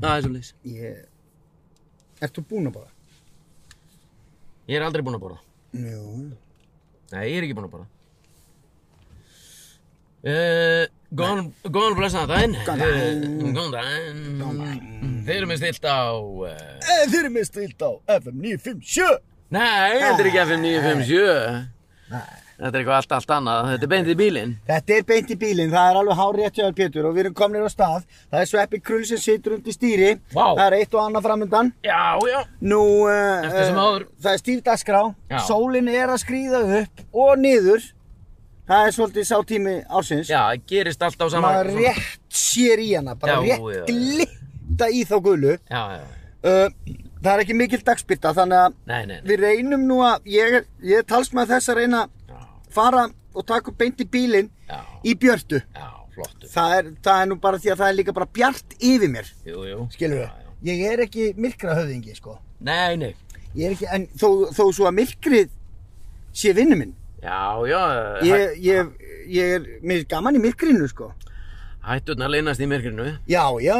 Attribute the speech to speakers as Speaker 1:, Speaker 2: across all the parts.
Speaker 1: það er svolítið
Speaker 2: Ég... Ert þú búinn að borða?
Speaker 1: Ég er aldrei búinn að borða
Speaker 2: Jú.
Speaker 1: Nei, ég er ekki búinn að borða uh, Góðan, góðan og blessaðan daginn
Speaker 2: Góðan daginn.
Speaker 1: Eh, Góðan daginn
Speaker 2: Mm.
Speaker 1: Þeir eru með stilt á uh,
Speaker 2: Þeir eru Eh, með stilt á FM 957!
Speaker 1: Nei, þetta er ekki FM 957 Þetta er eitthvað allt, allt annað Þetta er beint í bílinn
Speaker 2: Þetta er beint í bílinn, það er alveg hár rétt hjá þér, Pétur og við erum komnir á stað. Það er Sveppi Krull sem situr undir stýri.
Speaker 1: Vá.
Speaker 2: Það er eitt og annað framöndan.
Speaker 1: Já, já
Speaker 2: Nú, uh,
Speaker 1: Eftir sem
Speaker 2: uh,
Speaker 1: áður.
Speaker 2: það er stíf dagskrá,
Speaker 1: Já.
Speaker 2: sólin er að skrýða upp og niður. Það er svolítið sá tími ársins.
Speaker 1: Já, það gerist allt á sama
Speaker 2: Maður rétt sér í hana, bara
Speaker 1: Já, já, já.
Speaker 2: rétt glitta í þá gulu.
Speaker 1: Já, já,
Speaker 2: Uh, það er ekki mikil dagspyrta, þannig að
Speaker 1: nei, nei, nei.
Speaker 2: við reynum nú að, ég, er- ég er talsmaður þess að reyna að
Speaker 1: Já,
Speaker 2: fara og taka upp beint í bílinn
Speaker 1: já,
Speaker 2: í björtu.
Speaker 1: já, flottu
Speaker 2: Það er, það er nú bara því að það er líka bara bjart yfir mér,
Speaker 1: Jú, jú
Speaker 2: skilur
Speaker 1: Já, já.
Speaker 2: Ég er ekki myrkra höfðingi, sko.
Speaker 1: Nei, nei
Speaker 2: Ég er ekki, en þó, þó svo að myrkrið sé vinnu minn.
Speaker 1: Já, já, hæ,
Speaker 2: Ég, ég, ég er, mér er gaman í myrkrinu, sko.
Speaker 1: hætturnar leynast í myrkrinu
Speaker 2: Já, já,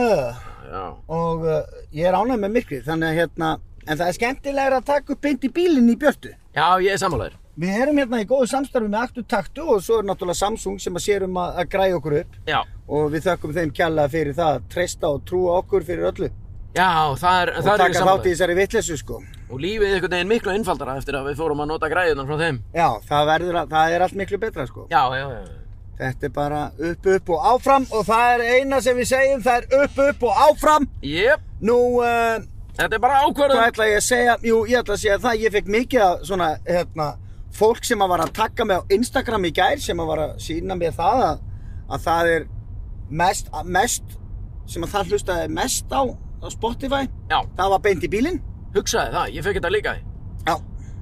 Speaker 1: Já,
Speaker 2: og uh, ég er ánægð með myrkrið, þannig að hérna, en það er skemmtilegra að taka upp beint í bílinn í björtu.
Speaker 1: já, ég er sammálaður
Speaker 2: Við erum hérna í góðu samstarfi með Aktu Taktu og svo er náttúrulega Samsung sem að sér um að, að græja okkur upp
Speaker 1: Já,
Speaker 2: og við þökkum þeim kjalla fyrir það, treysta og trúa okkur fyrir öllu
Speaker 1: já, það er,
Speaker 2: og
Speaker 1: það er
Speaker 2: taka þátt í þessari vitleysu sko.
Speaker 1: Og lífið er einhvern veginn miklu einfaldara eftir að við fórum að nota græðunar frá þeim.
Speaker 2: Já, það, verður, að- það er allt miklu betra sko.
Speaker 1: Já, já, já.
Speaker 2: Þetta er bara upp, upp og áfram og það er eina sem við segjum, það er upp, upp og áfram.
Speaker 1: Jep,
Speaker 2: Nú, uh,
Speaker 1: þetta er bara
Speaker 2: hvað
Speaker 1: ákvörðun.
Speaker 2: ætla ég að segja? Jú, ég ætla að segja það, ég fekk mikið að svona, hérna, fólk sem að var að taka mig á Instagram í gær, sem að var að sína mér það að, að það er mest, að mest, sem að það hlustaði mest á, á Spotify,
Speaker 1: Já,
Speaker 2: það var beint í bílinn.
Speaker 1: hugsaði það, ég fekk þetta líka.
Speaker 2: Já,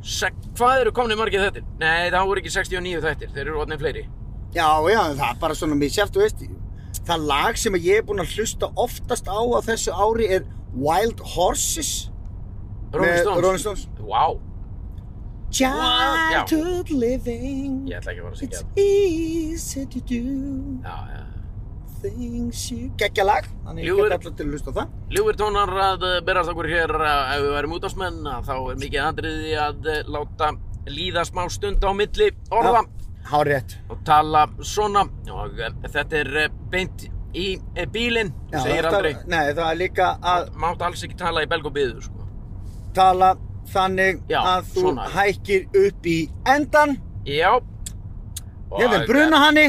Speaker 1: Sek, hvað eru komni margir þettir? Nei, það voru ekki 69 þettir, þeir eru orðin fleiri.
Speaker 2: já, já, það er bara svona mér sjálft, þú veist, það lag sem að ég er búinn að hlusta oftast á á þessu ári er Wild Horses.
Speaker 1: Rolling
Speaker 2: Með
Speaker 1: Stones.
Speaker 2: Rolling Stones.
Speaker 1: Vá, Já.
Speaker 2: Childhood living
Speaker 1: ég ætla ekki að fara að syngja
Speaker 2: It's
Speaker 1: það.
Speaker 2: easy to do
Speaker 1: Já, já.
Speaker 2: Things you Gekkja lag Þannig ég
Speaker 1: Ljúfur.
Speaker 2: get allir til að hlusta á það
Speaker 1: Ljúfur tónar að eh, berast okkur hér eh, ef við værum útásmenn, þá er mikið andriði að eh, láta líða smá stund á milli orða.
Speaker 2: Hárétt
Speaker 1: og tala svona og eh, þetta er eh, beint í eh, bílinn,
Speaker 2: Já,
Speaker 1: þú segir
Speaker 2: það-
Speaker 1: aldrei
Speaker 2: Nei, það er líka að
Speaker 1: mátt alls ekki tala í belg og byðu sko.
Speaker 2: tala þannig
Speaker 1: Já,
Speaker 2: að þú
Speaker 1: svona.
Speaker 2: hækkir upp í endan
Speaker 1: já eh,
Speaker 2: Ég vil bruna hanni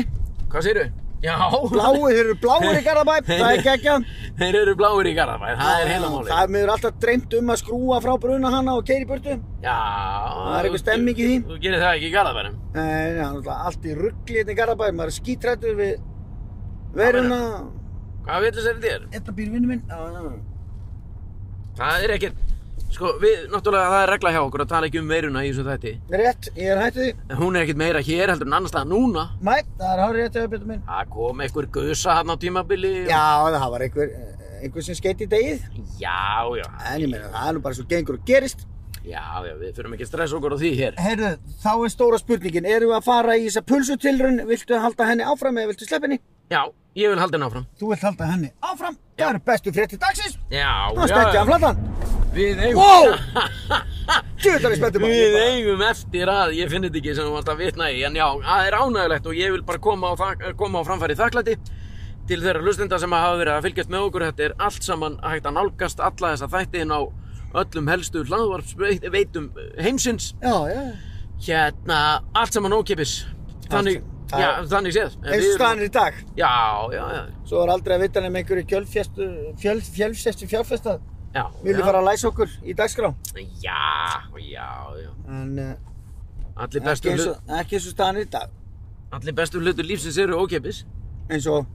Speaker 1: hvað segirðu? já,
Speaker 2: Bláir, þeir eru bláir í Garðabæ Það er gekkja
Speaker 1: þeir eru bláir í Garðabæ það er heila máli
Speaker 2: Það er mér alltaf dreymt um að skrúa frá bruna hanna og keiri burtu
Speaker 1: já,
Speaker 2: Það er einhver stemming í því.
Speaker 1: þú gerir það ekki í Garðabænum
Speaker 2: Nei, já, náttúrulega allt í ruggli hérna í Garðabæ, maður er skítrættur við veruna.
Speaker 1: hvað villur sér þér?
Speaker 2: Þetta býr vinnu minn. Já, já.
Speaker 1: það er ekkert sko, við, náttúrulega það er regla hjá okkur að tala ekki um veiruna í þessu þætti
Speaker 2: Rétt, ég er hættið því.
Speaker 1: en hún er ekkert meira hér heldur en annars staðar núna
Speaker 2: Mæ, það er hárið rétt hjá betur minn.
Speaker 1: það kom einhver gusa hann á tímabili og-
Speaker 2: Já, það var einhver, einhver sem skeiti í degið.
Speaker 1: já, já,
Speaker 2: En ég meina, það er nú bara svo gengur og gerist.
Speaker 1: Já, já, við þurfum ekki að stressa okkur á því hér.
Speaker 2: Herðu, þá er stóra spurningin, eru við að fara í þessa pulsutilrun, viltu halda henni áfram eða viltu sleppa henni?
Speaker 1: Já, ég vil halda henni áfram.
Speaker 2: Þú vilt halda henni áfram, það eru bestu frétti dagsins,
Speaker 1: Já,
Speaker 2: það er stekkið af flatan.
Speaker 1: Við eigum...
Speaker 2: Wow! Tjóðar ég spenntum
Speaker 1: Við eigum eftir að, ég finn þetta ekki sem þú varst að vitna í, en já, það er ánægulegt og ég vil bara koma á, þak, koma á framfæri þakklæti til þeirra hlustenda sem hafa verið að fylgjast með okkur. Þetta er allt saman hægt að nálgast alla þessa þætti inn á öllum helstu hlaðvarpsveitum heimsins.
Speaker 2: Já, já.
Speaker 1: Hérna, allt saman ókipis. Þannig,
Speaker 2: Það-
Speaker 1: já, þannig séð. En við
Speaker 2: eins og
Speaker 1: erum-
Speaker 2: staðan er í dag
Speaker 1: Já, já, já.
Speaker 2: svo er aldrei að vita nefn einhverju kjölfjæstu fjöl, fjölfjæstu fjárfesta
Speaker 1: Já,
Speaker 2: vilji
Speaker 1: já.
Speaker 2: fara að læsa okkur í dagskrá
Speaker 1: Já, já, já.
Speaker 2: en uh,
Speaker 1: Allir bestu,
Speaker 2: ekki, eins
Speaker 1: hlut,
Speaker 2: og, ekki eins og staðan er í dag
Speaker 1: allir bestu hlutur lífsins eru ókeppis.
Speaker 2: eins og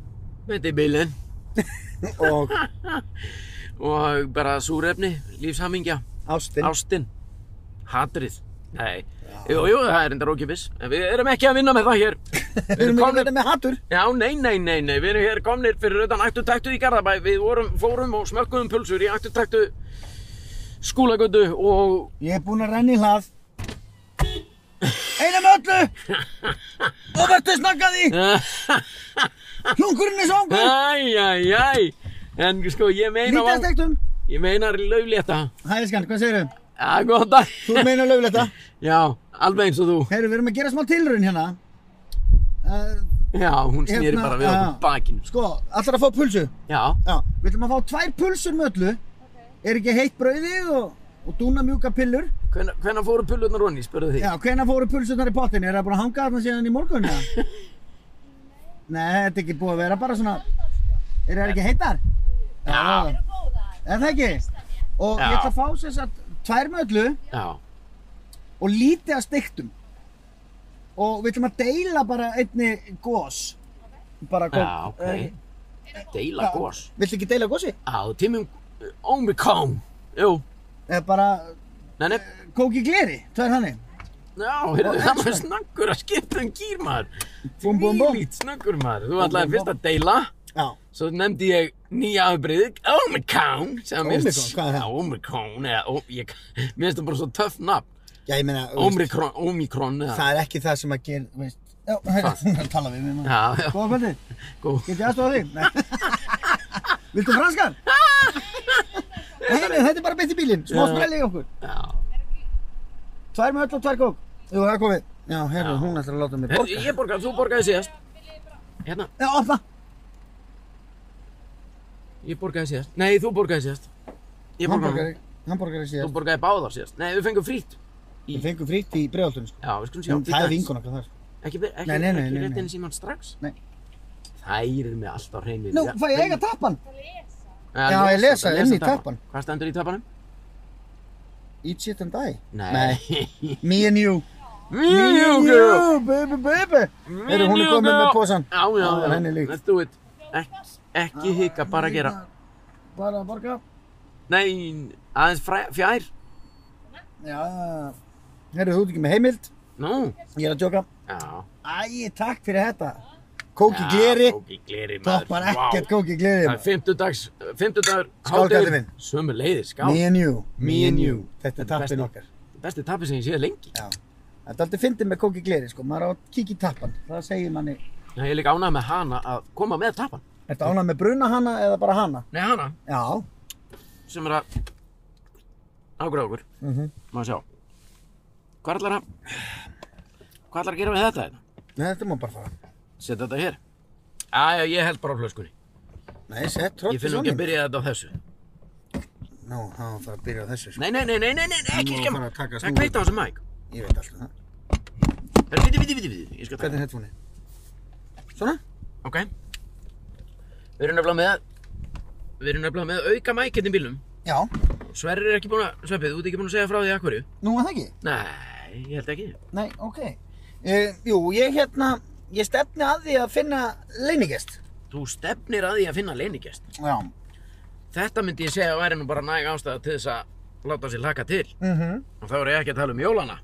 Speaker 1: Myndi bílinn
Speaker 2: og
Speaker 1: og bara súrefni, lífshamingja,
Speaker 2: ástin
Speaker 1: ástin, hatrið. Nei, jú, jú, það er endar ókeppis. En við erum ekki að vinna með það hér.
Speaker 2: við erum ekki þetta með hattur
Speaker 1: Já, nei, nei, nei, nei, við erum hér komnir fyrir utan aktutaktu í Garðabæ. Við vorum, fórum og smökkuðum pulsur í aktutaktu skúlagötu og...
Speaker 2: ég er búinn að renna í hlað eina með öllu og verður snakkaði
Speaker 1: Æj,
Speaker 2: hlungurinn er svangur
Speaker 1: æj, æj, En sko, ég meina
Speaker 2: Lítið að stektum.
Speaker 1: Ég meina löflétta
Speaker 2: Hæðiskan, hvað segirðu?
Speaker 1: Já, góðan dag
Speaker 2: Þú meina lögulegt það?
Speaker 1: Já, alveg eins og þú
Speaker 2: Heyrðu, við erum að gera smá tilraun hérna. Uh,
Speaker 1: Já, hún snýri
Speaker 2: Hérna,
Speaker 1: bara við okkur
Speaker 2: já.
Speaker 1: bakinu
Speaker 2: sko, allar að fá pulsu.
Speaker 1: Já,
Speaker 2: Já, við ætlum að fá tvær pulsur með öllu. Er ekki heitt brauðið og, og dúna mjúka pillur.
Speaker 1: hvenna, hvenna fóru pullurnar onni, spurðu því
Speaker 2: Já, hvenær fóru pulsurnar í pottin? Er það búin að hanga þarna síðan í morgun? eða? Nei, þetta er ekki búið að vera bara svona... Er það ekki heitar?
Speaker 1: Já.
Speaker 2: Er það ekki? Og
Speaker 1: Já.
Speaker 2: ég ætla að fá sér satt tvær með öllu
Speaker 1: Já,
Speaker 2: og lítið að steiktum. Og við ætlum að deila bara einni gós. Bara
Speaker 1: já,
Speaker 2: kók. Eh,
Speaker 1: ok Deila gos
Speaker 2: Viltu ekki deila gósi?
Speaker 1: Já, tímum Omikron Jú,
Speaker 2: Eða Eh, bara
Speaker 1: nei, nei
Speaker 2: kók í gleri, tvær þannig.
Speaker 1: Já, heyrðu, það var snöggur að skipta um gýr maður
Speaker 2: Búm, búm, búm.
Speaker 1: Þvílíkt snöggur maður Þú
Speaker 2: Búm,
Speaker 1: ætlaði
Speaker 2: búm,
Speaker 1: fyrst að deila
Speaker 2: Já.
Speaker 1: Svo nefndi ég nýja afbreyðið Omikron sem mér-
Speaker 2: Omicron, hvað er það?
Speaker 1: Já, Omikron eða, ó, ég, Mér finnst það bara svo töff nafn
Speaker 2: Já, ég meina, þú veist,
Speaker 1: Omikron, Omikron eða
Speaker 2: það er ekki það sem að gera, þú veist. Já, hérna, hún er að tala við mig maður.
Speaker 1: Já, já,
Speaker 2: Góða kvöldið.
Speaker 1: góð
Speaker 2: Get ég aðstofa þig? Nei. Viltu franskar? Nei, nei, þetta er bara beitt í bílinn. Smá
Speaker 1: Já.
Speaker 2: sprelli í okkur.
Speaker 1: Já,
Speaker 2: Tvær með öll og tvær kók. Jú, það er komið. Já, herru,
Speaker 1: Já.
Speaker 2: hún ætlar að láta mig
Speaker 1: Herðu,
Speaker 2: borga.
Speaker 1: ég borgaði, þú borgaði síðast Hérna,
Speaker 2: Já, opna.
Speaker 1: ég borgaði síðast Nei, þú borgaði síðast Ég
Speaker 2: Hann
Speaker 1: borgaði,
Speaker 2: borgar, hann borgar ekki
Speaker 1: þú
Speaker 2: síðast.
Speaker 1: borgaði báðar síðast Nei, við fengum frýtt
Speaker 2: Við fengum frýtt í bregaldunum, sko.
Speaker 1: Já, við skulum sjá
Speaker 2: En
Speaker 1: til
Speaker 2: Það er
Speaker 1: dags.
Speaker 2: vingun okkar þar.
Speaker 1: Ekki, be- ekki,
Speaker 2: Nei, nei, nei,
Speaker 1: ekki
Speaker 2: nei, nei.
Speaker 1: rétt inn í síman strax
Speaker 2: Nei.
Speaker 1: Þær eru mig alltaf hreinir
Speaker 2: Nú, fæ ég eiga tappan? Já, ég lesa inn í tappan.
Speaker 1: Hvað stendur í tappanum?
Speaker 2: Eat shit and die.
Speaker 1: Nei
Speaker 2: Me and you.
Speaker 1: Me and you, girl
Speaker 2: baby, baby.
Speaker 1: Me
Speaker 2: Eru hún
Speaker 1: and
Speaker 2: er
Speaker 1: you,
Speaker 2: komin með
Speaker 1: girl.
Speaker 2: posan?
Speaker 1: Já, já,
Speaker 2: Það er henni
Speaker 1: já,
Speaker 2: líkt.
Speaker 1: let's do it Ek, Ekki hika, bara gera
Speaker 2: Bara að borga.
Speaker 1: Nei, aðeins fræ- fjær
Speaker 2: Já. Herru, þú ert ekki með heimild.
Speaker 1: Nú,
Speaker 2: Ég er að djóka.
Speaker 1: já
Speaker 2: Æ, takk fyrir þetta. Kók í
Speaker 1: Já,
Speaker 2: gleri,
Speaker 1: Kók í gleri, maður.
Speaker 2: toppar
Speaker 1: Vá.
Speaker 2: ekkert kók í gleri.
Speaker 1: Það er fimmtudags, fimmtudagur,
Speaker 2: Skál, kallinn minn.
Speaker 1: Sömu leiðir, skál.
Speaker 2: Me and you.
Speaker 1: Me and you.
Speaker 2: Þetta er
Speaker 1: Þetta er
Speaker 2: tappin
Speaker 1: besta.
Speaker 2: okkar.
Speaker 1: Besti tappi sem ég séð lengi.
Speaker 2: Já. Þetta er alltaf fyndið með kók í gleri, sko. Maður á að kíkja í tappan. Það segir manni,
Speaker 1: Já, ég er líka ánað með hana að koma með tappan.
Speaker 2: ertu ánað með bruna hana eða bara hana?
Speaker 1: Nei, hana.
Speaker 2: Já.
Speaker 1: Sem er að ágráða okkur.
Speaker 2: Mm
Speaker 1: Má sjá. Hvað ætlar að, hvað ætlar að gera við þetta hérna?
Speaker 2: Nei, þetta má bara fara.
Speaker 1: Setja þetta hér. Æja, ég held bara á flöskunni.
Speaker 2: Nei, sett
Speaker 1: Ég
Speaker 2: trótt
Speaker 1: finn nú ekki að byrja þetta á þessu.
Speaker 2: Nú, það var að fara að byrja á þessu, sko.
Speaker 1: Nei, nei, nei, nei, nei, nei,
Speaker 2: Nú
Speaker 1: ekki
Speaker 2: er
Speaker 1: skemma.
Speaker 2: bara að taka
Speaker 1: Það
Speaker 2: snúru.
Speaker 1: er kveita á þessu mæk.
Speaker 2: Ég veit alltaf það.
Speaker 1: Það er viti, viti, viti, viti. Ég skal taka.
Speaker 2: Hvernig er headphone-ið? Svona?
Speaker 1: Ok Við erum nefnilega með Við erum nefnilega með auka mækinn í bílum
Speaker 2: Já.
Speaker 1: Sverrir er ekki búin að Sveppið, þú ert ekki búin að segja frá því að hverju
Speaker 2: Nú er það ekki?
Speaker 1: Nei, ég held ekki
Speaker 2: Nei, ok. Uh, jú, ég hérna, ég stefni að því að finna leinigest.
Speaker 1: Þú stefnir að því að finna leinigest
Speaker 2: Já.
Speaker 1: Þetta myndi ég segja að væri nú bara næg ástæða til þess að láta sér laka til
Speaker 2: Mhm.
Speaker 1: Og þá er ég ekki að tala um jólana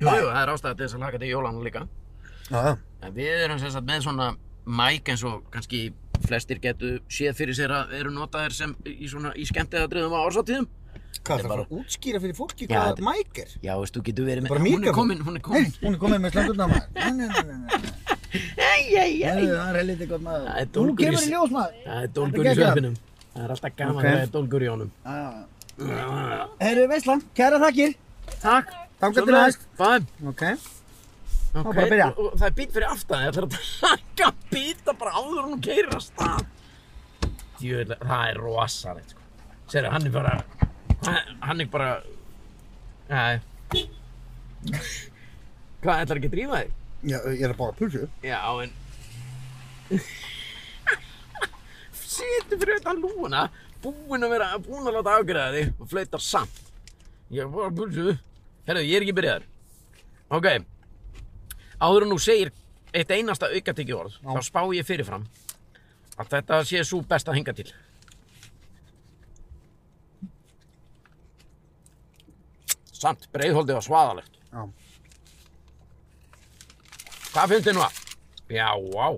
Speaker 1: Jú, jú, það er ástæða til þess að laka til jólana líka
Speaker 2: Já, já.
Speaker 1: En við erum sem sagt með svona mæk eins og kannski flestir getu séð fyrir sér að eru notaðir sem í svona í skemmtiðadriðum á ársatíðum
Speaker 2: Hvað
Speaker 1: Þetta er
Speaker 2: það bara
Speaker 1: bara-
Speaker 2: að útskýra fyrir fólki
Speaker 1: Já,
Speaker 2: hvað
Speaker 1: þetta-
Speaker 2: þetta mæk er?
Speaker 1: Já, veist, þú getur verið með
Speaker 2: Bara
Speaker 1: Hún
Speaker 2: mikrofón.
Speaker 1: er komin, hún er komin
Speaker 2: Hún er komið með slöngurna maður. Nei, nei, nei, nei, nei.
Speaker 1: Æj, æj,
Speaker 2: Nei, Það er helítið gott maður.
Speaker 1: Það er
Speaker 2: Nú
Speaker 1: dólgur í
Speaker 2: kemur í
Speaker 1: s-
Speaker 2: ljós maður.
Speaker 1: Það er dólgur í
Speaker 2: Þetta er geggjað.
Speaker 1: svepinum. Það er alltaf gaman
Speaker 2: Ok.
Speaker 1: að það er dólgur í honum.
Speaker 2: Já, já. Herru, veislan, kæra þakkir.
Speaker 1: Takk.
Speaker 2: Þangað til næst.
Speaker 1: Fæm.
Speaker 2: Ok.
Speaker 1: Ok.
Speaker 2: bara að byrja.
Speaker 1: Og- og Það er bít fyrir aftan. Það er að taka bíta bara áður en hún keirir að stað. Djöðlega, það er rosalegt sko. Serðu, hann er bara, hann- hann er bara, nei. Hvað, ætlar ekki að drífa þig?
Speaker 2: Já, ég er að báða pulsu.
Speaker 1: Já, en... Sýttu fyrir utan lúna, búinn að vera, búinn að láta afgreða þig og flautar samt. Ég er bara pulsu. Herðu, ég er ekki byrjaður. Ok. Áður en þú segir eitt einasta aukatekki orð, þá spá ég fyrirfram að þetta sé svo best að hinga til. Samt, breiðholdið var svaðalegt.
Speaker 2: Já.
Speaker 1: Hvað finnst þið nú að? Já, vá.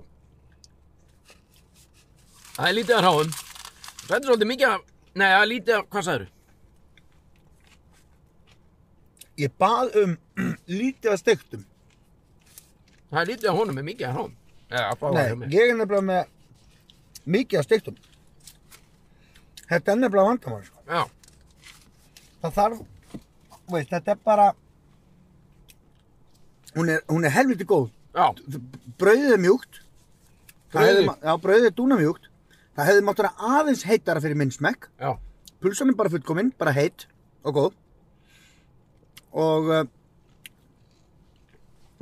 Speaker 1: Það er lítið að ráðum. Þetta er svolítið mikið að... Nei, það er lítið að... Hvað sagður?
Speaker 2: Ég bað um lítið að stektum.
Speaker 1: Það er lítið að honum er mikið að ráðum. Já, að fá það hjá
Speaker 2: Nei,
Speaker 1: mér.
Speaker 2: ég er nefnilega með mikið að stektum. Þetta er nefnilega vandamál, sko.
Speaker 1: Já,
Speaker 2: Það þarf, þú veist, þetta er bara, hún er, hún er helviti góð.
Speaker 1: já,
Speaker 2: Brauðið er mjúkt. Það
Speaker 1: Brauðið?
Speaker 2: hefði ma- Já, brauðið er dúna mjúkt. Það hefði mátt vera aðeins heitara fyrir minn smekk.
Speaker 1: já,
Speaker 2: Pulsan er bara fullkominn, bara heitt og góð. Og, uh,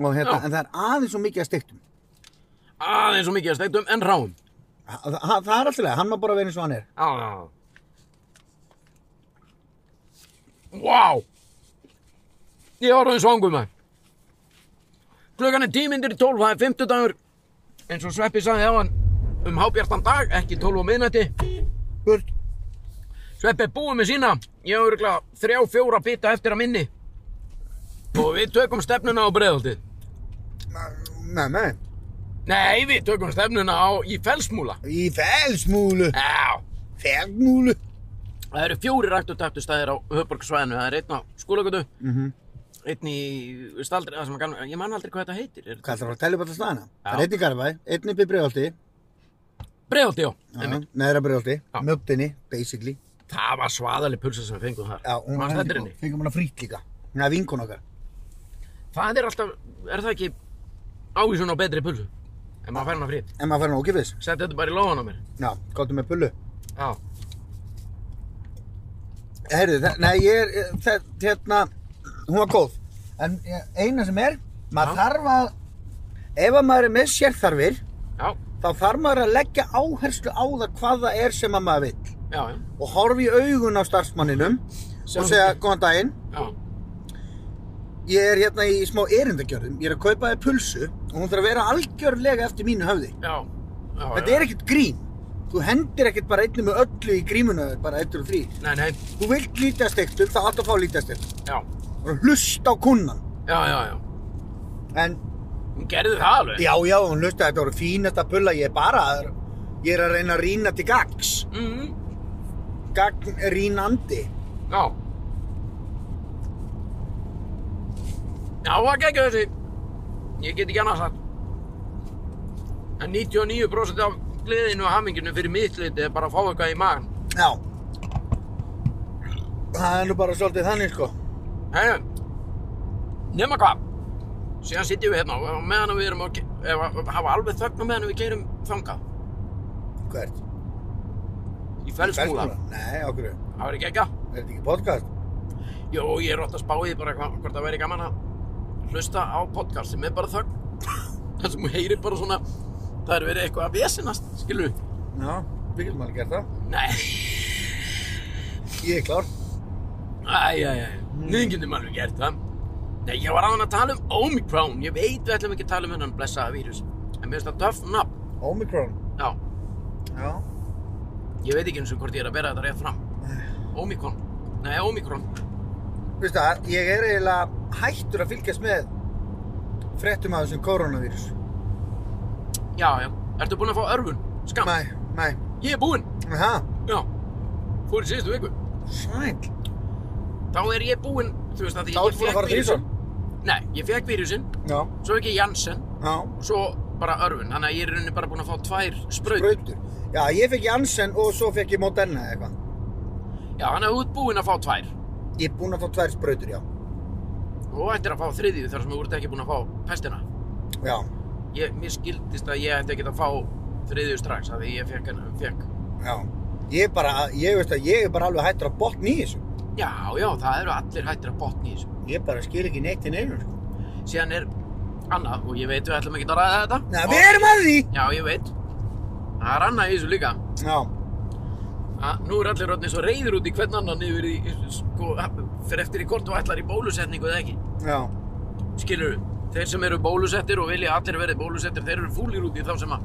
Speaker 2: og hérna,
Speaker 1: Já.
Speaker 2: en það er aðeins svo mikið að steiktum.
Speaker 1: aðeins og mikið að steiktum en ráum.
Speaker 2: Það, það það er alltaf leið, hann má bara vera eins og hann er.
Speaker 1: Já, já, já. Vá! Ég var aðeins vanguð maður. Klukkan er tímyndir í tólf, það er fimmtudagur. Eins og Sveppi sagði á hann um hábjartan dag, ekki tólf á miðnætti.
Speaker 2: Burt.
Speaker 1: Sveppi er búið með sína. Ég hef örgulega þrjá, fjóra bita eftir að minni. Og við tökum stefnuna á breiðaldið.
Speaker 2: Nei, nei.
Speaker 1: Nei, við tökum stefnuna á í felsmúla.
Speaker 2: Í felsmúlu.
Speaker 1: Já.
Speaker 2: Felsmúlu.
Speaker 1: Það eru fjórir aktutöptu stæðir á höfborgsvæðinu. Það er einn á skólagötu,
Speaker 2: Mhm.
Speaker 1: einn í staldri, það sem að kannu, ég man aldrei hvað þetta heitir. Er
Speaker 2: Hvað þarf að tella upp alltaf staðana? Það
Speaker 1: Já.
Speaker 2: er einn í Garabæ, einn upp í Breiðholti,
Speaker 1: Breiðholti, já. Einmitt.
Speaker 2: neðra Breiðholti,
Speaker 1: Já.
Speaker 2: mögdinni, basically.
Speaker 1: Það var svaðaleg pulsa sem við fengum þar.
Speaker 2: Já, hún var
Speaker 1: Manstu
Speaker 2: heldur
Speaker 1: eftir
Speaker 2: góð.
Speaker 1: henni?
Speaker 2: Fengum hana frýtt líka. Hún er vinkun okkar.
Speaker 1: Það er alltaf, er það ekki ávísun á betri pulsu? En maður fær hana frýtt.
Speaker 2: En maður fær hann ókipis.
Speaker 1: Sett þetta bara í lóðan á mér.
Speaker 2: Já, gáttum með pullu.
Speaker 1: Já.
Speaker 2: Herðu, það- nei, ég er, eh, það, hérna, hún var góð. En eh, eina sem er, maður
Speaker 1: Já.
Speaker 2: þarf að, ef að maður er með sérþarfir,
Speaker 1: Já,
Speaker 2: þá þarf maður að leggja áherslu á það hvað það er sem að maður vill.
Speaker 1: já, já.
Speaker 2: Og horfi í augun á starfsmanninum
Speaker 1: Sem-
Speaker 2: og segja, góðan daginn,
Speaker 1: já.
Speaker 2: Ég er hérna í smá erindagjörðum, ég er að kaupa þér pulsu og hún þarf að vera algjörlega eftir mínu höfði.
Speaker 1: Já, já,
Speaker 2: Þetta er ekkert grín. Þú hendir ekkert bara einnig með öllu í grímuna þér, bara eittur og þrý.
Speaker 1: Nei, nei,
Speaker 2: Þú vilt lítastektum, það átt að fá lítastektum.
Speaker 1: já,
Speaker 2: Bara hlusta á kunnan.
Speaker 1: já, já, já.
Speaker 2: En
Speaker 1: Hún gerði það alveg.
Speaker 2: já, já, hún hlusta, þetta voru fínasta pulla, ég er bara að, ég er að reyna að rýna til gags.
Speaker 1: Mhm.
Speaker 2: Gagnrýnandi.
Speaker 1: Já. Já, það geggjur þessi. Ég get ekki annað sagt. En 99% af gleðinu og haminginu fyrir mitt liti er bara að fá eitthvað í magan.
Speaker 2: Já. Það er nú bara svolítið þannig, sko.
Speaker 1: Hei, nema hvað. Síðan sitjum við hérna og á meðan við erum að ke- ef að hafa alveg þögn á meðan við keirum þangað.
Speaker 2: Hvert?
Speaker 1: Í felsmúla.
Speaker 2: Nei, okkur. Er
Speaker 1: Það verður geggja.
Speaker 2: þetta ekki podcast?
Speaker 1: Jó, ég er ótt að spá í því bara hva, hvort það væri gaman að hlusta á podcast sem er bara þögn. Það sem hún heyrir bara svona, það er verið eitthvað að vesinast, skilu.
Speaker 2: Já, við getum alveg gert það.
Speaker 1: Nei,
Speaker 2: Ég er klár.
Speaker 1: æj, æj, æj, við getum alveg gert það. Nei, ég var aðan að tala um Omicron. Ég veit við ætlum ekki að tala um hennan blessaða vírus. En mér finnst það töff nafn.
Speaker 2: Omikron.
Speaker 1: Já,
Speaker 2: Já.
Speaker 1: ég veit ekki eins og hvort ég er að bera þetta rétt fram. Omicron. Nei, Omicron.
Speaker 2: Veistu það, ég er eiginlega hættur að fylgjast með fréttum af þessum koronavírus.
Speaker 1: Já, já. Ertu búinn að fá örfun? Skam.
Speaker 2: Mæ, mæ.
Speaker 1: Ég er búinn.
Speaker 2: Hæ?
Speaker 1: Já. Fór í síðustu viku.
Speaker 2: Sæl.
Speaker 1: Þá er ég búinn, þú veist að því
Speaker 2: Þá ertu búinn að
Speaker 1: fékk
Speaker 2: fara þrisvar?
Speaker 1: vírusinn. Nei, ég fekk vírusin,
Speaker 2: Já.
Speaker 1: svo ekki Janssen
Speaker 2: Já.
Speaker 1: og svo bara örfun. Þannig að ég er í rauninni bara búinn að fá tvær spraut.
Speaker 2: Brautur. Já, ég fekk Janssen og svo fekk ég Moderna eða eitthvað.
Speaker 1: Já, þannig að þú ert búinn að fá tvær.
Speaker 2: Ég er búinn að fá tvær sprautur, já.
Speaker 1: Og ættir að fá þriðju þar sem þú ert ekki búinn að fá pestina.
Speaker 2: Já.
Speaker 1: Ég, mér skildist að ég ætti ekki að fá þriðju strax af því ég fekk hennar, fekk.
Speaker 2: Já. Ég er bara, ég veist að ég er bara alveg hættur að botna í þessu.
Speaker 1: Já, já, það eru allir hættir að botni í þessu.
Speaker 2: Ég bara skil ekki neitt í neinu, sko.
Speaker 1: Síðan er annað, og ég veit við ætlum ekki að ræða þetta.
Speaker 2: Nei,
Speaker 1: Og-
Speaker 2: við erum að því!
Speaker 1: Já, ég veit. Það er annað í þessu líka.
Speaker 2: Já.
Speaker 1: að nú er allir orðinni svo reyður út í hvern annan yfir í, sko, fyrir eftir í hvort þú ætlar í bólusetningu eða ekki,
Speaker 2: Já.
Speaker 1: skilur Þeir sem eru bólusettir og vilja að allir verið bólusettir, þeir eru fúlir út í þá sem að,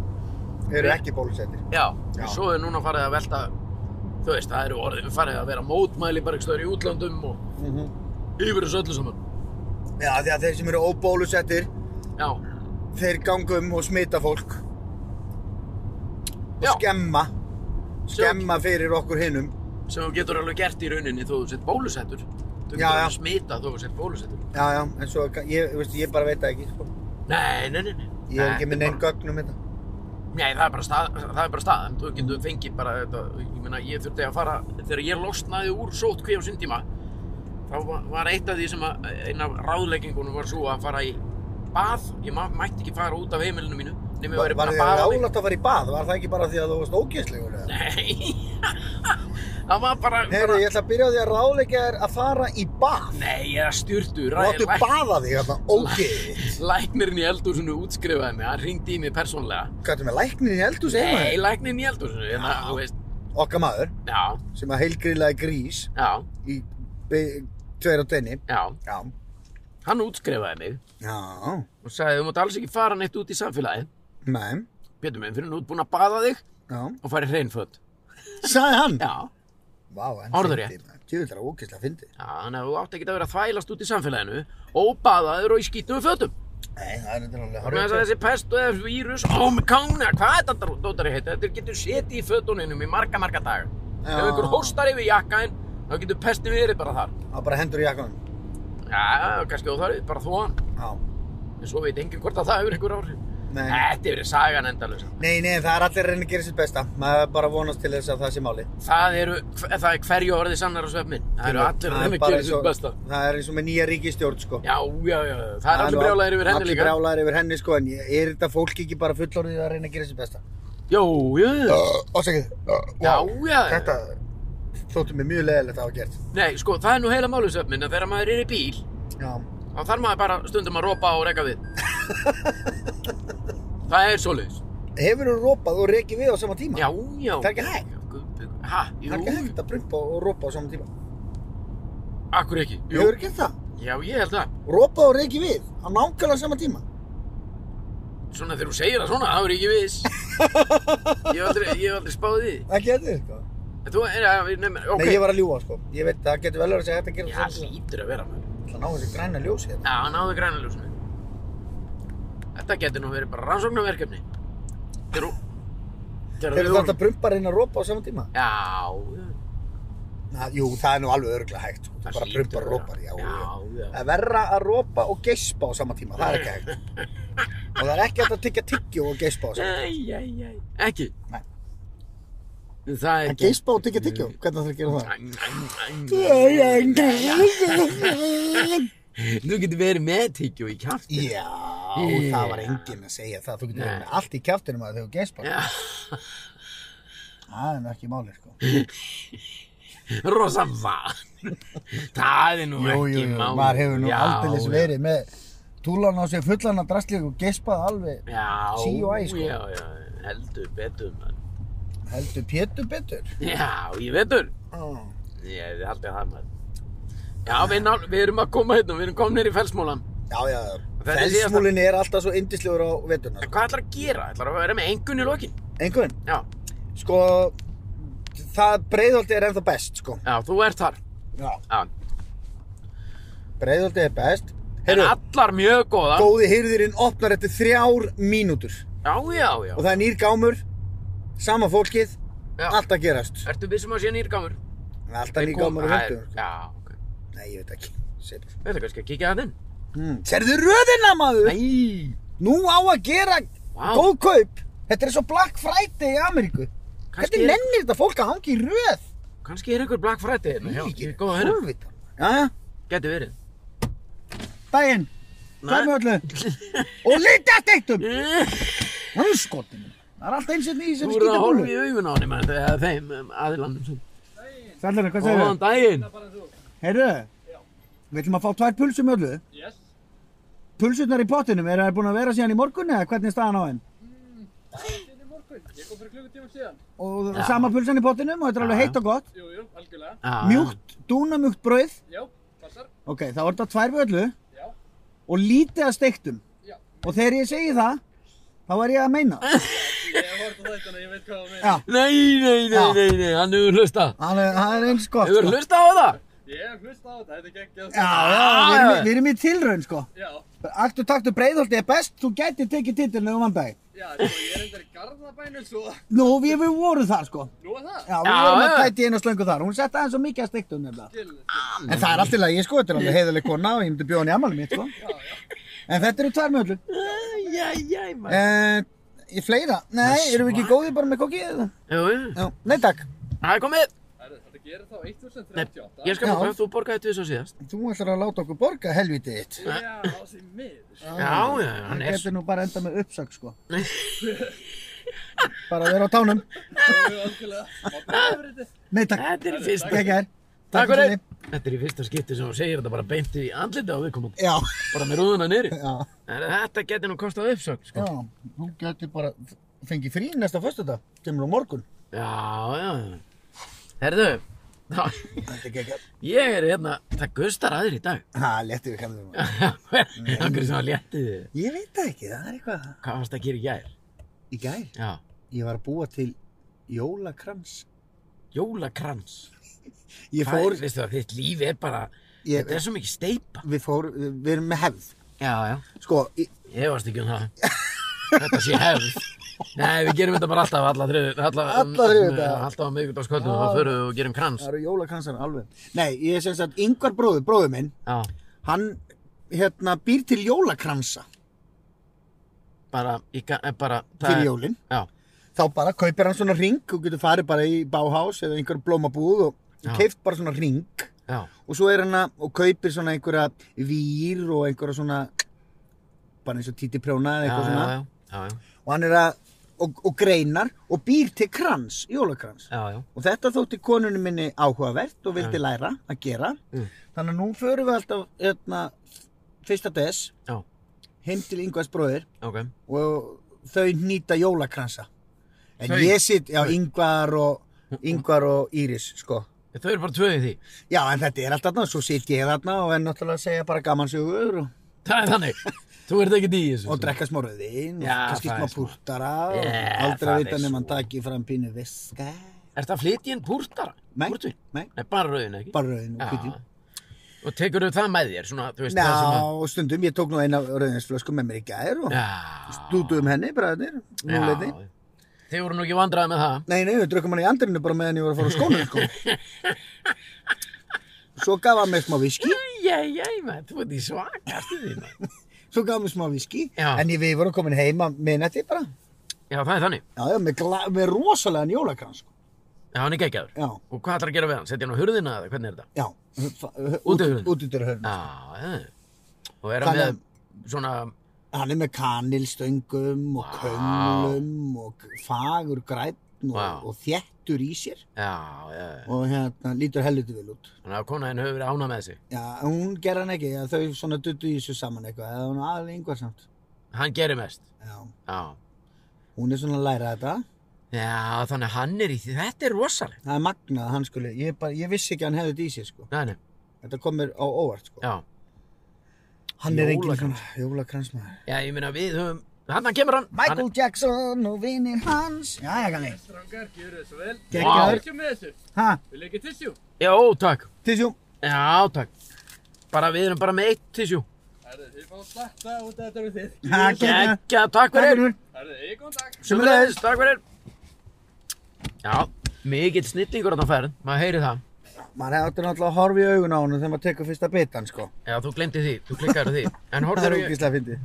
Speaker 2: Þeir eru ekki bólusettir.
Speaker 1: já,
Speaker 2: Já.
Speaker 1: já. svo er núna farið að velta, þú veist, það eru orðin, farið að vera mótmæli bara ekki stöður í útlandum og
Speaker 2: Mm -hmm.
Speaker 1: yfir þessu öllu saman.
Speaker 2: Já, því að þeir sem eru óbólusettir,
Speaker 1: Já,
Speaker 2: þeir ganga um og smita fólk og
Speaker 1: já,
Speaker 2: skemma skemma fyrir okkur hinnum
Speaker 1: sem þú getur alveg gert í rauninni þó þú sett bólusettur. Þú getur
Speaker 2: Já, já.
Speaker 1: alveg smita þó þú sett bólusettur.
Speaker 2: já, já, en svo, ég, veist, ég bara veit það ekki sko.
Speaker 1: Nei, nei, nei, nei.
Speaker 2: ég
Speaker 1: Nei,
Speaker 2: er ekki með
Speaker 1: þetta
Speaker 2: neinn gögn um þetta
Speaker 1: bara- Nei, það er bara, stað, það er bara staðan. Þú getur fengið bara þetta, ég meina, ég þurfti að fara, þegar ég losnaði úr sótkví á sinn tíma, þá var, var eitt af því sem að, eina af ráðleggingunum var svo að fara í bað, ég ma- mætti ekki fara út af heimilinu mínu, nema ég
Speaker 2: Var,
Speaker 1: væri
Speaker 2: var
Speaker 1: bara að
Speaker 2: þið
Speaker 1: baða mig.
Speaker 2: rálægt að fara í bað? Var það ekki bara því að þú varst ógeðslegur? eða?
Speaker 1: Nei, það var bara,
Speaker 2: Heyrðu, ég ætla að byrja á því að ráleika þér að fara í bað.
Speaker 1: nei, ég er að styrtu,
Speaker 2: Þú áttu að baða þig hérna, ógeðið.
Speaker 1: læknirinn í eldúsinu útskrifaði mig, hann ringdi í mig persónlega.
Speaker 2: Hvað er með læknirinn í eldhús heima
Speaker 1: Nei,
Speaker 2: þér?
Speaker 1: læknirinn í eldúsinu, en það, þú veist,
Speaker 2: Okkar maður,
Speaker 1: já,
Speaker 2: sem að heilgrilaði grís
Speaker 1: já,
Speaker 2: í be- tveir á tenni.
Speaker 1: já,
Speaker 2: Já.
Speaker 1: hann útskrifaði mig.
Speaker 2: Já.
Speaker 1: og sagði þú mátt alls ekki fara neitt út í samfélagi
Speaker 2: Nei.
Speaker 1: Pétur minn, fyrir nú ert búinn að baða þig
Speaker 2: Já.
Speaker 1: og fara í hreinföt
Speaker 2: Sagði hann.
Speaker 1: Já,
Speaker 2: Vá, hann
Speaker 1: Orður
Speaker 2: fyndi, maður. Djöfull er það ógeðslega fyndið.
Speaker 1: já þannig að þú átt ekki að vera að þvælast út í samfélaginu og baðaður og í skýtnum fötum
Speaker 2: Nei, það er þetta alveg
Speaker 1: Þannig að
Speaker 2: hárrétt.
Speaker 1: þessi pest og þessi vírus Ómikóna, hvað er þetta dótari heita? Þetta getur setið í fötuninum í marga, marga dag
Speaker 2: Já.
Speaker 1: Ef einhver hóstar yfir jakkaðinn þá getur pestin verið bara þar
Speaker 2: Það bara hendur í jakkanum.
Speaker 1: Já, kannski óþarið, bara þóan
Speaker 2: Já.
Speaker 1: En svo veit enginn hvort að það hefur einhver áhrif
Speaker 2: Nei.
Speaker 1: Þetta hefur sagan endalaus
Speaker 2: Nei, nei, það er allir að reyna að gera sitt besta. Maður er bara að vonast til þess að það sé máli.
Speaker 1: Það eru, það er hverju orðið sannar á svefnin Það eru allir að
Speaker 2: Það er
Speaker 1: þeim að
Speaker 2: bara
Speaker 1: gera
Speaker 2: eins og-
Speaker 1: sitt besta
Speaker 2: Það er eins og með nýja ríkistjórn, sko.
Speaker 1: Já, já, já, það er allir
Speaker 2: nú
Speaker 1: brjálæðir yfir henni líka.
Speaker 2: Allir brjálæðir yfir henni, sko, en ég- er þetta fólk ekki bara fullorðið að reyna að gera sitt besta?
Speaker 1: Jó, já, já,
Speaker 2: Uh, Ásakið.
Speaker 1: já, já.
Speaker 2: Þetta þóttu mér mjög leðilegt að hafa gert.
Speaker 1: Nei, sko, það er nú heila málusöfnin að þegar maður er í bíl,
Speaker 2: Já.
Speaker 1: þá þarf maður bara stundum að ropa og reka við. það er svoleiðis.
Speaker 2: Hefur þú rópað og rekið við á sama tíma?
Speaker 1: Já, já.
Speaker 2: Það er ekki hægt.
Speaker 1: Ha,
Speaker 2: Það er
Speaker 1: jú,
Speaker 2: ekki hægt að prumpa og rópa á sama tíma.
Speaker 1: akkur ekki,
Speaker 2: Jú.
Speaker 1: jú.
Speaker 2: Hefur þú gert það?
Speaker 1: Já, ég held það.
Speaker 2: Rópað og rekið við á nákvæmlega sama tíma?
Speaker 1: Svona þegar þú segir það svona, þá er ég ekki viss. Ég hef aldrei, ég hef aldrei spáð því.
Speaker 2: Ekki þetta, sko.
Speaker 1: En Þú, er, ja, við- nefnir, ok.
Speaker 2: Nei, ég var að ljúa, sko. Ég veit, það getur vel verið að segja hægt að gera
Speaker 1: Já,
Speaker 2: þetta.
Speaker 1: hlýtur að vera maður.
Speaker 2: Ég ætla að ná þessi græna ljósi hérna.
Speaker 1: Já, náðu grænaljósinu. Þetta getur nú verið bara rannsóknarverkefni. Þegar þú...
Speaker 2: Hefur þetta prumpa að reyna að rópa á sama tíma?
Speaker 1: Já, já.
Speaker 2: Na, jú, það er nú alveg örglega hægt. Sko. Þú bara
Speaker 1: hlýtur
Speaker 2: prumpar
Speaker 1: að
Speaker 2: og
Speaker 1: vera.
Speaker 2: rópar, já.
Speaker 1: Já, já.
Speaker 2: Það er verra að rópa og geispa á sama tíma, það er ekki hægt. og það er ekki hægt að tyggja tyggjó og geispa á sama tíma.
Speaker 1: Æj, æj, æj. Ekki?
Speaker 2: Nei.
Speaker 1: Það er
Speaker 2: En geispa og tyggja tyggjó, hvernig þarf að gera það?
Speaker 1: Þú getur verið með tyggju í kjátt.
Speaker 2: Já, það var enginn að segja það. Þú getur verið með allt í kjáttinum að þau geispar.
Speaker 1: Já,
Speaker 2: Það er nú ekki málið, sko.
Speaker 1: rosa vann. Það er nú
Speaker 2: Jú, jú,
Speaker 1: ekki
Speaker 2: jú,
Speaker 1: mál.
Speaker 2: maður hefur nú
Speaker 1: Já,
Speaker 2: aldeilis
Speaker 1: já.
Speaker 2: verið með túlan á sig fullan að drastlið og geispað alveg
Speaker 1: Já,
Speaker 2: Sí og æ, sko.
Speaker 1: já, já, heldur betur, mann.
Speaker 2: heldur pétur betur.
Speaker 1: Já, ég vetur.
Speaker 2: Ah.
Speaker 1: Ég hefði haldið það, mann. Já, við, ná, við erum að koma hérna, við erum komnir í felsmólan.
Speaker 2: Já, já,
Speaker 1: Þetta er síðasta-
Speaker 2: felsmúlin er alltaf svo indislegur á veturna.
Speaker 1: En hvað ætlar að gera? Ætlar að vera með engun í lokin?
Speaker 2: Einhvern,
Speaker 1: Já,
Speaker 2: sko, það breiðolti er ennþá best, sko.
Speaker 1: já, þú ert þar.
Speaker 2: Já.
Speaker 1: Já.
Speaker 2: Breiðolti er best.
Speaker 1: En
Speaker 2: Heyrðu,
Speaker 1: allar mjög góðar.
Speaker 2: góði hyrðirinn opnar eftir þrjár mínútur.
Speaker 1: Já, já, já.
Speaker 2: Og það er nýr gámur, sama fólkið,
Speaker 1: Já.
Speaker 2: allt að gerast.
Speaker 1: Ertu vissum að sé nýrgámur?
Speaker 2: Alltaf nýr gámur og hundur.
Speaker 1: Já, ok.
Speaker 2: Nei, ég veit ekki. Sér.
Speaker 1: Þetta kannski að kíkja það inn.
Speaker 2: Mm. Serðu röðina, maður?
Speaker 1: Nei.
Speaker 2: Nú á að gera
Speaker 1: Vá.
Speaker 2: góð kaup. Þetta er svo Black Friday í Ameríku.
Speaker 1: Kannski
Speaker 2: Hvernig
Speaker 1: er-
Speaker 2: nennir þetta fólk að hangi í röð?
Speaker 1: Kannski er einhver Black Friday hérna. Já, ég er góð að hérna.
Speaker 2: Forvitan. Jæja,
Speaker 1: Gæti verið.
Speaker 2: daginn. Hvað með öllu? Og lítið að deittum! Það er skotin. Það er allt eins og því sem
Speaker 1: Þú eru að
Speaker 2: við skýta
Speaker 1: horfa
Speaker 2: búlu.
Speaker 1: í augun á henni, mann, þegar þeim um, aðilandum sem.
Speaker 2: Sælurinn, hvað segir
Speaker 1: Góðan
Speaker 2: þau?
Speaker 1: daginn.
Speaker 2: Heyrðu, við ætlum að fá tvær pulsum öllu.
Speaker 3: Yes,
Speaker 2: Pulsurnar í pottinum, eru þær búin að vera síðan í morgun eða hvernig er staðan á þeim?
Speaker 3: inn í morgun. Ég kom fyrir klukkutíma síðan.
Speaker 2: Og sama pulsan í pottinum og þetta er alveg heitt og gott.
Speaker 3: Jú, jú, algjörlega.
Speaker 1: Já.
Speaker 2: Mjúkt, dúnamjúkt brauð.
Speaker 3: Já, passar.
Speaker 2: Ok, þá er þetta tvær við öllu
Speaker 3: Já,
Speaker 2: og lítið að steiktum.
Speaker 3: já.
Speaker 2: Og þegar ég segi það, þá er ég að meina. það.
Speaker 3: Ég hef hort á þetta og ég veit hvað það meina.
Speaker 2: Já,
Speaker 1: Nei, nei, nei,
Speaker 2: Já.
Speaker 1: nei, nei, hann hefur hlusta.
Speaker 2: það er- það er eins gott.
Speaker 1: Hefur
Speaker 2: sko.
Speaker 1: hlusta á það?
Speaker 3: Ég hef hlust á þetta, þetta er geggjað.
Speaker 2: Já, já, við erum,
Speaker 1: Já.
Speaker 2: í- við erum í tilraun, sko.
Speaker 3: Já,
Speaker 2: Aktu taktu breiðholti er best, þú gæti tekið titilinu um hann dag.
Speaker 3: já, sko, ég er endur í Garðabænum svo.
Speaker 2: Nú, við við vorum þar, sko.
Speaker 3: Nú er það.
Speaker 2: Já, við
Speaker 1: Já,
Speaker 2: vorum að
Speaker 1: já.
Speaker 2: tæti einu slöngu þar. Hún sett aðeins og mikið að steiktum nefnilega.
Speaker 3: Skil, skil.
Speaker 1: Mm.
Speaker 2: En það er allt í lagi, sko. Þetta er alveg heiðaleg kona og ég myndi bjóða hann í ammali mitt, sko. En þetta eru tvær mjöldu.
Speaker 1: Æ, æ, æ, mann.
Speaker 2: Eh, í fleira? Nei, erum við ekki góðið bara með kokki eða?
Speaker 1: Jú, jú.
Speaker 2: Já, nei takk.
Speaker 1: Það er komið.
Speaker 3: Herru, þetta gerir þá
Speaker 1: Nei,
Speaker 3: 1038.
Speaker 1: ég skal
Speaker 2: Já.
Speaker 1: borga, þú borgaði til þess að síðast.
Speaker 2: Þú ætlar að láta okkur borga helvitið þitt.
Speaker 3: Já, það sé miður.
Speaker 1: Já, já, hann
Speaker 2: Það
Speaker 1: er...
Speaker 2: getur nú bara enda með uppsökk sko. bara vera á tánum.
Speaker 3: Það er Sko, algjörlega. Má bara verið þetta.
Speaker 2: Nei takk.
Speaker 1: Þetta er í fyrsta...
Speaker 2: Ekki er.
Speaker 1: Takk fyrir. Þetta er í fyrsta skipti sem hún segir þetta bara beint í andlita á viðkomandi.
Speaker 2: Já,
Speaker 1: Bara með rúðuna niður.
Speaker 2: já,
Speaker 1: Þetta getur nú kostað uppsögn, sko.
Speaker 2: já. Þú getur bara fengið frí næsta föstudag. Kemur á morgun.
Speaker 1: Já, já, já. Herðu, þá,
Speaker 2: Þetta er ekki ekki.
Speaker 1: ég er hérna, það gustar aður í dag.
Speaker 2: Ha, letið við kemur þér.
Speaker 1: Akkur sem að léttið þið.
Speaker 2: Ég veit það ekki, það er eitthvað.
Speaker 1: Hvað varst að gera í gær?
Speaker 2: Í gær,
Speaker 1: Já,
Speaker 2: ég var að búa til jólakrams.
Speaker 1: jólakrans.
Speaker 2: Ég
Speaker 1: Hvað
Speaker 2: fór,
Speaker 1: er, veistu það, þitt líf er bara,
Speaker 2: ég,
Speaker 1: þetta er svo mikið steipa.
Speaker 2: við fór, við erum með hefð.
Speaker 1: Já, já.
Speaker 2: Sko, í-
Speaker 1: Ég varst ekki um það. þetta sé hefð. Nei, við gerum þetta bara alltaf, alla þriðu, alla,
Speaker 2: Alla þriðjudaga.
Speaker 1: Já, Alltaf á miðvikudagskvöldum,
Speaker 2: Já.
Speaker 1: þá förum við og gerum krans.
Speaker 2: það eru jólakransar alveg. Nei, ég er sem sagt, yngvar bróður, bróður minn,
Speaker 1: Já,
Speaker 2: hann, hérna, býr til jólakransa
Speaker 1: bara, í, ga- eh, bara, það
Speaker 2: fyrir
Speaker 1: er-
Speaker 2: jólinn.
Speaker 1: Já,
Speaker 2: Þá bara kaupir hann svona ring og getur farið bara í báhás eða einhver blómabúð og
Speaker 1: Já.
Speaker 2: keift bara svona ring.
Speaker 1: já,
Speaker 2: og svo er hann að, og kaupir svona einhverja vír og einhverja svona bara eins og títi prjóna eða
Speaker 1: já,
Speaker 2: eitthvað
Speaker 1: já,
Speaker 2: svona
Speaker 1: já, já, já,
Speaker 2: og hann er að, og, og greinar og býr til krans, jólakrans
Speaker 1: já, já.
Speaker 2: og þetta þótti konunni minni áhugavert og vildi læra að gera
Speaker 1: Mm.
Speaker 2: þannig að nú förum við alltaf hérna, fyrsta des
Speaker 1: Já.
Speaker 2: heim til yngvars bróðir
Speaker 1: Ok,
Speaker 2: og þau nýta jólakransa en
Speaker 1: Þau?
Speaker 2: ég sitt, já, yngvar og yngvar og Íris, sko
Speaker 1: þau eru bara tvö í því.
Speaker 2: Já, en þetta er alltaf þarna, svo sit ég þarna og er náttúrulega að segja bara gaman sögur og,
Speaker 1: Það er þannig. Þú ert ekki dýið þessu.
Speaker 2: og drekka smá rauðin og
Speaker 1: Já,
Speaker 2: kannski
Speaker 1: það
Speaker 2: smá
Speaker 1: er smá.
Speaker 2: púrtara og
Speaker 1: Yeah,
Speaker 2: aldrei
Speaker 1: það er
Speaker 2: að vita nema
Speaker 1: svo.
Speaker 2: hann taki fram pínu viska.
Speaker 1: Er það flytjinn púrtara?
Speaker 2: Nei,
Speaker 1: Púrtvin?
Speaker 2: nei.
Speaker 1: Nei, bara rauðin, ekki?
Speaker 2: Bara rauðin og hvítin.
Speaker 1: Já. Og tekur þau það með þér, svona, þú veist,
Speaker 2: Ná,
Speaker 1: það sem að...
Speaker 2: og stundum, ég tók nú eina rauðinsflösku með mér í gær og
Speaker 1: Já.
Speaker 2: stútuðum henni, bræðinir, núleiti.
Speaker 1: Þið voru nú ekki vandraði með það.
Speaker 2: Nei, nei, við drukkum hann í andrinu bara meðan ég var að fara á skónum, sko. Svo gaf hann mér smá viski,
Speaker 1: Jæ, jæ, maður, þú ert í svakastu því, maður.
Speaker 2: svo gaf hann mér smá viski,
Speaker 1: Já.
Speaker 2: en ég, við vorum komin heima minnætti bara.
Speaker 1: Já, það er þannig.
Speaker 2: Já, já, með, gla- með rosalega njólakrans, sko.
Speaker 1: Já, hann er geggjaður.
Speaker 2: Já.
Speaker 1: Og hvað ætlar að gera við hann? Setja hann á hurðina eða hvernig er þetta?
Speaker 2: Já, f-
Speaker 1: Útidyrahurðin.
Speaker 2: út- útidyrahurðin.
Speaker 1: Já, já. Og er hann
Speaker 2: Þannig að-
Speaker 1: með svona...
Speaker 2: Hann er með kanilstöngum og kömlum og g- fagur græn og,
Speaker 1: Vá.
Speaker 2: og þéttur í sér
Speaker 1: Já, já, já.
Speaker 2: og hérna lítur helviti vel út.
Speaker 1: Þannig að konaðin hefur verið ána með sig.
Speaker 2: Já, en hún ger hann ekki, já, þau svona duttu í þessu saman eitthvað, eða hún aðeins yngvar samt.
Speaker 1: Hann gerir mest.
Speaker 2: Já,
Speaker 1: Já.
Speaker 2: hún er svona að læra þetta.
Speaker 1: Já, þannig að hann er í því. Þetta er rosalegt.
Speaker 2: Það er magnað að hann skuli, ég, bara, ég vissi ekki að hann hefði þetta í sér sko.
Speaker 1: Nei, nei,
Speaker 2: Þetta komir á óvart sko.
Speaker 1: já.
Speaker 2: Hann er engin
Speaker 1: Jólakrans.
Speaker 2: svona jólakransmaður.
Speaker 1: Já, ég meina við höfum... Þannig að kemur hann.
Speaker 2: Michael Jackson og vinir hans. Já, já, kanni.
Speaker 3: Strangar, gjör þið svo vel.
Speaker 2: Gekkjaður.
Speaker 3: Tissjú með þessu.
Speaker 2: Hæ,
Speaker 3: Vil ekki tissjú?
Speaker 1: Hann, já, takk.
Speaker 2: tísjú.
Speaker 1: Já, takk. Bara við erum bara með eitt tissjú.
Speaker 3: Herru, þið fá slatta út af þetta við þið.
Speaker 2: Hæ, gekkjaður.
Speaker 1: Gekka, takk
Speaker 2: Takk
Speaker 1: fyrir.
Speaker 2: fyrir.
Speaker 3: Herru, eigi góðan dag.
Speaker 2: Sömuleiðis.
Speaker 1: Takk fyrir. Já, mikill snillingur þarna á ferð. Maður heyri það.
Speaker 2: maður hefði náttúrulega að horfa í augun á honum þegar maður tekur fyrsta bitan sko
Speaker 1: Já, þú glemdi því. Þú klikkaði á því. En,
Speaker 2: það er
Speaker 1: horfðir í,
Speaker 2: ógeðslega fyndið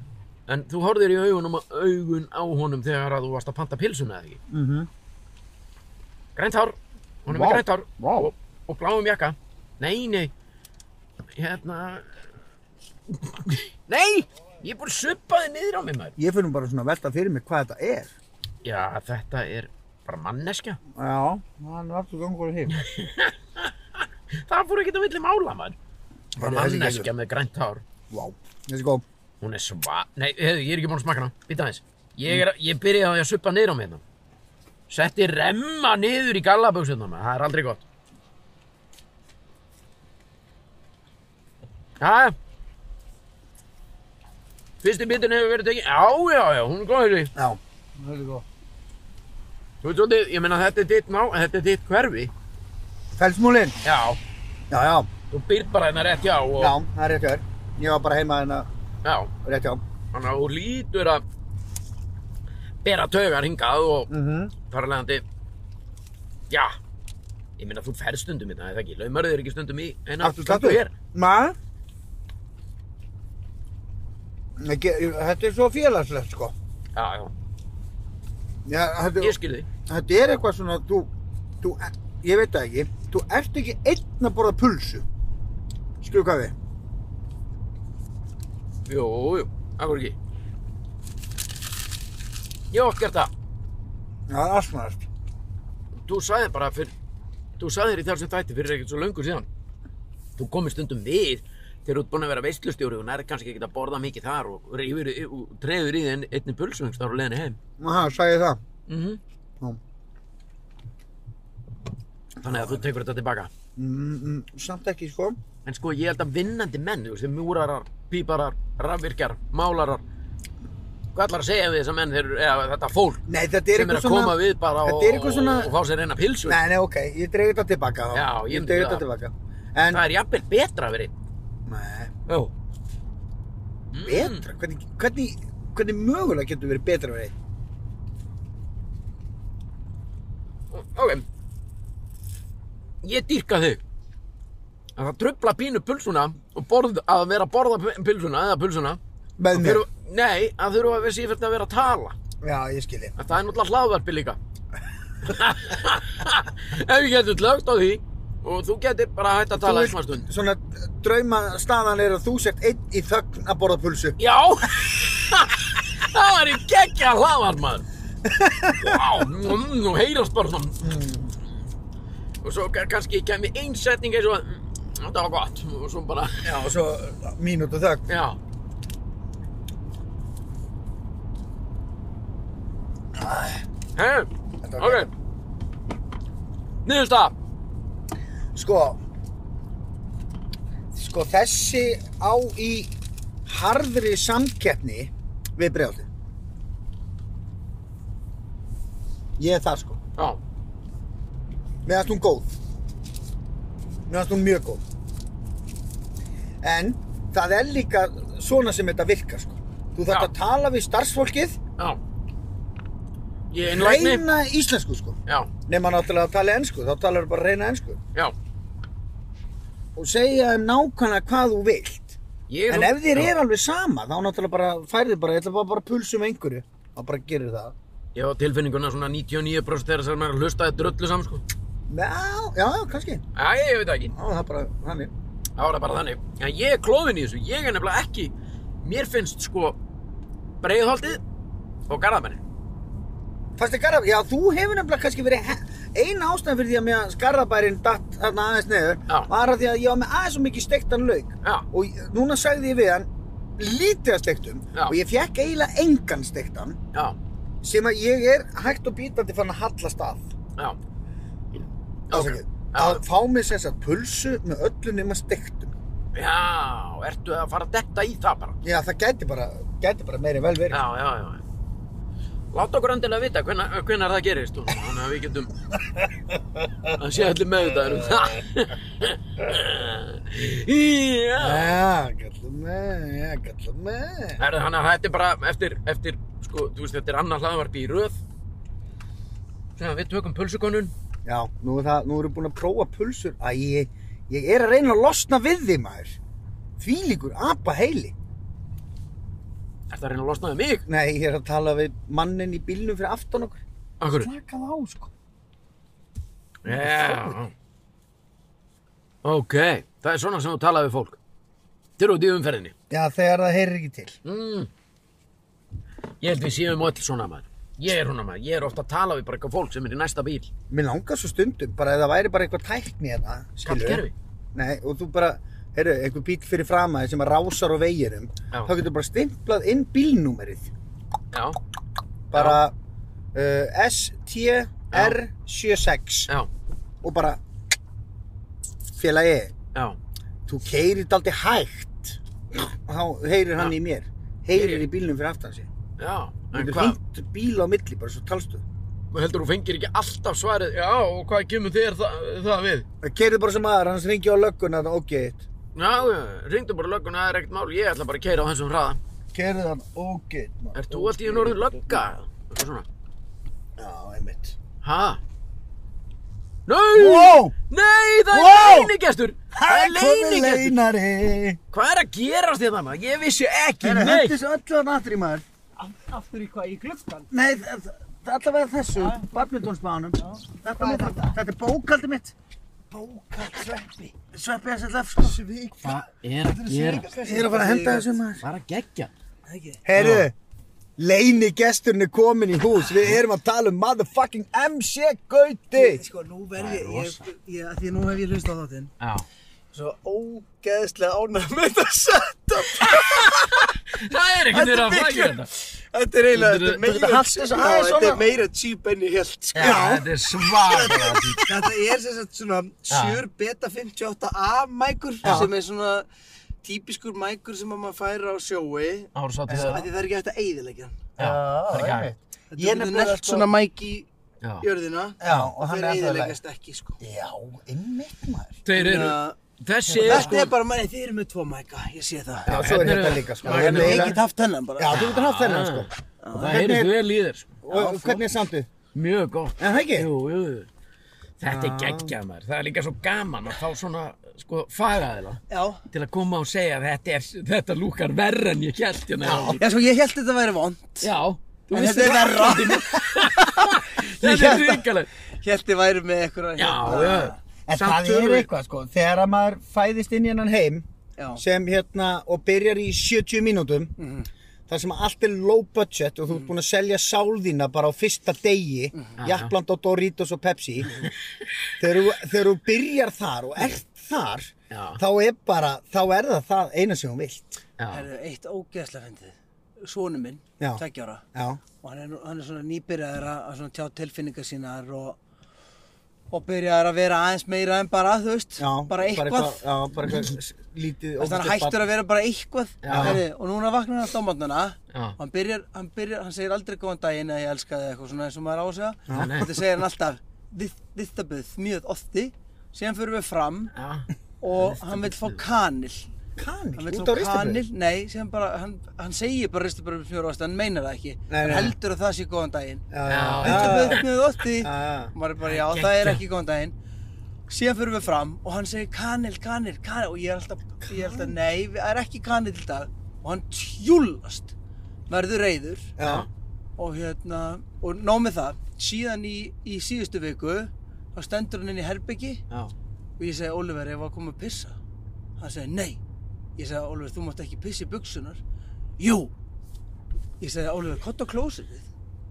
Speaker 1: en þú horfðir í augunum, augun á honum þegar að þú varst að panta pilsuna eða ekki.
Speaker 2: mm -hmm.
Speaker 1: Grænt hár. Hún er
Speaker 2: Vá.
Speaker 1: með grænt hár.
Speaker 2: Vá.
Speaker 1: Og, og bláum jakka. Nei, nei. Hérna. Nei! Ég er búin að suppa þig niður á mig, maður.
Speaker 2: ég finnum bara svona að velta fyrir mig hvað þetta er
Speaker 1: Já, þetta er bara manneskja.
Speaker 2: já, hann er aftur gangur hér
Speaker 1: Það fór ekkert á milli mála, maður. Bara
Speaker 2: Heyrðu, þessi
Speaker 1: manneskja með grænt hár.
Speaker 2: vá, þessi góð
Speaker 1: Hún er sva... Nei, heyrðu, ég er ekki búin að smaka hana. Býta aðeins. Ég, er, ég byrjaði á því að suppa niður á mig hérna. Setti remma niður í gallaböksunum, maður. Það er aldrei gott. Jæja. Fyrsti bitin hefur verið tekið. Já, já, já, hún er góð, heyrðu.
Speaker 2: já, þessi góð
Speaker 1: Þú veit svolítið, ég meina þetta er ditt ná, þetta er ditt hverfi.
Speaker 2: felsmúlin,
Speaker 1: Já,
Speaker 2: já, já,
Speaker 1: þú byrð bara hérna rétt hjá og...
Speaker 2: já, það er rétt hjá þér ég var bara heima hérna
Speaker 1: Já,
Speaker 2: rétt hjá
Speaker 1: þannig að þú lítur að bera taugar hingað og
Speaker 2: mm -hmm.
Speaker 1: þar að leiðandi já, ég meina þú ferð stundum þetta, eða ekki, laumarðu þér ekki stundum í eina
Speaker 2: aftur slattu
Speaker 1: hér
Speaker 2: maður Ekki, þetta er svo félagslegt sko
Speaker 1: Já, já,
Speaker 2: Já, þetta,
Speaker 1: Ég skil þig.
Speaker 2: þetta er eitthvað svona, þú, þú, ég veit það ekki, þú ert ekki einn að borða pulsu. Skilur hvað við?
Speaker 1: Jú, jú, akkur ekki. Ég hef oft gert það.
Speaker 2: Já, það er asnaðast.
Speaker 1: Þú sagði bara fyrir, þú sagði þér í þessum þætti fyrir ekkert svo löngu síðan. Þú komir stundum við þegar þú ert búinn að vera veistlustjóri og nærið kannski ekki að borða mikið þar og reyfir, og treður í þinn einni pulsu einhvers þar og leðinni heim.
Speaker 2: Aha, sagði ég það.
Speaker 1: Mm
Speaker 2: Já.
Speaker 1: Þannig að þú tekur þetta tilbaka.
Speaker 2: Mm, mm, samt ekki, sko.
Speaker 1: En sko, ég held að vinnandi menn, þú veist, þeir múrarar, píparar, rafvirkjar, málarar, hvað ætlar að segja við þessa menn, þeir, eða þetta fólk
Speaker 2: Nei, þetta er
Speaker 1: sem er
Speaker 2: eitthvað
Speaker 1: að
Speaker 2: svona...
Speaker 1: koma við bara og,
Speaker 2: Þetta er eitthvað svona...
Speaker 1: og, og fá sér eina pilsu.
Speaker 2: Nei, nei, ok, ég dreig þetta tilbaka þá.
Speaker 1: Já, ég
Speaker 2: ég
Speaker 1: myndi
Speaker 2: dreig
Speaker 1: það.
Speaker 2: þetta tilbaka. En,
Speaker 1: Það er jafnvel betra að vera einn.
Speaker 2: nei,
Speaker 1: Jó. Mm.
Speaker 2: betra, hvernig, hvernig, hvernig mögulega getur verið betra verið?
Speaker 1: Ok. Ég dýrka þig. Að það trubla pínu pulsuna og borð, að vera að borða p- pulsuna eða pulsuna.
Speaker 2: Með mér?
Speaker 1: Þurfa, nei, að þurfa að vera sífært að vera að tala.
Speaker 2: Já, ég skilji.
Speaker 1: En það er náttúrulega hlaðvarpi líka. Ef ég getur lögt á því og þú getur bara hægt að tala
Speaker 2: Þú
Speaker 1: í smá stund.
Speaker 2: Svona drauma staðan er að þú sért einn í þögn að borða pulsu.
Speaker 1: Já! það var í geggja hlaðvarp maður. Vá, mm, nú heyrast bara svona. mm. Og svo ka- kannski kemur ein setning eins og að mm, þetta var gott og svo bara,
Speaker 2: Já, og svo mínútu þögn.
Speaker 1: já. Hei,
Speaker 2: Þetta var
Speaker 1: ok. Niðurstaða.
Speaker 2: Sko, sko þessi á í harðri samkeppni við bregðaldi. Ég er þar sko.
Speaker 1: Já.
Speaker 2: Mér fannst hún góð. Mér fannst hún mjög góð. En það er líka svona sem þetta virkar sko. Þú þarft
Speaker 1: Já.
Speaker 2: að tala við starfsfólkið,
Speaker 1: Já. Ég er innlægni.
Speaker 2: reyna íslensku sko.
Speaker 1: Já,
Speaker 2: Nefna náttúrulega að tala ensku, þá talar þú bara reyna ensku.
Speaker 1: já.
Speaker 2: Og segja þeim nákvæmlega hvað þú vilt.
Speaker 1: Ég
Speaker 2: En ef þér er alveg sama, þá náttúrulega bara færðu bara, ég ætla bara, bara að pulsa um einhverju. Þá bara gerir það.
Speaker 1: Ég á tilfinninguna svona 99% þegar sem er að hlusta þetta drullu saman, sko.
Speaker 2: Já, já, já, kannski.
Speaker 1: Æ, ég veit það ekki.
Speaker 2: Já, það er bara þannig.
Speaker 1: Það var það bara þannig. En ég er klófin í þessu. Ég er nefnilega ekki. Mér finnst, sko, breiðholtið og garðamennin.
Speaker 2: Fannst þið Garðabæri, já þú hefur nefnilega kannski verið eina ástæðan fyrir því að mér Garðabærin datt þarna aðeins neður
Speaker 1: Já.
Speaker 2: var að því að ég var með aðeins svo mikið steiktan lauk
Speaker 1: Já.
Speaker 2: og ég- núna sagði ég við hann lítið að steiktum
Speaker 1: Já.
Speaker 2: og ég fekk eiginlega engan steiktan
Speaker 1: Já,
Speaker 2: sem að ég er hægt og bítandi fann að hallast að
Speaker 1: já.
Speaker 2: okay.
Speaker 1: Já.
Speaker 2: að fá mér sem sagt pulsu með öllu nema steiktum
Speaker 1: Já, ertu að fara að detta í það bara?
Speaker 2: já það gæti bara, gæti bara meiri vel verið
Speaker 1: Já, já, já. já. Láta okkur endilega vita hvenar, hvenar það gerist og þannig að við getum að sé allir meðvitaður um það. Já.
Speaker 2: já, gætla með, já, gætla með
Speaker 1: Herðu, Þannig að þetta er bara eftir, eftir, sko, þú veist, þetta er annað hlaðvarpi í röð. Svona, við tökum pulsukonun.
Speaker 2: Já, nú, er það, nú erum við búin að prófa pulsur Æ, ég, ég er að reyna að losna við þig maður Þvílíkur apa heili
Speaker 1: Er það að reyna að losna við mig?
Speaker 2: Nei, ég er að tala við mannin í bílnum fyrir aftan okkur
Speaker 1: Akkur?
Speaker 2: Slakað á, sko
Speaker 1: Já. Ok, það er svona sem þú talaði við fólk. Til og í umferðinni.
Speaker 2: Já, þegar það heyrir ekki til
Speaker 1: Mm. Ég held við séum öll svona maður. Ég er svona maður. Ég er ofta að tala við bara eitthvað fólk sem er í næsta bíl.
Speaker 2: Mér langar svo stundum, bara ef það væri bara eitthvað tækni hérna skilurðu.
Speaker 1: Skallkerfi.
Speaker 2: Nei, og þú bara, heyrðu, einhver bíl fyrir framaði sem að rásar á veginum
Speaker 1: Já.
Speaker 2: Þá getur bara stimplað inn bílnúmerið
Speaker 1: Já,
Speaker 2: Bara uh, STR76
Speaker 1: já,
Speaker 2: og bara félagi,
Speaker 1: já.
Speaker 2: þú keirir daldi hægt og þá heyrir hann
Speaker 1: Já.
Speaker 2: í mér heyrir í bílnum fyrir aftan sig
Speaker 1: Já, en
Speaker 2: þú
Speaker 1: hvað?
Speaker 2: hýtt bíl á milli bara svo talstu
Speaker 1: Heldur þú fengir ekki alltaf svarið? Já, og hvað kemur þér það, það við?
Speaker 2: keirir bara sem aðra, hans ringi á lögguna og ógeitt
Speaker 1: Já, já, ringdu bara lögguna, það er ekkert mál. Ég ætla bara að keira á þessum hraða.
Speaker 2: keirir hann ógeitt
Speaker 1: Er þú alltaf í norður lögga? Eitthvað svona.
Speaker 2: já, einmitt
Speaker 1: Ha? Nei!
Speaker 2: wow,
Speaker 1: Nei, það
Speaker 2: Wow!
Speaker 1: er leinigestur! Það er leinigestur!
Speaker 2: leinari
Speaker 1: Hvað er að gerast þér það maður? Ég vissi ekki
Speaker 2: hendur
Speaker 1: neitt!
Speaker 2: þessu öllu að natri maður
Speaker 3: Aftur í hvað, í gluggan?
Speaker 2: nei, það- það- allavega þessu, badmyndónsbánum. Þetta, er mitt- þetta er bókaldið mitt.
Speaker 4: Bókald sveppi.
Speaker 2: Sveppi SLF, sko.
Speaker 4: Svík.
Speaker 5: Hvað er að gera?
Speaker 2: Ég er að fara að henda þessu maður.
Speaker 5: Hvað er að gegja?
Speaker 2: Heyrðu,
Speaker 4: Leini gesturinn er komin í hús. Við erum að tala um motherfucking MC Gauti.
Speaker 6: Sko, nú verð ég,
Speaker 5: Það er
Speaker 6: ég, ég, að því að nú hef ég hlust á þáttinn
Speaker 5: Já.
Speaker 4: Svo ógeðslega ánægð með þetta setup.
Speaker 1: Það er ekkert verið að
Speaker 4: Þetta er
Speaker 1: flækja
Speaker 4: miklu-
Speaker 1: þetta.
Speaker 4: Þetta er eiginlega, þetta
Speaker 1: Getur-
Speaker 4: er meira,
Speaker 2: getur haft þessa-
Speaker 4: Já,
Speaker 2: aðeins
Speaker 4: þetta er
Speaker 2: svona.
Speaker 4: meira cheap enn ég
Speaker 6: sko.
Speaker 4: held.
Speaker 1: Já, þetta er svakalega dýrt.
Speaker 6: Þetta er sem sagt svona 7 beta 58A mækur sem er svona típiskur mækur sem að maður fær á sjói
Speaker 1: Ára sátti
Speaker 6: að
Speaker 1: það.
Speaker 6: því það er ekki hægt að eyðileggja hann.
Speaker 1: Já, það er ekki hægt.
Speaker 6: Þetta
Speaker 4: Ég
Speaker 6: er
Speaker 4: nefnilega
Speaker 6: nefnilegt
Speaker 4: sko-
Speaker 6: svona mæk í
Speaker 1: Já.
Speaker 6: jörðina
Speaker 4: Já, og
Speaker 6: og
Speaker 4: hann
Speaker 6: þeir
Speaker 4: er
Speaker 6: eyðileggjast ekki sko
Speaker 4: Já, einmitt maður.
Speaker 1: Þeir eru,
Speaker 6: Þannig
Speaker 1: þessi
Speaker 6: að
Speaker 1: er
Speaker 6: Þetta
Speaker 1: sko,
Speaker 6: er bara, mæ, þið eru með tvo mæka, ég sé það
Speaker 4: Já, svo er
Speaker 1: Hérna eru-
Speaker 4: þetta líka, sko.
Speaker 1: Já,
Speaker 4: Þetta er
Speaker 1: hérna
Speaker 6: Ég
Speaker 4: meira-
Speaker 6: get haft hennan
Speaker 4: Já,
Speaker 6: bara
Speaker 4: þú getur haft þennan, sko.
Speaker 1: það heyrist vel í þér. sko.
Speaker 2: og hvernig er samtið?
Speaker 1: Mjög gott.
Speaker 2: En það ekki?
Speaker 1: Jú, jú. Þetta er geggjað maður. Það er líka svo gaman að fá svona, sko, fagaðila
Speaker 6: Já
Speaker 1: til að koma og segja að þetta, er, þetta lúkar verra en ég kjælt hérna. áðan."
Speaker 6: Já sko, ég held þetta væri vond
Speaker 1: Já. Þú
Speaker 6: En
Speaker 1: veist
Speaker 6: þetta er verra
Speaker 1: Þetta er ríkalegt.
Speaker 6: Held þið væri með hérna, eitthvað
Speaker 1: Já, já.
Speaker 2: En
Speaker 1: Samt
Speaker 2: það
Speaker 1: höfum
Speaker 2: er
Speaker 1: við-
Speaker 2: eitthvað sko, þegar að maður fæðist inn í hennan heim
Speaker 6: Já.
Speaker 2: sem hérna og byrjar í 70 mínútum
Speaker 6: Mhm.
Speaker 2: þar sem allt er low budget og þú ert búinn að selja sál þína bara á fyrsta degi
Speaker 6: Mhm.
Speaker 2: mm -hmm. á Doritos og Pepsi þegar, þú, þegar þú byrjar þar og ert þar
Speaker 1: Já.
Speaker 2: þá er bara, þá er það það eina sem hún vilt
Speaker 1: Já.
Speaker 6: Herðu, eitt ógeðslega fyndið Sónu minn,
Speaker 2: Já.
Speaker 6: tveggjára
Speaker 2: Já,
Speaker 6: og hann er, nú- hann er svona nýbyrjaður að að svona tjá tilfinningar sínar og, og byrjaður að vera aðeins meira en bara, þú veist,
Speaker 2: já
Speaker 6: bara eitthvað.
Speaker 2: Já, bara eitthvað s- lítið
Speaker 6: Þannig að hann
Speaker 2: ógeðslegt
Speaker 6: hættur
Speaker 2: barn.
Speaker 6: að vera bara eitthvað.
Speaker 1: Já.
Speaker 6: Herri, og núna vaknar hann á mátnana
Speaker 1: Já.
Speaker 6: og hann byrjar, hann byrjar, hann segir aldrei góðan daginn að ég elska þig eitthvað svona eins og maður á að segja.
Speaker 1: Já, nei.
Speaker 6: Þetta segir hann alltaf, "Þið- þetta byrð mjög ofti, síðan fyrir við fram
Speaker 1: Já.
Speaker 6: og hann vil fá kanil. Hann
Speaker 2: Kanil,
Speaker 6: vill
Speaker 2: út
Speaker 6: fá
Speaker 2: á ristabröð
Speaker 6: kanil, nei, sem bara, hann, hann segir bara ristabröð með smjörósti, hann meinar það ekki.
Speaker 2: Nei,
Speaker 6: hann
Speaker 2: nei.
Speaker 6: heldur að það sé góðan daginn.
Speaker 2: Já,
Speaker 1: Já,
Speaker 2: já,
Speaker 6: Þetta
Speaker 2: já.
Speaker 6: bauð með
Speaker 2: Já,
Speaker 6: ótti.
Speaker 2: já.
Speaker 6: Og maður er bara, já, það er ekki góðan daginn. Síðan fyrir við fram og hann segir kanil, kanil, kanil. Og ég er alltaf, ég er alltaf, nei, við- það er ekki kanil í dag. Og hann tjúlast, verður reyður.
Speaker 2: Já.
Speaker 6: Og hérna, og nóg með það, síðan í, í síðustu viku, þá stendur hann inn í herbyggi
Speaker 1: Já.
Speaker 6: og ég segi, Oliver, ég var að koma að pissa. Hann segi, nei. Ég segi, Oliver, þú mátt ekki pissa í buksunar. Jú. Ég segi, Oliver, kott á klósetið.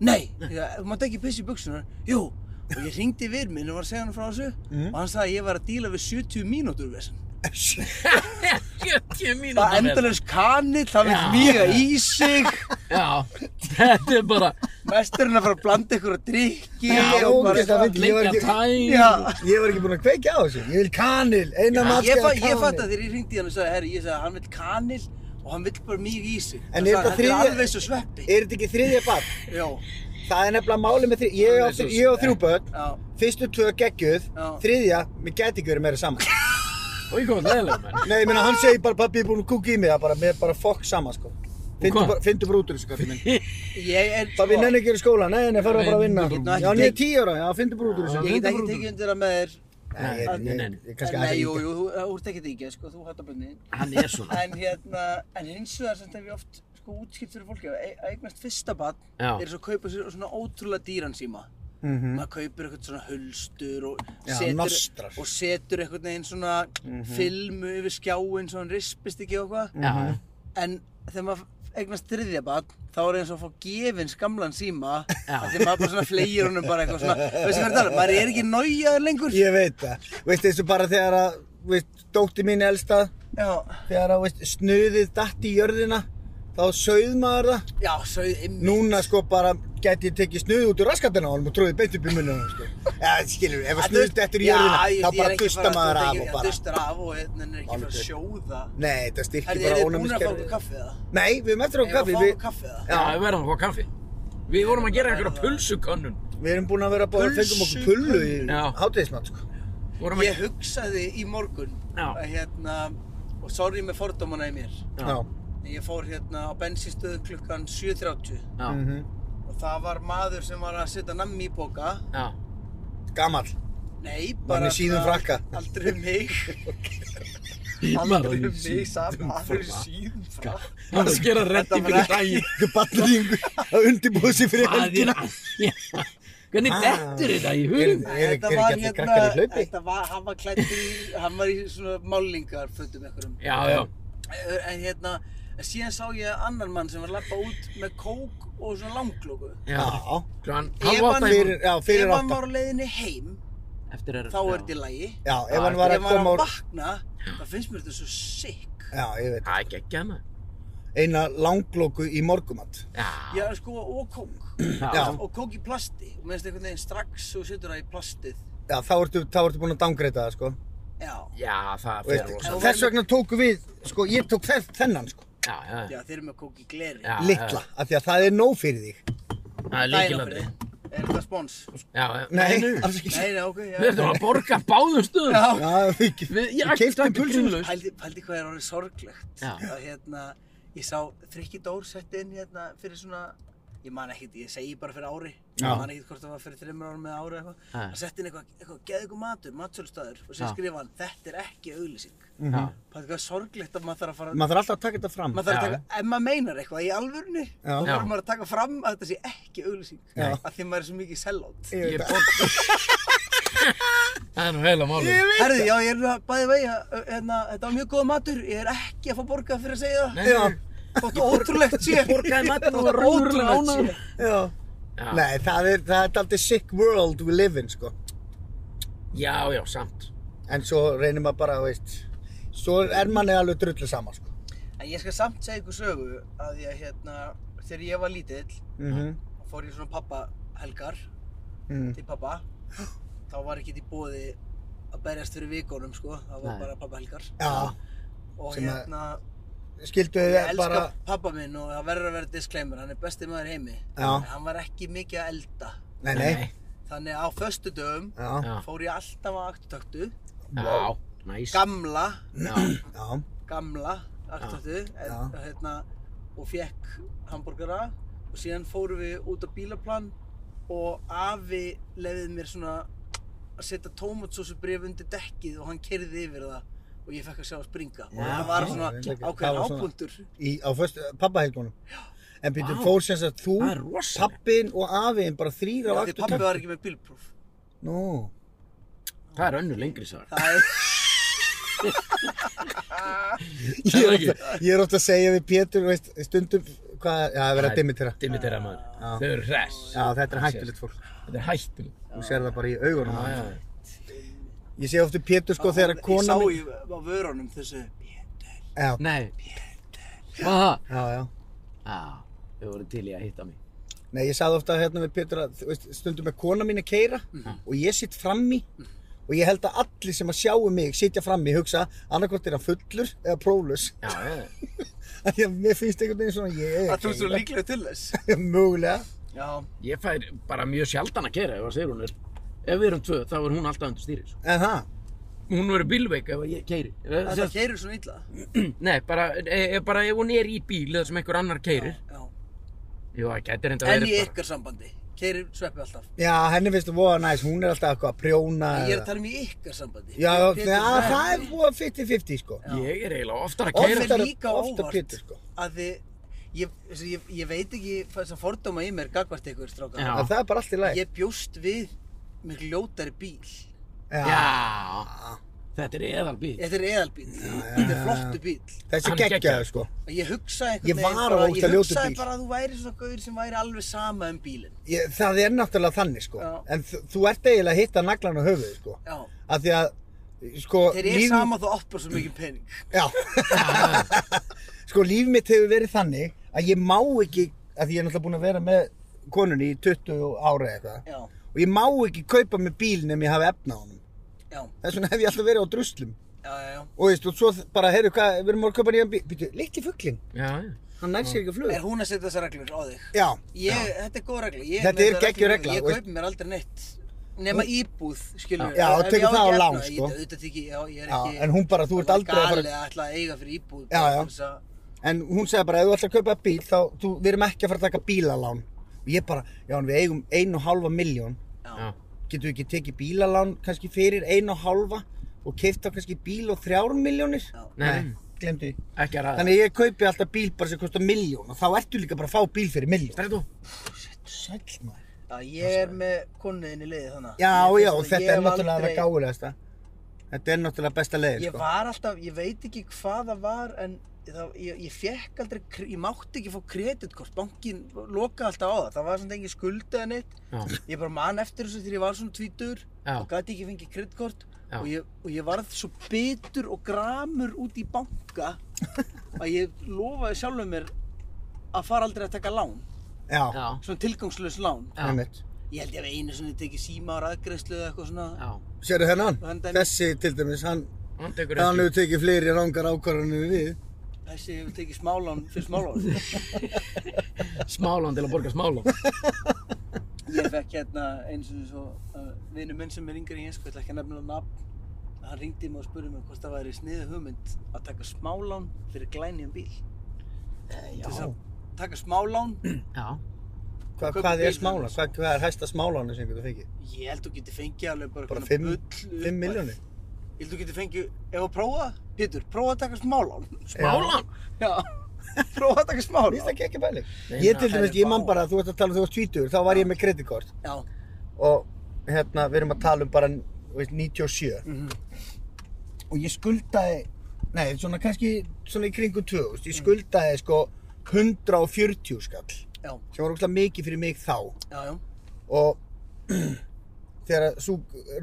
Speaker 6: Nei. Ég segi, þú mátt ekki pissa í buksunar. Jú. Og ég ringdi í vir minn og var að segja hann frá þessu
Speaker 2: Mhm.
Speaker 6: og hann sagði að ég var að díla við 70 mínútur við þessum.
Speaker 1: 70
Speaker 6: Það
Speaker 1: mínútur með
Speaker 6: endalaus kanil, það vil mýga í sig.
Speaker 1: Já, þetta er bara
Speaker 6: Mesturinn að fara að blanda ykkur að drikki.
Speaker 2: Já,
Speaker 6: og bara-
Speaker 2: ógeðslega fyndið. Ég var
Speaker 1: lengja
Speaker 2: ekki-
Speaker 1: tæm
Speaker 6: Já.
Speaker 2: Ég var ekki búinn að kveikja á þessu. Ég vil kanil, eina
Speaker 6: Ég,
Speaker 2: matskeið
Speaker 6: fa
Speaker 2: af
Speaker 6: ég
Speaker 2: kanil.
Speaker 6: fatt að þegar ég ringdi hann og sagði, herri, ég sagði að hann vill kanil og hann vill bara mjög í sig.
Speaker 2: En
Speaker 6: Hann
Speaker 2: er
Speaker 6: sagði,
Speaker 2: þetta
Speaker 6: Þetta
Speaker 2: þriðja-
Speaker 6: er alveg svo sveppi.
Speaker 2: Er þetta ekki þriðja barn?
Speaker 6: Já,
Speaker 2: Það er nefnilega máli með þriðja. Ég á, þri- ég á þrjú börn,
Speaker 6: já.
Speaker 2: fyrstu tvö geggjuð,
Speaker 6: Já.
Speaker 2: þriðja, mér gæti ekki verið meira saman.
Speaker 1: Og ég komið leðilega menn
Speaker 2: Nei, ég meina, hann segir bara, pappi, ég er búinn að kúka í mig, það bara, mér er bara fokk sama, sko. Findu
Speaker 1: hvað?
Speaker 2: bara, findu bara út úr þessu, kalli minn.
Speaker 6: Ég er sko,
Speaker 2: Pappi, nenni ekki verið í skóla, nei, nei, farðu bara að vinna.
Speaker 1: Finndu
Speaker 6: bara út.
Speaker 2: Já, hann er tíu ára, já, findu bara út úr
Speaker 6: Ég
Speaker 2: þessu.
Speaker 6: get ekki tekið undir það með þér.
Speaker 1: Nei,
Speaker 2: Nei, ég, ég,
Speaker 1: nei,
Speaker 2: ég,
Speaker 1: nei.
Speaker 2: ég kannski
Speaker 6: Nei,
Speaker 2: aðeins
Speaker 6: jú,
Speaker 2: líka.
Speaker 6: jú, þú þú ert ekki tekið, sko, þú hattar bönni.
Speaker 1: Hann er svona
Speaker 6: En hérna, en hins vegar sem þetta er oft, sko, útskipt fyrir fólki að e- að eignast fyrsta barn
Speaker 1: Já.
Speaker 6: er svo að kaupa sér svona ótrúlega dýran síma.
Speaker 2: Mhm.
Speaker 6: Maður kaupir eitthvað svona hulstur og
Speaker 2: Já, Mhm. nostrar.
Speaker 6: og setur eitthvað neginn svona filmu yfir skjáinn svo hann rispist ekki og eitthvað.
Speaker 2: Mm.
Speaker 1: Já,
Speaker 6: en þegar maður eignast þriðja barn þá er eins og að fá gefins gamlan síma
Speaker 1: Já.
Speaker 6: af því maður bara svona fleir honum bara eitthvað svona veistu hvað er það, maður er ekki nájaður lengur
Speaker 2: Ég veit það. Veist þessu bara þegar að, veist, dótti mín elsta,
Speaker 6: já,
Speaker 2: þegar að, veist, snuðið datt í jörðina, þá sauð maður það.
Speaker 6: já, sögð ymmi
Speaker 2: Núna sko bara gæti ég tekið snuð út úr raskatina á honum og tróðið beint upp í munna honum sko. Eða skilur, ef að snuðst eftir í jörðina, þá bara dusta maður af og bara.
Speaker 6: dustar af og hérna er ekki fyrir að sjóða
Speaker 2: Nei, þetta styrkir
Speaker 6: Herri, er
Speaker 2: bara
Speaker 6: þið búin að fá okkur
Speaker 2: ónæmiskerfið.
Speaker 6: kaffi eða?
Speaker 2: Nei, við erum eftir okkur
Speaker 6: Eigum að
Speaker 2: kaffi,
Speaker 6: fá
Speaker 2: við,
Speaker 6: okkur kaffi eða?
Speaker 1: já, við verðum að fá kaffi Við vorum að gera einhverja pulsukönnun
Speaker 2: við erum búin að vera búin að fengum okkur pullu í
Speaker 1: Já.
Speaker 2: hátíðismat sko.
Speaker 1: Vorum að
Speaker 6: Ég hugsaði í morgun
Speaker 1: Já.
Speaker 6: að hérna og sorry með fordómana í mér
Speaker 1: Já.
Speaker 2: Já.
Speaker 6: en ég fór hérna á bensinstöðu klukkan 7.30
Speaker 1: Já,
Speaker 2: mhm.
Speaker 6: og það var maður sem var að setja nammi í boka
Speaker 1: já
Speaker 2: Gamall.
Speaker 6: Nei, bara
Speaker 2: með síðum
Speaker 6: svona
Speaker 2: frakka.
Speaker 6: Aldrei um mig
Speaker 1: Maður í
Speaker 6: mig saman,
Speaker 1: síðum
Speaker 6: aður
Speaker 1: frakka.
Speaker 6: síðum frá.
Speaker 1: Hann er að skera reddi fyrir daginn.
Speaker 2: Einhver barnaðingur að undirbúa sig fyrir
Speaker 1: Hvað er
Speaker 2: helgina.
Speaker 1: að... Hvernig dettur þetta í hugum?
Speaker 2: Eru ekki allir krakkar í hlaupi?
Speaker 6: hérna- þetta var, hann var klættur í, hann var í svona málingar fötum einhverjum.
Speaker 1: Já, já.
Speaker 6: Eh, En hérna, en síðan sá ég annan mann sem var að lappa út með kók og svona langklóku.
Speaker 1: Já.
Speaker 2: Já,
Speaker 1: Klukkan
Speaker 6: Ég
Speaker 1: halv
Speaker 6: vann
Speaker 1: átta í
Speaker 2: fyrir,
Speaker 1: morgun.
Speaker 2: já, fyrir
Speaker 6: Ef hann
Speaker 2: átta.
Speaker 6: var á leiðinni heim,
Speaker 1: Eftir er...
Speaker 6: þá er þetta
Speaker 1: já.
Speaker 6: í lagi.
Speaker 2: Já, ef hann
Speaker 6: Ef
Speaker 2: var
Speaker 6: hann
Speaker 2: að
Speaker 6: var
Speaker 2: koma
Speaker 6: að
Speaker 2: úr...
Speaker 6: vakna, þá finnst mér þetta svo sick.
Speaker 2: Já, ég veit.
Speaker 1: Það er geggja hana.
Speaker 2: Eina langlóku í morgumatt.
Speaker 1: Já.
Speaker 6: Já, sko, og kók.
Speaker 1: Já.
Speaker 2: Já.
Speaker 6: Og kók í plasti. Og minnst einhvern veginn strax og setur það í plastið.
Speaker 2: Já, þá ertu, þá ertu búin að dangreita það, sko.
Speaker 6: Já.
Speaker 1: Já, það
Speaker 2: Veist,
Speaker 1: fyrir rosa.
Speaker 6: rosalega.
Speaker 2: þess vegna tóku við, sko, ég tók þess, þennan, sko,
Speaker 1: Já, já.
Speaker 6: Já, þeir eru með kók í gleri.
Speaker 1: Já,
Speaker 2: litla,
Speaker 1: já.
Speaker 2: af því að það er nóg fyrir þig.
Speaker 1: Það er líkilandri.
Speaker 6: Er þetta spons?
Speaker 1: Já, já.
Speaker 2: Nei,
Speaker 1: nú.
Speaker 2: alls ekki.
Speaker 6: Nei, nei, ok,
Speaker 1: Við
Speaker 6: já.
Speaker 1: erum að borga báðum stöðum.
Speaker 6: Já.
Speaker 2: Já, við ekki.
Speaker 1: Við, ég
Speaker 2: Við keyptum
Speaker 1: ætti
Speaker 2: pulsuna.
Speaker 1: pulsunlaus.
Speaker 6: Pældi, pældi hvað er orðið sorglegt.
Speaker 1: Já.
Speaker 6: Að hérna, ég sá Frikki Dór sett inn hérna fyrir svona, ég man ekkert, ég segi bara fyrir ári. Já. Ég man ekkert hvort það var fyrir þreymur árum eða ári eða eitthvað.
Speaker 1: Nei.
Speaker 6: Það sett inn eitthvað, eitthvað, geð eitthvað matur, matsölustæður og
Speaker 1: Já.
Speaker 6: sér skrifa hann, þetta er ekki auglýsing.
Speaker 2: Mhm.
Speaker 1: Já.
Speaker 6: Pældi hvað er sorglegt að maður þarf að fara,
Speaker 2: Maður þarf alltaf að taka þetta fram.
Speaker 6: maður þarf að
Speaker 1: Já.
Speaker 6: taka, ef maður meinar eitthvað í alvörunni, þá
Speaker 2: Já.
Speaker 1: Já.
Speaker 6: þarf maður að taka fram að þetta sé ekki auglýsing.
Speaker 2: Já.
Speaker 6: Af því maður er svo mikið sellout.
Speaker 2: Ég
Speaker 1: Ég
Speaker 2: veit
Speaker 1: borga. Það er nú heila málið.
Speaker 6: Herði, já, ég er bæði vegi, hérna, þetta var mjög góða matur, ég er ekki að fá borgað fyrir að segja það.
Speaker 1: Nei,
Speaker 2: Já.
Speaker 1: nei.
Speaker 6: Þóttu ótrúlegt sé.
Speaker 1: borgaði matinn og var
Speaker 6: Þótt
Speaker 1: raunverulega
Speaker 6: ótrúlegt
Speaker 1: ánægður.
Speaker 6: sé.
Speaker 2: Já.
Speaker 1: Já.
Speaker 2: Nei, það er, það er aldrei sick world we live in, sko.
Speaker 1: Já, já, samt.
Speaker 2: En svo reynir maður bara, veist, svo er manni alveg drullu sama, sko.
Speaker 6: En ég skal samt segja ykkur sögu að því að hérna, þegar ég var lítill,
Speaker 2: Mhm.
Speaker 6: þá fór ég svona pappa helgar
Speaker 2: Mm.
Speaker 6: til pappa. Þá var ekki í bóði að berjast fyrir vikunum, sko. Það var
Speaker 1: Nei.
Speaker 6: bara pappa helgar.
Speaker 2: Já,
Speaker 6: Og
Speaker 2: Sem að-
Speaker 6: hérna,
Speaker 2: skildu
Speaker 6: ég
Speaker 2: þið
Speaker 6: elska
Speaker 2: bara...
Speaker 6: pappa minn og það verður að vera disclaimer, hann er besti maður í heimi.
Speaker 2: Já.
Speaker 6: En hann var ekki mikið að elda.
Speaker 2: Nei, nei.
Speaker 6: Þannig að á föstudöfum
Speaker 2: Já,
Speaker 1: Já.
Speaker 6: fór ég alltaf á aktutöktu,
Speaker 1: Já, næs.
Speaker 6: gamla,
Speaker 1: Já,
Speaker 2: já,
Speaker 6: gamla aktutöktu,
Speaker 2: Já.
Speaker 6: en- hérna, og fekk hambúrgara og síðan fórum við út á bílaplan og afi leiðið mér svona að setja tómatsósubrif undir dekkið og hann kerði yfir það og ég fekk að sjá að springa og
Speaker 1: Já,
Speaker 6: það var
Speaker 2: já,
Speaker 6: svona
Speaker 2: ég veit ekki, það
Speaker 6: ákveðin
Speaker 2: var svona-
Speaker 6: ábúndur
Speaker 2: í, á föstu, pappahelgunum. En býttu,
Speaker 1: Vá.
Speaker 2: fór sem sagt þú,
Speaker 1: það er rosalegt.
Speaker 2: pappin og afiðin bara þrýra á
Speaker 6: því
Speaker 2: aktu
Speaker 6: pappi var ekki með bílpróf
Speaker 2: Nú,
Speaker 1: Það er önnu lengri sagar.
Speaker 6: það er,
Speaker 2: ég
Speaker 1: það
Speaker 2: er,
Speaker 1: ekki?
Speaker 2: oft, að- ég er oft að segja við Pétur, veist, stundum, hvað, já, það er verið að dimitera.
Speaker 1: Dimitera maður. Þau eru hress.
Speaker 2: Já, þetta er hættulegt fólk.
Speaker 1: Þetta er hættulegt.
Speaker 2: Þú sér það bara í augunum. á
Speaker 1: Já, já.
Speaker 2: þeim. Ég sé ofta Pétur sko þegar að
Speaker 6: ég sá
Speaker 2: kona mín...
Speaker 6: í, á vörunum þessu
Speaker 2: Já,
Speaker 1: Nei. Hvað það?
Speaker 2: já, já.
Speaker 1: Já, þau voru til í að hitta mig.
Speaker 2: Nei, ég sagði ofta hérna við Pétur að þú veist, stundum er kona mín að keira
Speaker 6: Mhm.
Speaker 2: og ég sitt frammi og ég held að allir sem að sjáu mig sitja frammi hugsa annarkvort er hann fullur eða próflaus.
Speaker 1: Já, já.
Speaker 2: Af því að mér finnst einhvern veginn svona ég er
Speaker 6: að þú ert svo líklega til þess
Speaker 2: líka. Mögulega.
Speaker 6: já
Speaker 1: Ég fær bara mjög sjaldan að kera ef að segja hún er. Ef við erum tvö, þá er hún alltaf undir stýri. sko.
Speaker 2: En það,
Speaker 1: Hún verður bílveik ef að ég keiri.
Speaker 6: Þetta keirir svona illa.
Speaker 1: Nei, bara, e, e, bara ef hún er í bíl eða sem einhver annar keirir.
Speaker 6: Já.
Speaker 1: Jú, það getur enda
Speaker 6: En
Speaker 1: verið
Speaker 6: í
Speaker 1: bara.
Speaker 6: ykkar sambandi. Keirir sveppi alltaf.
Speaker 2: já, henni finnst það voða næst, hún er alltaf eitthvað að prjóna.
Speaker 6: Ég er að
Speaker 2: eða-
Speaker 6: tala um í ykkar sambandi.
Speaker 2: Já,
Speaker 6: Pétur
Speaker 2: já,
Speaker 6: Snær.
Speaker 2: það er voða 50-50 sko.
Speaker 6: Já.
Speaker 1: Ég er eiginlega oftar að
Speaker 2: Oftar-
Speaker 1: keira.
Speaker 6: Mér er líka
Speaker 2: ofta
Speaker 6: óvart
Speaker 2: Pétur, sko.
Speaker 6: að þið, ég, þessi, ég, ég veit ekki þess að fordóma í mér gagvart ykkur strákar.
Speaker 1: Já.
Speaker 2: En það er bara allt í lagi.
Speaker 6: Ég bjóst við mjög ljótari bíl.
Speaker 1: Já, þetta er eðal bíl.
Speaker 6: Þetta er eðalbíl. Þetta er flottu bíl.
Speaker 2: Þessi
Speaker 1: Hann er
Speaker 2: geggjaður
Speaker 1: geggjaður.
Speaker 2: sko.
Speaker 6: Og ég hugsaði
Speaker 2: Ég var
Speaker 6: einhvern
Speaker 2: á
Speaker 6: bara,
Speaker 2: ógeðslega
Speaker 6: ég
Speaker 2: ljótur
Speaker 6: hugsaði
Speaker 2: bíl.
Speaker 6: bara að þú væri svona gaur sem væri alveg sama um bílinn.
Speaker 2: Ég, það er náttúrulega þannig sko.
Speaker 6: Já.
Speaker 2: En þú- þú ert eiginlega að hitta naglan á höfuðu sko.
Speaker 6: Já.
Speaker 2: Af því að, sko,
Speaker 6: Þeir eru sama þú oppar svo mikið pening.
Speaker 2: Já. sko, líf mitt hefur verið þannig að ég má ekki, af því ég er náttúrulega búin að vera með konunni í 20 ára eða eitthvað.
Speaker 6: Já,
Speaker 2: Og ég má ekki kaupa með bíl nefn ég hafi efna á honum.
Speaker 6: já,
Speaker 2: Þess vegna hef ég alltaf verið á druslum.
Speaker 6: já, já, já.
Speaker 2: Og veist, og svo bara, heyrðu hvað, við erum að kaupa nýjan bíl. Býtu, litli fugglinn,
Speaker 1: Já, já.
Speaker 2: hann nær sér ekki að
Speaker 6: Er
Speaker 2: fluga.
Speaker 6: hún að setja þessar reglur á þig?
Speaker 2: Já,
Speaker 6: Ég, þetta er góð regla. Ég,
Speaker 2: Þetta
Speaker 6: með
Speaker 2: er
Speaker 6: þessa
Speaker 2: geggjuð
Speaker 6: reglu,
Speaker 2: regla,
Speaker 6: Ég
Speaker 2: veist.
Speaker 6: kaupi mér aldrei neitt. Nema íbúð, skilur.
Speaker 2: Já, og tekur það á lán, sko.
Speaker 6: Ég auðvitað ekki, já, ég er
Speaker 2: Já,
Speaker 6: ekki.
Speaker 2: en hún bara, þú ert aldrei að
Speaker 6: að
Speaker 2: fara-
Speaker 6: fara. að ætla að eiga fyrir íbúð.
Speaker 2: Já,
Speaker 6: sko. bara
Speaker 2: já.
Speaker 6: til þess að-
Speaker 2: en hún sagði bara, ef þú ætlar að kaupa bíl, þá, þú, við erum ekki að fara að taka bílalán. Og ég bara, já, en við eigum einu og halva miljón.
Speaker 6: Já,
Speaker 1: Já.
Speaker 2: Getum við ekki tekið bílalán kannski fyrir einu og halva? og keifta kannski bíl og þrjár miljónir
Speaker 1: Nei,
Speaker 2: glemdu því
Speaker 1: ekki að ræða.
Speaker 2: Þannig að ég kaupi alltaf bíl bara sem kostar miljón og þá ertu líka bara að fá bíl fyrir miljón.
Speaker 1: Berðu,
Speaker 2: Sæll maður.
Speaker 6: Já, ég er með konniðin í liði þannig.
Speaker 2: Já,
Speaker 6: Ég-
Speaker 2: já,
Speaker 6: ég
Speaker 2: þetta er
Speaker 6: hef
Speaker 2: náttúrulega það
Speaker 6: aldrei-
Speaker 2: gáðulegasta. Þetta er náttúrulega besta leiðin,
Speaker 6: Ég
Speaker 2: sko.
Speaker 6: var alltaf, ég veit ekki hvað það var en það, ég, ég fekk aldrei, kr- ég mátti ekki fá kreditkort, bankin lokaði alltaf á það, það var svona engin skuld eða neitt.
Speaker 1: já,
Speaker 6: Ég bara man eftir þessu þegar ég var svona tvítur
Speaker 1: Já.
Speaker 6: og gæti ekki fengið kreditkort
Speaker 1: Já.
Speaker 6: og ég, og ég varð svo bitur og gramur út í banka að ég lofaði sjálfum mér að fara aldrei að taka lán,
Speaker 2: Já,
Speaker 1: já,
Speaker 6: svona tilgangslös lán.
Speaker 1: já, já,
Speaker 2: einmitt.
Speaker 6: Ég held ég að einu svona tekið síma á raðgreyslu eða eitthvað svona.
Speaker 1: já.
Speaker 2: Sérðu þennan?
Speaker 6: Þann dæmi.
Speaker 2: Þessi til dæmis, hann,
Speaker 1: Hann tekur
Speaker 2: hann
Speaker 1: ekki.
Speaker 2: hefur tekið fleiri rangar ákvarðanir en við.
Speaker 6: Þessi hefur tekið smálán fyrir smálán.
Speaker 1: Smálán til að borga smálán.
Speaker 6: Ég fekk hérna eins og svo uh, vinnu minn sem er yngri en ég, sko, ég ætla ekki að nefnilega nafn. Hann ringdi mig og spurði mig hvort það væri sniðu hugmynd að taka smálán fyrir glænýjan bíl. Já. Þess að taka smálán,
Speaker 1: Já,
Speaker 2: Hva,
Speaker 6: Kaupi
Speaker 2: hvað
Speaker 6: bíl,
Speaker 2: er smála?
Speaker 6: sko.
Speaker 2: Hvað, hvað er hæsta smálánu sem getur fengið?
Speaker 6: ég held þú geti fengið alveg bara
Speaker 2: Bara
Speaker 6: einhverja
Speaker 2: 5,
Speaker 6: bull-
Speaker 2: 5 miljónir?
Speaker 6: Ég held þú geti fengið, ef að prófa, Pétur, prófa að taka smálán.
Speaker 1: smálán?
Speaker 6: Já, prófa að
Speaker 2: Mér
Speaker 6: taka
Speaker 2: finnst
Speaker 6: smálán.
Speaker 2: ekki ekki bæling.
Speaker 1: Nei,
Speaker 2: Ég til
Speaker 6: það
Speaker 2: dæmis,
Speaker 6: er
Speaker 2: ég
Speaker 6: vá.
Speaker 2: man bara að þú ert að tala um þú varst tvítur, þá var ég með kreditkort
Speaker 6: Já,
Speaker 2: og hérna, við erum að tala um bara, þú veist, 97. Og ég skuldaði, nei, svona kannski, svona í kringum 2000,
Speaker 6: Mm.
Speaker 2: ég skuldaði sko 140 skall,
Speaker 6: já,
Speaker 2: sem var ógslag mikið fyrir mig þá.
Speaker 6: já, já.
Speaker 2: og þegar svo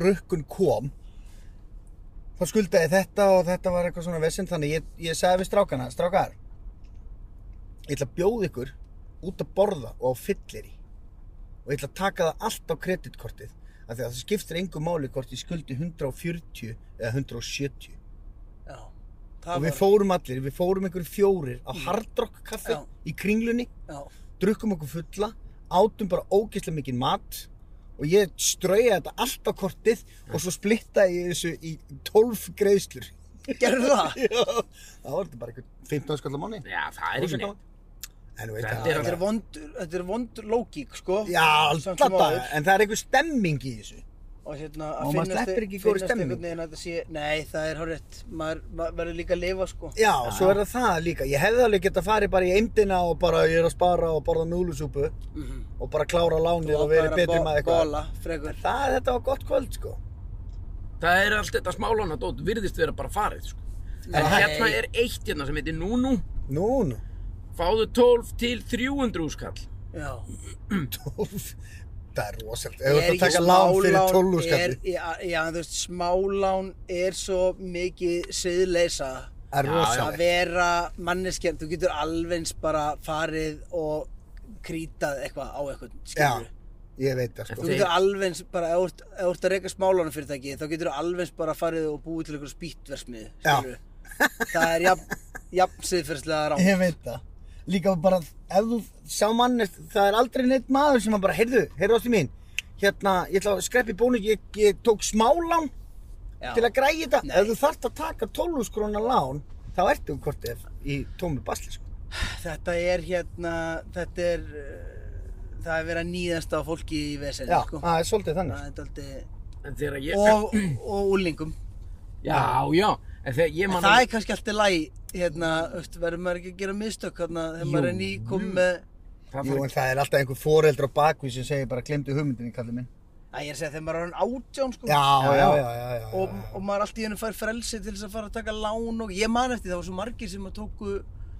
Speaker 2: rukkun kom þá skuldaði ég þetta og þetta var eitthvað svona vesinn þannig ég, ég sagði við strákana strákar ég ætla að bjóða ykkur út að borða og á fyllir í og ég ætla að taka það allt á kreditkortið af því að það skiptir engu máli hvort ég skuldi 140 eða 170
Speaker 6: já.
Speaker 2: og
Speaker 6: Það Mm.
Speaker 2: við fórum allir, við fórum einhverjir fjórir á hardrock kaffi
Speaker 6: Já.
Speaker 2: í kringlunni
Speaker 6: Já,
Speaker 2: drukkum okkur fulla, átum bara ógeðslega mikinn mat og ég strauja þetta allt á kortið og svo splittaði ég þessu í 12 greiðslur.
Speaker 6: gerðu það?
Speaker 2: Já, það var þetta bara eitthvað 15 skallar mánu.
Speaker 1: Já, það er ekki neitt.
Speaker 2: En þú veit
Speaker 1: Þetta
Speaker 2: það,
Speaker 1: er
Speaker 6: Þetta er vond, þetta er vond lógík, sko.
Speaker 2: já,
Speaker 6: Samt
Speaker 2: alltaf
Speaker 6: sem
Speaker 2: það,
Speaker 6: áður.
Speaker 2: en það er einhver stemming í þessu.
Speaker 6: og
Speaker 2: Og
Speaker 6: hérna að
Speaker 2: maður
Speaker 6: finnast,
Speaker 2: sleppir ekki góðri stemningu.
Speaker 6: einhvern veginn að þetta sé nei það er hár rétt maður, maður verður líka að lifa sko
Speaker 2: Já, svo er það það líka. Ég hefði alveg getað farið bara í eimdina og bara ég er að spara og borða núlusúpu
Speaker 6: Mhm.
Speaker 2: og bara klára lánið og verið
Speaker 6: Ákveður að
Speaker 2: betri
Speaker 6: bo-
Speaker 2: maður eitthvað.
Speaker 6: bola frekar
Speaker 2: Það, þetta var gott kvöld, sko.
Speaker 1: Það er allt þetta smálán að dót virðist vera bara farið, sko. En
Speaker 6: Nei.
Speaker 1: hérna er eitt hérna sem heitir Núnú.
Speaker 2: Nú, nú.
Speaker 1: Fáðu 12 til 300 skall.
Speaker 6: já
Speaker 2: 12 það er rosalega ef þú ert
Speaker 6: Er
Speaker 2: að
Speaker 6: ekki
Speaker 2: taka lán fyrir
Speaker 6: smálán
Speaker 2: 12 úr
Speaker 6: er,
Speaker 2: skalli
Speaker 6: já, já þú veist smálán er svo mikið siðleysa
Speaker 2: það er
Speaker 6: að
Speaker 2: rosalega
Speaker 6: vera manneskjarn þú getur alveg eins bara farið og krítað eitthvað á eitthvað skilur
Speaker 2: já, ég veit það
Speaker 1: En
Speaker 2: sko
Speaker 6: Þú getur alveg eins bara, ef þú ert- ef þú ert að reyka smálánum fyrirtæki, þá getur þú alveg eins bara farið og búið til einhverjum spýtversmið, skilur Það er jafn, jafn siðferðslega rámt.
Speaker 2: ég veit það líka bara ef þú sá manni það er aldrei neitt maður sem að bara heyrðu heyrðu ástu mín hérna ég ætla að skreppi bónu ég, ég tók smálán
Speaker 6: Já.
Speaker 2: til að græja þetta
Speaker 6: Nei.
Speaker 2: ef þú þart að taka 12 krónar lán þá ertu um hvort ef í tómi basli sko
Speaker 6: Þetta er hérna, þetta er, uh, það er verið að nýðast á fólki í vesenni,
Speaker 2: já
Speaker 6: sko.
Speaker 2: það er svolítið
Speaker 6: Það
Speaker 2: þannig
Speaker 6: er aldrei,
Speaker 1: En þegar ég...
Speaker 6: og, og úlingum.
Speaker 1: Já, já. En þegar ég
Speaker 6: En
Speaker 1: man...
Speaker 6: það er kannski alltaf læg, hérna, veist, verður maður ekki að gera mistök, hérna, þegar maður er ný komið með,
Speaker 1: það
Speaker 2: Jú,
Speaker 1: fór-
Speaker 2: en það er alltaf einhver foreldra á bakvið sem segir bara glemdu hugmyndinni, kallið minn.
Speaker 6: að ég er að segja, þegar maður er hann átján, sko.
Speaker 2: Já, já, já, já, já, já.
Speaker 6: og, og maður allt í hennu fær frelsi til þess að fara að taka lán og ég man eftir það var svo margir sem að tóku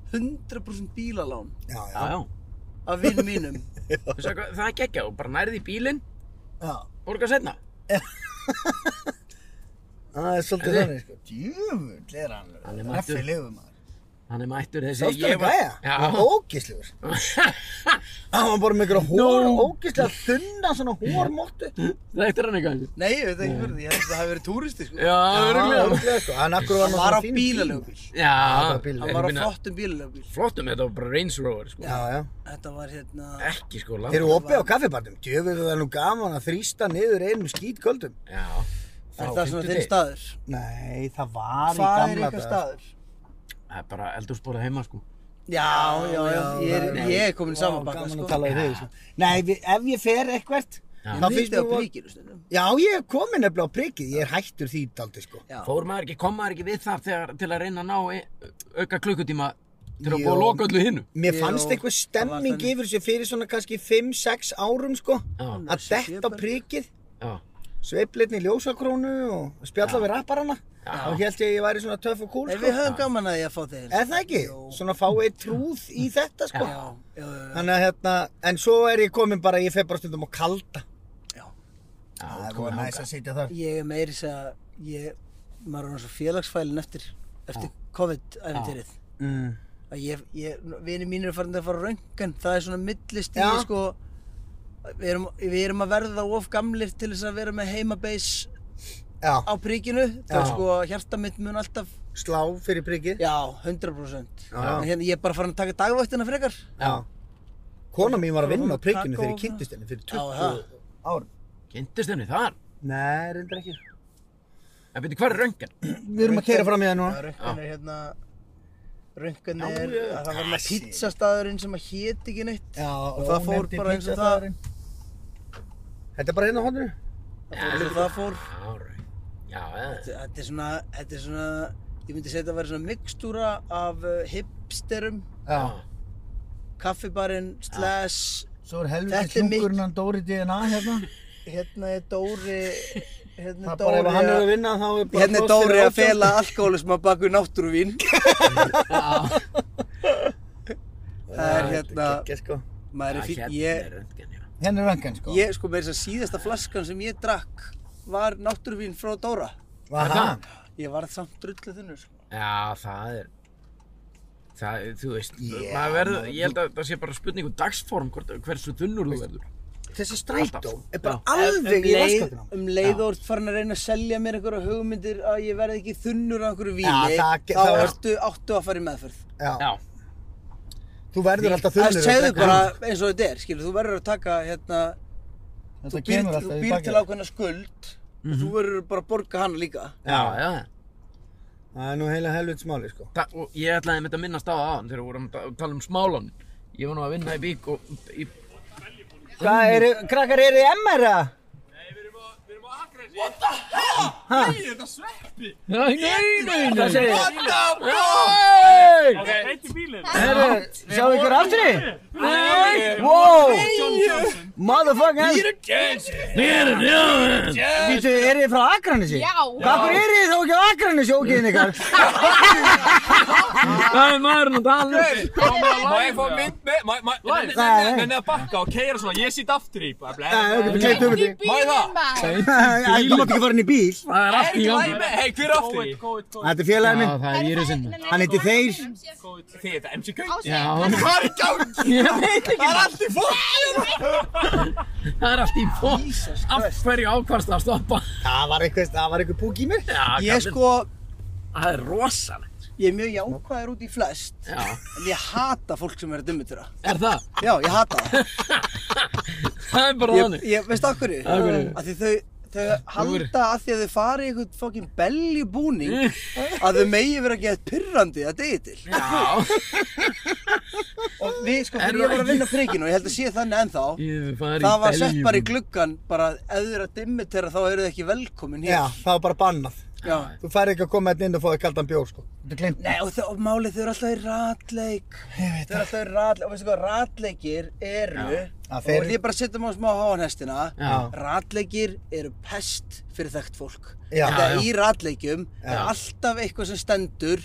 Speaker 6: 100% bílalán
Speaker 2: já,
Speaker 1: Já, já.
Speaker 6: af vinnum mínum
Speaker 1: Veistu hvað, Það er geggjað og bara nærði í bílinn,
Speaker 2: já.
Speaker 1: borga setna.
Speaker 2: Það er svolítið
Speaker 1: Heyrðu.
Speaker 2: þannig, sko. Djöfull er hann.
Speaker 1: Hann er mættur.
Speaker 2: Raffilegur maður.
Speaker 1: Hann er mættur þessi...
Speaker 2: Sástu hann
Speaker 1: ég var-
Speaker 2: gæja? Hann var ógislegur. Hann var bara með einhverja hór,
Speaker 1: Nú.
Speaker 2: ógislega þunna, svona hórmottu.
Speaker 1: Já, þetta er hann eitthvað.
Speaker 6: nei, ég veit ekki fyrir því, ég held að það hafi verið túristi sko.
Speaker 1: Já, örugglega.
Speaker 2: Ógislega, sko. Hann akkur var
Speaker 6: hann var á
Speaker 2: fínum
Speaker 6: bílaleigubíl
Speaker 1: Já,
Speaker 2: bara bíl.
Speaker 6: hann
Speaker 1: Ég
Speaker 6: var á
Speaker 1: meina,
Speaker 6: flottum bílaleigubíl
Speaker 1: flottum, þetta var bara Range Rover, sko.
Speaker 2: Já, já.
Speaker 6: þetta var hérna
Speaker 1: Ekki, sko,
Speaker 2: Þeir
Speaker 1: langt.
Speaker 2: eru opið á kaffibarnum. Djöfull er það nú gaman að þrýsta niður einum skítkvöldum.
Speaker 1: Já.
Speaker 6: er það svona þinn
Speaker 1: fimmtudegi.
Speaker 6: staður
Speaker 2: Nei, það var í
Speaker 6: hvað er
Speaker 2: gamla
Speaker 6: ykkar
Speaker 2: daga. sko.
Speaker 6: staður?
Speaker 1: Það er bara eldursporað heima, sko.
Speaker 6: já, já, já,
Speaker 2: Já,
Speaker 6: ég er,
Speaker 2: nei.
Speaker 6: ég er komin í
Speaker 2: Vá,
Speaker 6: saman bakka
Speaker 2: gaman um-
Speaker 6: sko.
Speaker 2: að tala við þig, sko. Nei, við- ef ég fer eitthvert,
Speaker 6: Ég
Speaker 2: Þá finnst
Speaker 6: myndi á
Speaker 2: mér vor-
Speaker 6: príkinu stundum.
Speaker 2: Já, ég er komin nefnilega á prikið, ég er hættur því daldi sko.
Speaker 6: Já.
Speaker 1: Fór maður ekki, kom maður ekki við það þegar, til að reyna að ná e- auka klukkutíma til að
Speaker 2: Jú.
Speaker 1: búa að loka öllu hinnu.
Speaker 2: Mér
Speaker 6: Jú,
Speaker 2: fannst einhver
Speaker 6: það var
Speaker 2: stemming
Speaker 6: þannig.
Speaker 2: yfir þessu fyrir svona kannski 5-6 árum sko.
Speaker 1: Já,
Speaker 2: Að
Speaker 6: Sjö, sjö
Speaker 2: detta á
Speaker 6: bara.
Speaker 2: prikið,
Speaker 1: já.
Speaker 2: sveifleitni í ljósakrónu og spjalla við rapparana. Þá held ég að ég væri svona töff og cool
Speaker 6: Ef
Speaker 2: sko.
Speaker 6: við höfum gaman að ég að fá þeir.
Speaker 2: Er það ekki?
Speaker 6: Jú.
Speaker 2: Svona fáið trúð í þetta sko.
Speaker 6: Já, já, já,
Speaker 2: Þannig að hérna, en svo er ég komin bara, ég fer bara stundum á kalda.
Speaker 6: já.
Speaker 1: Já,
Speaker 2: Það
Speaker 1: komið
Speaker 2: er voru næs
Speaker 1: þangað.
Speaker 2: að sitja þar.
Speaker 6: Ég er meiri þess að ég, maður er orðinn svo félagsfælinn eftir, eftir COVID-æventýrið.
Speaker 2: Mm.
Speaker 6: Að ég, ég, vinir mínir er farin að fara röngan, það er svona millist í
Speaker 2: Já.
Speaker 6: sko, við erum, við erum að verða of gamlir til þess að vera með heimabase
Speaker 2: Já,
Speaker 6: á príkinu, það er
Speaker 2: Já.
Speaker 6: sko, hjarta mitt mun alltaf,
Speaker 2: slá fyrir prikið.
Speaker 6: já, 100%.
Speaker 2: Já.
Speaker 6: En Hérna, ég er bara farin að taka dagvættina frekar.
Speaker 2: Já. Kona mín var að vinna á prikinu
Speaker 6: Kakó-
Speaker 2: þegar ég kynntist henni fyrir
Speaker 6: Já, það.
Speaker 2: 20 árum.
Speaker 1: Kynntist henni þar.
Speaker 2: Nei, reyndar ekki.
Speaker 1: En byrju, hvað er röngan?
Speaker 2: Við erum að keira fram í það núna.
Speaker 6: Já, Rönkan er hérna Rönkan
Speaker 2: Já,
Speaker 6: er,
Speaker 2: já.
Speaker 6: það var hérna
Speaker 2: Kassi.
Speaker 6: pizzastaðurinn sem að héti ekki neitt
Speaker 2: Já,
Speaker 6: og það fór
Speaker 2: ónefndi
Speaker 6: bara eins og það
Speaker 2: pizzastaðurinn. Þetta er bara hérna á honnu.
Speaker 6: það fór eins og það fór
Speaker 1: Ára. Já, eða.
Speaker 6: Þetta er svona, þetta er svona ég myndi segja þetta að vera svona mikstúra af uh, hipsterum
Speaker 2: Já.
Speaker 6: kaffibarinn, slash
Speaker 2: Svo er
Speaker 6: Þetta
Speaker 2: helviti
Speaker 6: er mitt-
Speaker 2: klunkurinn hann Dóri DNA hérna.
Speaker 6: hérna er Dóri
Speaker 2: Það
Speaker 6: hérna er
Speaker 2: er bara
Speaker 6: Dóri
Speaker 2: ef hann er að
Speaker 6: að
Speaker 2: vinna þá er bara
Speaker 6: hérna er
Speaker 2: pláss fyrir
Speaker 6: Dóri að
Speaker 2: átján.
Speaker 6: fela alkoholisma baku náttúruvín það er hérna
Speaker 2: Ekki, sko.
Speaker 6: maður er
Speaker 1: Hérna
Speaker 6: fín, ég
Speaker 1: er röngan, já.
Speaker 2: Hérna er röngan sko.
Speaker 6: Ég, sko, með þess að segja síðasta flaskan sem ég drakk var náttúruvín frá Dóra.
Speaker 2: Aha.
Speaker 6: Ég varð samt drullu þunnu, sko.
Speaker 1: Já, það er Það, þú veist,
Speaker 2: Já,
Speaker 1: maður verður, ég held að það sé bara spurning um dagsform hvort, hversu þunnur þú verður.
Speaker 2: Þessi strætó
Speaker 1: Alltaf.
Speaker 2: er bara
Speaker 1: Já.
Speaker 2: alveg í raskatina.
Speaker 6: Um leið og ert farin að reyna að selja mér einhverja hugmyndir að ég verði ekki þunnur af einhverju víni,
Speaker 2: Já, það-
Speaker 6: þá
Speaker 2: þá-
Speaker 6: ertu áttu að fara í meðferð.
Speaker 2: Já.
Speaker 1: Já,
Speaker 2: Þú verður alltaf
Speaker 6: Það
Speaker 2: þunnur.
Speaker 6: segðu bara eins og þetta er, skilur, þú verður að taka, hérna, þú
Speaker 2: Þetta
Speaker 6: býr,
Speaker 2: kemur
Speaker 6: þú
Speaker 2: alltaf í
Speaker 6: býr til
Speaker 2: bakið.
Speaker 6: ákveðna skuld og
Speaker 2: Mhm.
Speaker 6: þú verður bara að borga hana líka.
Speaker 1: já, já.
Speaker 2: Það er nú heila helvits máli sko.
Speaker 1: Það, og ég ætlaði einmitt að minnast á það áðan þegar við vorum að tala um smálan. Ég var nú að vinna í bík og í,
Speaker 2: Hvað eru, krakkar eru þið MR eða?
Speaker 1: Nei, nei, nei, nei.
Speaker 2: Hvað segir þið? Herru, sjáu ykkur aftur í? Nei! Wow! Motherfucking hell! Býtu, eru þið frá Akranesi?
Speaker 5: Já.
Speaker 2: Hvað eru þið þá ekki á Akranesi ógiðin ykkar?
Speaker 1: Það er maðurinn að tala um.
Speaker 7: Má ég fá mynd með, má- má- nenni-
Speaker 2: Nei,
Speaker 7: nenni
Speaker 2: nei.
Speaker 7: nenni að bakka og keira svona, ég sit aftur í bara blei.
Speaker 2: Nei, ok, kleitt um því.
Speaker 5: Má ég það?
Speaker 2: Æ, Þú mátt ekki fara inn í bíl.
Speaker 1: Það er allt í gangi.
Speaker 7: Hei, hver er aftur í?
Speaker 2: Þetta er félagið
Speaker 1: Já,
Speaker 2: minn.
Speaker 1: það er íri sinni.
Speaker 2: Hann heitir Þeir.
Speaker 7: Þið, þetta er MC Gaut.
Speaker 1: Já,
Speaker 5: Já.
Speaker 1: það Ég veit ekki.
Speaker 7: Það er allt í fólk.
Speaker 1: Það er allt í fólk. Af hverju ákvarst að stoppa?
Speaker 2: Það var eitthvað, það var eitthvað púk í mér.
Speaker 1: Já, kallir-
Speaker 6: Ég, sko,
Speaker 1: Það er rosalegt.
Speaker 6: ég er mjög jákvæður út í flest,
Speaker 1: Já,
Speaker 6: en ég hata fólk sem er að dummitura.
Speaker 1: er það?
Speaker 6: Já, ég hata það.
Speaker 1: Það er bara
Speaker 6: ég,
Speaker 1: þannig.
Speaker 6: ég veist af hverju
Speaker 1: Af hverju?
Speaker 6: að því þau þau halda að því að þau fari í einhvern fokkin beljubúning að þau megi vera að geta pyrrandi að degi til
Speaker 1: Já.
Speaker 6: og við sko
Speaker 1: Er
Speaker 6: þegar ég
Speaker 1: það
Speaker 6: var að vinna prikinu og ég held að sé þannig ennþá
Speaker 1: Ég fari í
Speaker 6: það var sett
Speaker 1: Belgíu.
Speaker 6: bara í gluggan bara að ef þau eru að dimmitera þá eru þau ekki velkomin
Speaker 2: Já,
Speaker 6: hér
Speaker 2: það var bara bannað.
Speaker 6: Já.
Speaker 2: Þú færði ekki að koma hérna inn og fóði kaldan bjór, sko. Þetta er glimt.
Speaker 6: Nei, og, þau, og málið þau eru alltaf í ratleik þau eru alltaf í ratleik og veistu hvað ratleikir eru
Speaker 2: Já,
Speaker 6: og
Speaker 2: þeir-
Speaker 6: ég bara setja mig á smá háanhestina
Speaker 1: Já.
Speaker 6: Ratleikir eru pest fyrir þekkt fólk.
Speaker 2: Já.
Speaker 6: Þetta
Speaker 1: Já, já.
Speaker 6: í ratleikjum er
Speaker 2: Já. Mhm.
Speaker 6: alltaf eitthvað sem stendur,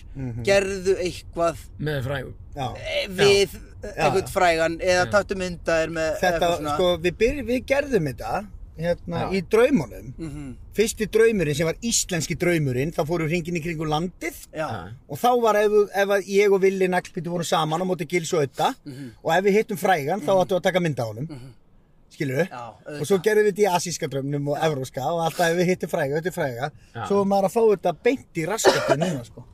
Speaker 6: gerðu eitthvað
Speaker 1: Með frægum.
Speaker 2: Já.
Speaker 6: eh, við
Speaker 2: já.
Speaker 6: eitthvað frægan eða taktu myndaðir
Speaker 2: Þetta,
Speaker 6: með eitthvað svona.
Speaker 2: sko, við, byrj, við gerðum þetta, hérna,
Speaker 1: Já.
Speaker 2: í draumunum.
Speaker 6: Mhm.
Speaker 2: Fyrsti draumurinn sem var íslenski draumurinn, þá fórum við hringin í kringum landið
Speaker 6: Já.
Speaker 2: og þá var ef, ef að ég og Villi Naglbíti vorum saman á móti Gils og Ötta
Speaker 6: Mhm.
Speaker 2: og ef við hittum frægan þá áttum við að taka mynda á honum, mm skilur við?
Speaker 6: Já,
Speaker 2: Og svo gerðum við þetta í asíska draumnum og evróska og alltaf ef við hittum fræga, hittum fræga,
Speaker 1: Já.
Speaker 2: svo er maður að fá þetta beint í raskatið núna, sko.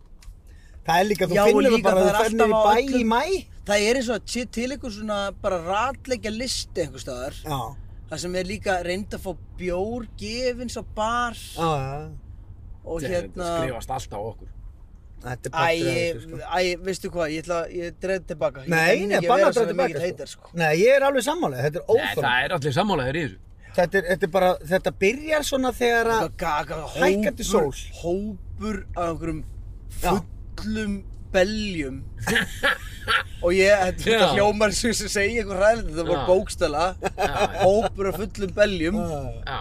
Speaker 2: Það er líka, þú
Speaker 6: Já, og
Speaker 2: finnur það
Speaker 6: líka
Speaker 2: bara, þú
Speaker 6: það er
Speaker 2: fennir í
Speaker 6: alltaf á
Speaker 2: bæ í
Speaker 6: öllum-
Speaker 2: mæ.
Speaker 6: Það er eins og að sé til eitthvað svona bara ratleikja listi einhver staðar.
Speaker 2: Já,
Speaker 6: Það sem er líka reynd að fá bjór, gefins á bar
Speaker 2: já, já,
Speaker 6: og
Speaker 1: Þetta hérna...
Speaker 6: hérna...
Speaker 1: skrifast alltaf á okkur.
Speaker 2: þetta er partur
Speaker 6: Æ,
Speaker 2: af
Speaker 6: ég-
Speaker 2: þessu, sko.
Speaker 6: æ, veistu hvað, ég ætla, ég dreif tilbaka.
Speaker 2: Nei, nei, banna að draga tilbaka, sko.
Speaker 6: Ég nenni ekki að vera svona mikill heitar, sko.
Speaker 2: Nei, ég er alveg sammálega, þetta er
Speaker 1: Nei,
Speaker 2: óþorn.
Speaker 1: það er allir sammálaðir í þessu.
Speaker 2: Þetta, er, þetta, er bara, þetta byrjar svona þegar að
Speaker 6: gaga,
Speaker 2: Hækkandi sól.
Speaker 6: hópur af einhverjum fullum beljum og ég, þetta þetta
Speaker 1: Já.
Speaker 6: hljómar sem sem segja eitthvað ræðilegt, þetta
Speaker 1: Já.
Speaker 6: var bókstala
Speaker 1: já.
Speaker 6: hópur af fullum beljum
Speaker 1: Já, já.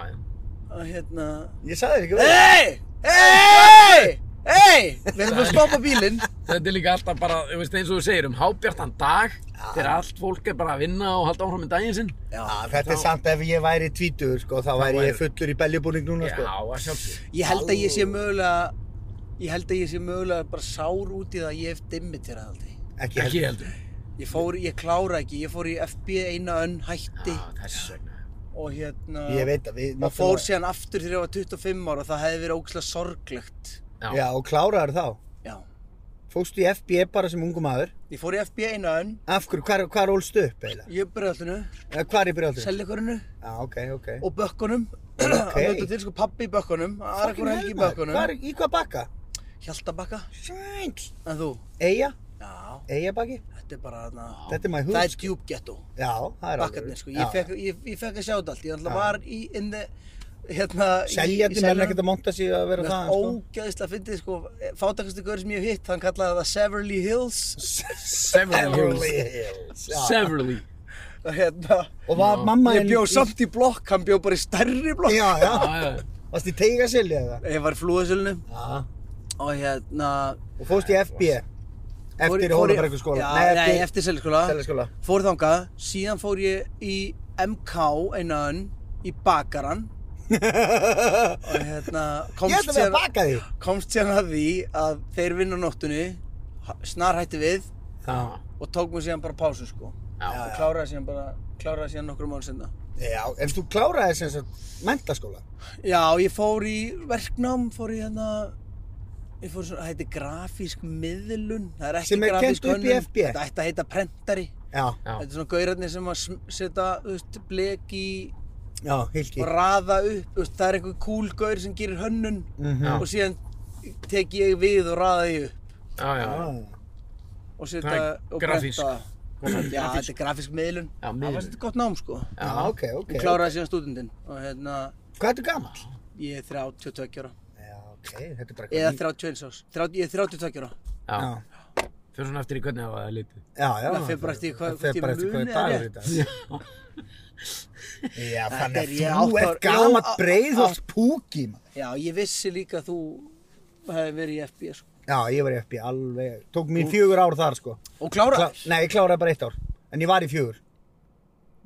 Speaker 6: og hérna
Speaker 2: Ég sagði þér ekki verið
Speaker 6: hei, hei, hei við ætlum að stoppa bílinn
Speaker 1: Þetta er líka alltaf bara, þú veist, eins og þú segir um hábjartan dag þegar allt fólk er bara að vinna og halda áfram með daginn sinn
Speaker 6: Já,
Speaker 2: Ah, Þetta er samt ef ég væri tvítur sko, þá væri ég fullur í beljubúning núna
Speaker 1: Já,
Speaker 2: sko.
Speaker 1: að sjálfsög
Speaker 6: ég held að ég sé mögulega ég held að ég sé mögulega bara sár út í það að ég hef dimmit þér aðaldi
Speaker 2: Ekki
Speaker 1: Ekki
Speaker 2: heldur
Speaker 1: heldur
Speaker 6: ég fór, ég klára ekki, ég fór í FB eina önn hætti
Speaker 1: Já, þess vegna
Speaker 6: og hérna
Speaker 2: Ég veit að við
Speaker 6: og fór síðan aftur þegar ég var 25 ára og það hefði verið ógslag sorglegt
Speaker 2: Já, og kláraður þá
Speaker 6: já,
Speaker 2: Fóstu í FB bara sem ungu maður
Speaker 6: ég fór í FB eina önn
Speaker 2: Af hverju, hvar, hvar ólstu upp eiginlega?
Speaker 6: ég bröðallinu,
Speaker 2: Eða Hvar í byrjaldri?
Speaker 6: seljakorinu
Speaker 2: Já, ok, ok
Speaker 6: og bökkunum að hluta til sko pabbi í bökkunum aðra
Speaker 2: Fucking
Speaker 6: hvora helgi í
Speaker 2: hell, maður. Hvar,
Speaker 6: bökkunum
Speaker 2: í hvað bakka?
Speaker 6: Hjaltabakka,
Speaker 2: Sæns
Speaker 6: en þú
Speaker 2: Eyja,
Speaker 6: já,
Speaker 2: Eyjabakki
Speaker 6: þetta er bara þarna
Speaker 2: Þetta er my
Speaker 6: það er
Speaker 2: hood sko.
Speaker 6: djúb ghetto
Speaker 2: Já, það er
Speaker 6: bakkarnir sko,
Speaker 2: Já.
Speaker 6: ég fekk, ég, ég fekk að sjá þetta allt ég alltaf var í in the, hérna, í- í
Speaker 2: Seljandi menn
Speaker 6: seljaranum.
Speaker 2: ekkert að monta sig að vera það sko.
Speaker 6: ógæðislega fyndið sko fátakastu gaur sem ég hef hitt, hann kallaði það Severly Hills
Speaker 1: Severly Hills
Speaker 2: Hills Já.
Speaker 1: Severly
Speaker 6: og hérna,
Speaker 2: Og var mamma
Speaker 6: ég bjó samt í blokk hann bjó bara í stærri blokk
Speaker 2: Já, já
Speaker 1: Já, já
Speaker 2: Varst í teiga selja eða?
Speaker 6: ég var í flúðasölinu
Speaker 2: Já
Speaker 6: og hérna
Speaker 2: Og fóst í FB
Speaker 6: fór-
Speaker 2: Eftir
Speaker 6: fór ég-
Speaker 2: Hólabrekkuskóla
Speaker 6: já, nei, eftir, eftir seljaskóla
Speaker 2: Seljaskóla
Speaker 6: fór þangað, síðan fór ég í MK einan í bakaran og hérna komst
Speaker 2: Ég ætla að vera að
Speaker 6: síðan-
Speaker 2: baka því
Speaker 6: komst síðan að því að þeir vinna á nóttunni ha- snar hætti við
Speaker 2: Já.
Speaker 6: og tók mér síðan bara pásu sko
Speaker 1: Já.
Speaker 6: og kláraði síðan bara kláraði síðan nokkrum mánu sinna
Speaker 2: Já, en þú kláraði sem sagt mentaskóla
Speaker 6: já, ég fór í verknám fór í hérna ég fór í svona, það heiti grafísk miðlun það er ekki
Speaker 2: Sem er
Speaker 6: grafísk
Speaker 2: kennt upp í
Speaker 6: hönnun.
Speaker 2: FB.
Speaker 6: þetta ætti að heita prentari
Speaker 2: Já,
Speaker 1: Já.
Speaker 6: þetta er svona gaurarnir sem að sm- setja þú veist, blek í
Speaker 2: já, hilki
Speaker 6: og raða upp þú veist, það er einhver cool gaur sem gerir hönnun
Speaker 2: Mhm.
Speaker 1: Já.
Speaker 6: og síðan tek ég við og raða því upp
Speaker 1: Já, já, já
Speaker 6: og setja
Speaker 1: Það er
Speaker 6: og
Speaker 1: grafísk.
Speaker 6: prenta já, þetta er grafísk miðlun
Speaker 1: Já,
Speaker 6: það
Speaker 1: miðlun.
Speaker 6: var þetta gott nám sko
Speaker 2: Já, ok, ok
Speaker 6: Ég kláraði síðan stúdendinn og hérna,
Speaker 2: Hvað ertu gamall?
Speaker 6: ég er 32 ára.
Speaker 2: Já, ok, þetta er bara
Speaker 6: Eða 31 árs. 30, ég er 32 ára.
Speaker 1: já. Fyrir svona eftir í hvernig það var litið
Speaker 2: Já, já
Speaker 6: Það fer bara eftir hvað-
Speaker 2: Það fer
Speaker 6: hvort ég
Speaker 2: bara eftir hvað
Speaker 6: muni
Speaker 2: er dagur
Speaker 6: eða
Speaker 2: í dag Já, þannig
Speaker 6: er ég
Speaker 2: að þú
Speaker 6: átta ára-
Speaker 2: ert gamall
Speaker 6: já, á-
Speaker 2: breið og
Speaker 6: á-
Speaker 2: spúki maður.
Speaker 6: Já, ég vissi líka að þú hefði verið í FB, sko.
Speaker 2: Já, ég var í FB alveg Tók mín fjögur ár þar sko
Speaker 6: Og
Speaker 2: Klá,
Speaker 6: kláraði.
Speaker 2: Nei, ég kláraði bara eitt ár En ég var í fjögur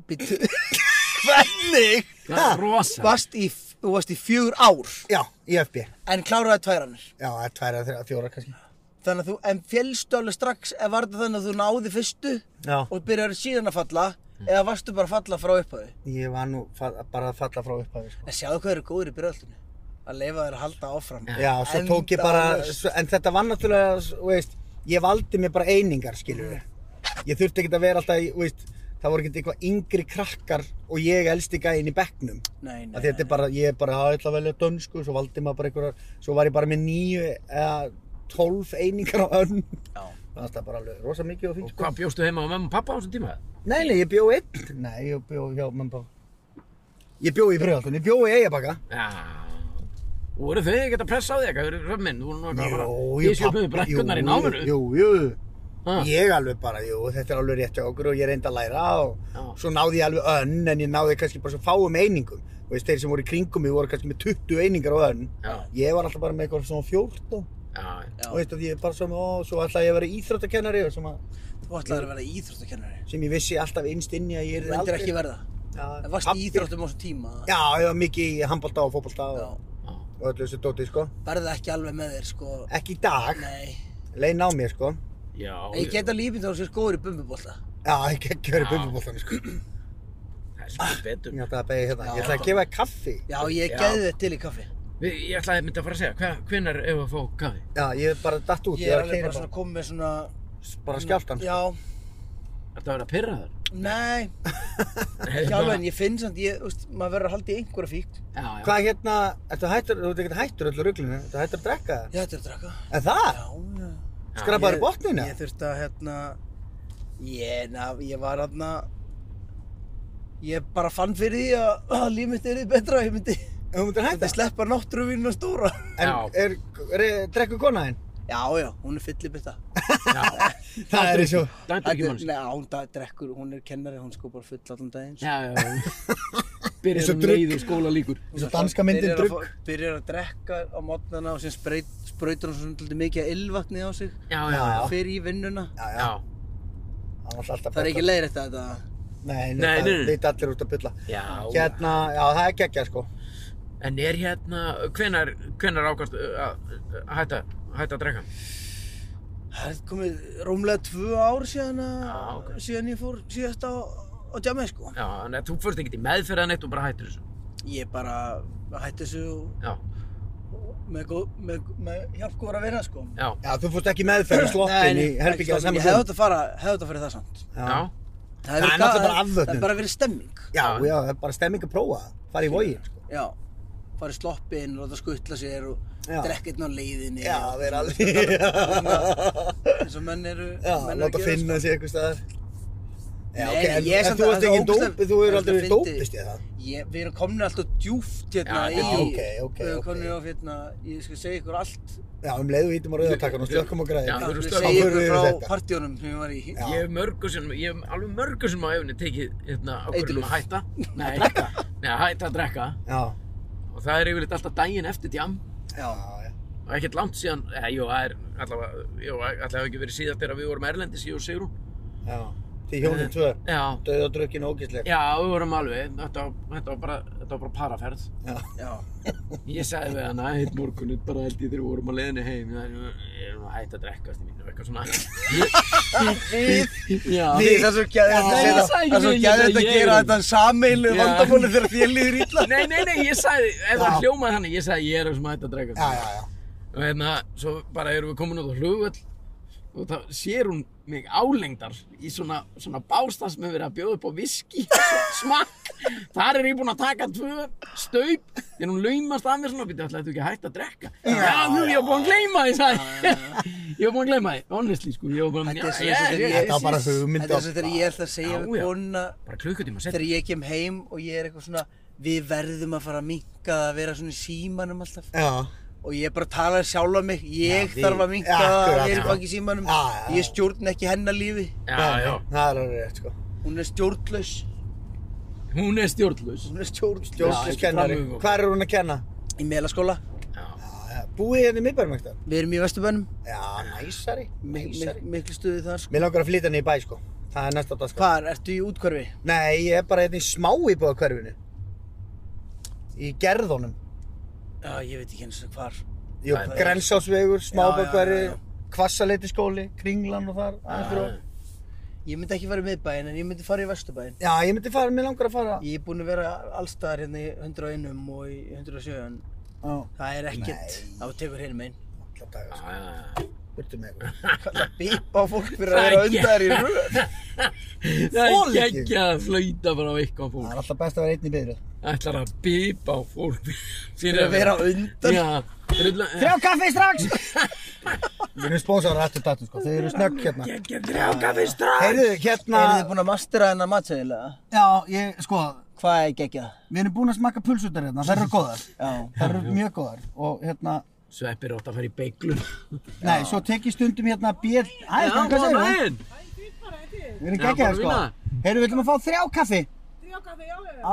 Speaker 6: Bittu. Hvernig?
Speaker 1: Það er rosa
Speaker 6: Varst í, þú varst í fjögur ár,
Speaker 2: Já, í FB
Speaker 6: en kláraði tværannir.
Speaker 2: Já, það er tværa, þrjá, fjóra kannski
Speaker 6: Þannig að þú, en fjellstu alveg strax, ef var það þannig að þú náði fyrstu
Speaker 2: Já.
Speaker 6: og byrjar síðan að falla,
Speaker 1: Mm.
Speaker 6: eða varstu bara að falla frá upphæðu.
Speaker 2: Ég var nú fa bara að falla frá upphæði sko.
Speaker 6: En sjáðu hvað eru góður í byrjaldinu. Að leifa þér að halda áfram.
Speaker 2: Já, svo tók ég bara
Speaker 6: Endalaust.
Speaker 2: svo, En þetta var náttúrulega, þú veist Ég valdi mér bara einingar, skilur við Ég þurfti ekkert að vera alltaf, í, þú veist Það voru ekkert eitthvað yngri krakkar Og ég elsti gæinn í bekknum
Speaker 6: Nei, nei,
Speaker 2: Af því Þetta er bara, ég er bara, að ætla að velja dönsku Svo valdi maður bara einhverjar Svo var ég bara með níu eða tólf einingar á önn
Speaker 6: Já.
Speaker 2: Það var bara alveg rosa mikið og fínt
Speaker 1: Og
Speaker 2: sko.
Speaker 1: hvað bjóstu heima á mamma og pappa á þessum tíma?
Speaker 2: Nei, nei, ég bjó einn Nei, ég bjó hjá mamma og pabba. Ég bjó í Breiðholtinu, ég bjó í Eyjabakka
Speaker 1: Já Voru þau ekkert að pressa á þig eitthvað? Þau eru minn, þú voru nú eitthvað bara
Speaker 2: ég
Speaker 1: Ég sjöfum við
Speaker 2: pabbi-
Speaker 1: brekkunar í
Speaker 2: jú,
Speaker 1: náminu Ah.
Speaker 2: Jú, jú,
Speaker 1: Ha.
Speaker 2: ég alveg bara, jú, þetta er alveg rétt hjá okkur og ég reyndi að læra og
Speaker 1: Já.
Speaker 2: svo náði ég alveg önn en ég náði kannski bara svo fáum einingum Þú veist, þeir sem voru í kringum mig voru kannski með 20 einingar á önn
Speaker 1: Já.
Speaker 2: Ég var alltaf bara með eitthvað svona 14
Speaker 1: Já,
Speaker 6: Já.
Speaker 2: Þú veist, að ég bara svona, ó, svo alltaf ég að vera íþróttakennari og svona,
Speaker 6: Þú ætlaði að vera íþróttakennari.
Speaker 2: sem ég vissi alltaf innst inni að ég
Speaker 6: Þú
Speaker 2: er
Speaker 6: reyndir ekki verða.
Speaker 2: Já,
Speaker 6: En varst í
Speaker 2: pabbi-
Speaker 6: íþróttum á þessum tíma.
Speaker 2: Já, ég var mikið í handbólta og fótbolta
Speaker 6: Já.
Speaker 2: og, og öllu þessu dóti, sko
Speaker 6: Verða ekki alveg með þér, sko.
Speaker 2: Ekki í dag,
Speaker 6: Nei.
Speaker 2: leina á mér, sko
Speaker 1: já
Speaker 6: En ég get að lífin þá að þú sér góður í bumbubólta.
Speaker 2: Já, ég get ekki verið
Speaker 1: Já.
Speaker 2: bumbubóltan, sko
Speaker 1: Það er svona betur
Speaker 2: Ég ætla að beigja hérna.
Speaker 6: Já.
Speaker 2: Ég ætla að gefa þér kaffi.
Speaker 6: Já, ég
Speaker 1: Já.
Speaker 6: geði þetta til í kaffi.
Speaker 1: Við- Ég ætlaði að mynda að fara að segja, hve- hvenær ef að fá kaffi?
Speaker 2: Já, ég er bara datt út.
Speaker 6: Ég er alveg
Speaker 2: keyra
Speaker 6: bara svona komið með svona...
Speaker 2: bara, bara skjáltan.
Speaker 6: Já.
Speaker 1: Þetta að vera að pyrra þar?
Speaker 6: Nei, ekki alveg, en ég finn samt, ég, þú veist, maður verður að halda í einhverja fík.
Speaker 1: Já, já
Speaker 2: Hvað hérna, ertu hættur, þú ert ekkert hættur öllu ruglinu, ertu hættur að drekka það?
Speaker 6: Já, þetta er að draka.
Speaker 2: En það?
Speaker 6: Já, já.
Speaker 2: Skrapaður
Speaker 6: Ég-
Speaker 2: botnina?
Speaker 6: Ég þurfti að, hérna, ég, na, ég var hérna, Ég bara fann fyrir því að, að líf mitt er betra, ég myndi,
Speaker 2: Ef Þú myndir
Speaker 6: myndi
Speaker 2: hætta?
Speaker 6: sleppa náttúruvinna stóra.
Speaker 1: Já.
Speaker 2: En er, er, drekku kona þinn?
Speaker 6: Já, já, hún er fyllibitta.
Speaker 2: Það er eins og,
Speaker 1: Dænt ekki manns.
Speaker 6: Nei, hún da- drekkur, hún er kennari, hún sko bara full allan daginn. sko.
Speaker 1: Já, já, já. Byrjar
Speaker 2: Eins og
Speaker 1: um
Speaker 2: drugg.
Speaker 1: leiðu skóla líkur.
Speaker 2: eins og danska myndin
Speaker 6: Byrjar að
Speaker 2: drugg.
Speaker 6: fá- Byrjar að drekka á mótnana og sem spreyt, sprautur hún svona svolítið mikið að ilvatni á sig.
Speaker 1: Já, já, já.
Speaker 6: Fyrir í vinnuna.
Speaker 2: Já, já,
Speaker 1: Já,
Speaker 2: hann var alltaf
Speaker 6: Það er ekki leiðrætt að þetta.
Speaker 2: Nei, nei,
Speaker 1: Nei,
Speaker 2: það
Speaker 1: nei, nei.
Speaker 2: veit allir út að bylla.
Speaker 1: já.
Speaker 2: Hérna, já, það er geggja, sko.
Speaker 1: En er hérna, hvenar, hvenar ákvæmst að uh, að hætta, hætta að drekka?
Speaker 6: Það er komið rómlega tvö ár síðan, að,
Speaker 1: Já, ok.
Speaker 6: síðan ég fór síðast á, á jammi sko.
Speaker 1: Já, en þú fórst ekkert í meðferð en eitt og bara hættir þessu.
Speaker 6: Ég bara hætti þessu og
Speaker 1: Já,
Speaker 6: með, góð, með, með hjálpgóðar að vera sko.
Speaker 1: já,
Speaker 2: Já, þú fórst ekki meðferð í
Speaker 6: Nei,
Speaker 2: sloppin í
Speaker 6: nei, ekki
Speaker 2: herbyggjaða
Speaker 6: stofnun.
Speaker 2: saman
Speaker 6: Ég hefði átt að fara, hefði átt að fara í það samt.
Speaker 1: já.
Speaker 6: Það hefði
Speaker 2: Það er
Speaker 6: verið
Speaker 2: náttúrulega
Speaker 6: gaman-
Speaker 2: bara afvötnun.
Speaker 6: Það hefði bara verið stemming.
Speaker 2: Já, já, það er bara stemming að prófa það. Fara í vogin, sko.
Speaker 6: Já, fara í sloppin, láta skuttla sér og
Speaker 2: Já.
Speaker 6: drekka einn á leiðinni.
Speaker 2: Já, það
Speaker 6: og-
Speaker 2: er alveg,
Speaker 6: Eins og menn eru,
Speaker 2: já,
Speaker 6: menn eru að
Speaker 2: láta
Speaker 6: gera,
Speaker 2: finna
Speaker 6: sko.
Speaker 2: sig eitthvað staðar. Já,
Speaker 6: Nei,
Speaker 2: ok,
Speaker 6: nei,
Speaker 2: en,
Speaker 6: ég er
Speaker 2: en
Speaker 6: samt
Speaker 2: þú
Speaker 6: að-
Speaker 2: ert
Speaker 6: það
Speaker 2: ekki
Speaker 6: er ógeðslega-
Speaker 2: dópið, þú
Speaker 6: það
Speaker 2: hefur
Speaker 6: er
Speaker 2: aldrei verið
Speaker 6: ógeðslega
Speaker 2: dópist í það.
Speaker 6: Ég, við erum komin alltaf djúft hérna
Speaker 1: Já,
Speaker 6: í...
Speaker 1: já,
Speaker 2: ok, ok,
Speaker 6: Við erum
Speaker 2: ok.
Speaker 6: komin á hérna, ég skal segja ykkur allt.
Speaker 2: Já, um leiðu hýtum á rauðartakkan og slökkum á
Speaker 1: Já,
Speaker 2: græði.
Speaker 1: þú erum
Speaker 6: Ég
Speaker 1: stöðum.
Speaker 6: skal segja
Speaker 2: Af hverju
Speaker 6: ykkur
Speaker 2: er
Speaker 6: frá
Speaker 2: þetta?
Speaker 6: partíunum sem ég var í.
Speaker 2: Já.
Speaker 1: Ég hef mörgur sem, ég hef alveg mörgur sem á efni tekið hérna ákvörðum
Speaker 6: Eiturlyf.
Speaker 1: að hætta. Nei, að drekka? Nei, að hætta að drekka.
Speaker 2: Já,
Speaker 1: Og það er yfirleitt alltaf daginn eftir djam.
Speaker 6: Já.
Speaker 2: já, já.
Speaker 1: Og ekkert langt síðan, eða, jú, það er allavega, jú, allavega ekki verið síðast þegar við vorum Erlendis, ég og Sigrún.
Speaker 2: já. Því hjónin tvö,
Speaker 1: Já,
Speaker 2: döð og drukkin og ógísleg.
Speaker 1: já, við vorum alveg, þetta var, þetta var bara, þetta var bara paraferð.
Speaker 6: Já,
Speaker 1: Ég sagði við hana, hitt morgunni, bara held ég þegar við vorum á leiðinni heim, það er, ég erum að hætta að drekka, þetta mínu, eitthvað svona. Já,
Speaker 6: Því það er svo gæðið
Speaker 1: Nei, ég
Speaker 6: að
Speaker 1: sagði ekki
Speaker 6: það er svo
Speaker 1: neitt,
Speaker 6: gæðið að
Speaker 1: ég-
Speaker 6: gera þetta sameilu
Speaker 1: Já.
Speaker 6: vandamóli þegar þér líður illa.
Speaker 1: Nei, nei, nei, ég sagði, ef það hljómaði þannig, ég sagði ég er sem hætt að drekka.
Speaker 2: Já, já, já.
Speaker 1: Og hérna, svo bara erum við komin út á hlugvöll og þá sér hún mig álengdar í svona, svona bárstað sem hefur verið að bjóða upp á viski, smakk. Þar er ég búinn að taka tvö staup, þegar hún laumast að mér svona, býtti, ætlaði þú ekki að hætta að drekka? Já, þú, ég var búinn að gleyma því, sagði. ég. Ég var búinn að gleyma því, honestly, sko, ég var bara,
Speaker 6: Þetta er svo
Speaker 1: já,
Speaker 6: eins
Speaker 1: já,
Speaker 6: og þegar
Speaker 1: já,
Speaker 6: ég-
Speaker 2: Þetta var bara
Speaker 6: Þetta
Speaker 2: hugmynd
Speaker 6: er svo þegar ég ætla að segja
Speaker 1: Já,
Speaker 6: við
Speaker 1: já.
Speaker 6: konuna
Speaker 1: bara klukkutíma setna.
Speaker 6: þegar ég kem heim og ég er eitthvað svona við verðum að fara að minka það að vera svona í símanum alltaf
Speaker 2: Já,
Speaker 6: og ég bara tala sjálf um mig ég
Speaker 2: við-
Speaker 6: þarf að minka það
Speaker 2: Akkurat,
Speaker 6: að
Speaker 2: já.
Speaker 6: vera í baki símanum
Speaker 2: Já, já, já.
Speaker 6: ég stjórn ekki hennar lífi
Speaker 1: Já, já,
Speaker 2: það er alveg rétt, sko.
Speaker 6: hún er stjórnlaus
Speaker 1: hún er stjórnlaus.
Speaker 6: hún er stjórnlaus
Speaker 1: Já,
Speaker 2: Jóslis
Speaker 1: ekki
Speaker 2: kennari,
Speaker 1: framhugum.
Speaker 2: hvað er hún að kenna?
Speaker 6: í melaskóla
Speaker 1: Já,
Speaker 2: Já, Búið hérna í miðbærum ekkert?
Speaker 6: við erum í Vesturbænum
Speaker 2: Já, næsari,
Speaker 6: mik mik
Speaker 2: næsari.
Speaker 6: miklu stuði þar sko.
Speaker 2: Mér langar að flytja henni í bæ, sko. Það er næsta dag, sko.
Speaker 6: hvar ertu í útkvarfi
Speaker 2: Nei, ég er bara hérna í smá íbúða hverfinu. Í gerðunum.
Speaker 6: já ég veit ekki eins og hvar
Speaker 2: Jú,
Speaker 1: Það er-
Speaker 2: Grensásvegur,
Speaker 6: Já, já, já,
Speaker 2: smábækveri,
Speaker 6: já.
Speaker 2: Kvassaleitisskóli, Kringlan og þar. aðeins fyrir ofan.
Speaker 6: ég myndi ekki fara í miðbæin en ég myndi fara í Vesturbæin
Speaker 2: Já, ég myndi fara, mér langar að fara.
Speaker 6: ég er búinn að vera allstaðar hérna í 101 og í 107 en
Speaker 2: Já,
Speaker 6: það er ekkert það tekur hérna megin
Speaker 2: alla daga,
Speaker 1: já,
Speaker 2: sko.
Speaker 1: já, já.
Speaker 2: Burtu með eitthvað.
Speaker 6: að bípa á fólk fyrir að
Speaker 1: Það
Speaker 6: vera
Speaker 1: er ekki-
Speaker 6: undar í röð
Speaker 1: Það
Speaker 2: Þoli
Speaker 1: er
Speaker 2: ekki.
Speaker 1: geggja að flauta bara á eitthvað
Speaker 2: Það
Speaker 1: fólk.
Speaker 2: er alltaf best að vera einn í byrju.
Speaker 1: Ætlar að bipa á fólk fyrir
Speaker 6: að vera á undan
Speaker 1: Já, drulla...
Speaker 2: Þrjá kaffi strax! Við erum spónsáður aftur dættu, sko. Þau eru snögg hérna.
Speaker 1: Geggja drjáka fyrst strax!
Speaker 2: Heyrðu, hérna...
Speaker 6: Eru þið búin að mastera hennar matsæðilega?
Speaker 2: Já, ég, sko,
Speaker 6: Hvað er geggja?
Speaker 2: við erum búin að smakka pulsutar hérna. Það eru góðar.
Speaker 6: Já.
Speaker 2: Það eru mjög góðar. Og hérna,
Speaker 1: Sveppir átt að fara í beiglun.
Speaker 2: Nei, svo tek ég stundum hérna bér... Hæ,
Speaker 1: Já,
Speaker 2: hvað hvað
Speaker 1: góðan
Speaker 2: segir þú?
Speaker 1: daginn!
Speaker 2: Við
Speaker 1: Já,
Speaker 2: erum geggja
Speaker 1: bara
Speaker 2: þér sko.
Speaker 1: vinna.
Speaker 2: Heyrðu, við ætlum að fá þrjá kaffi.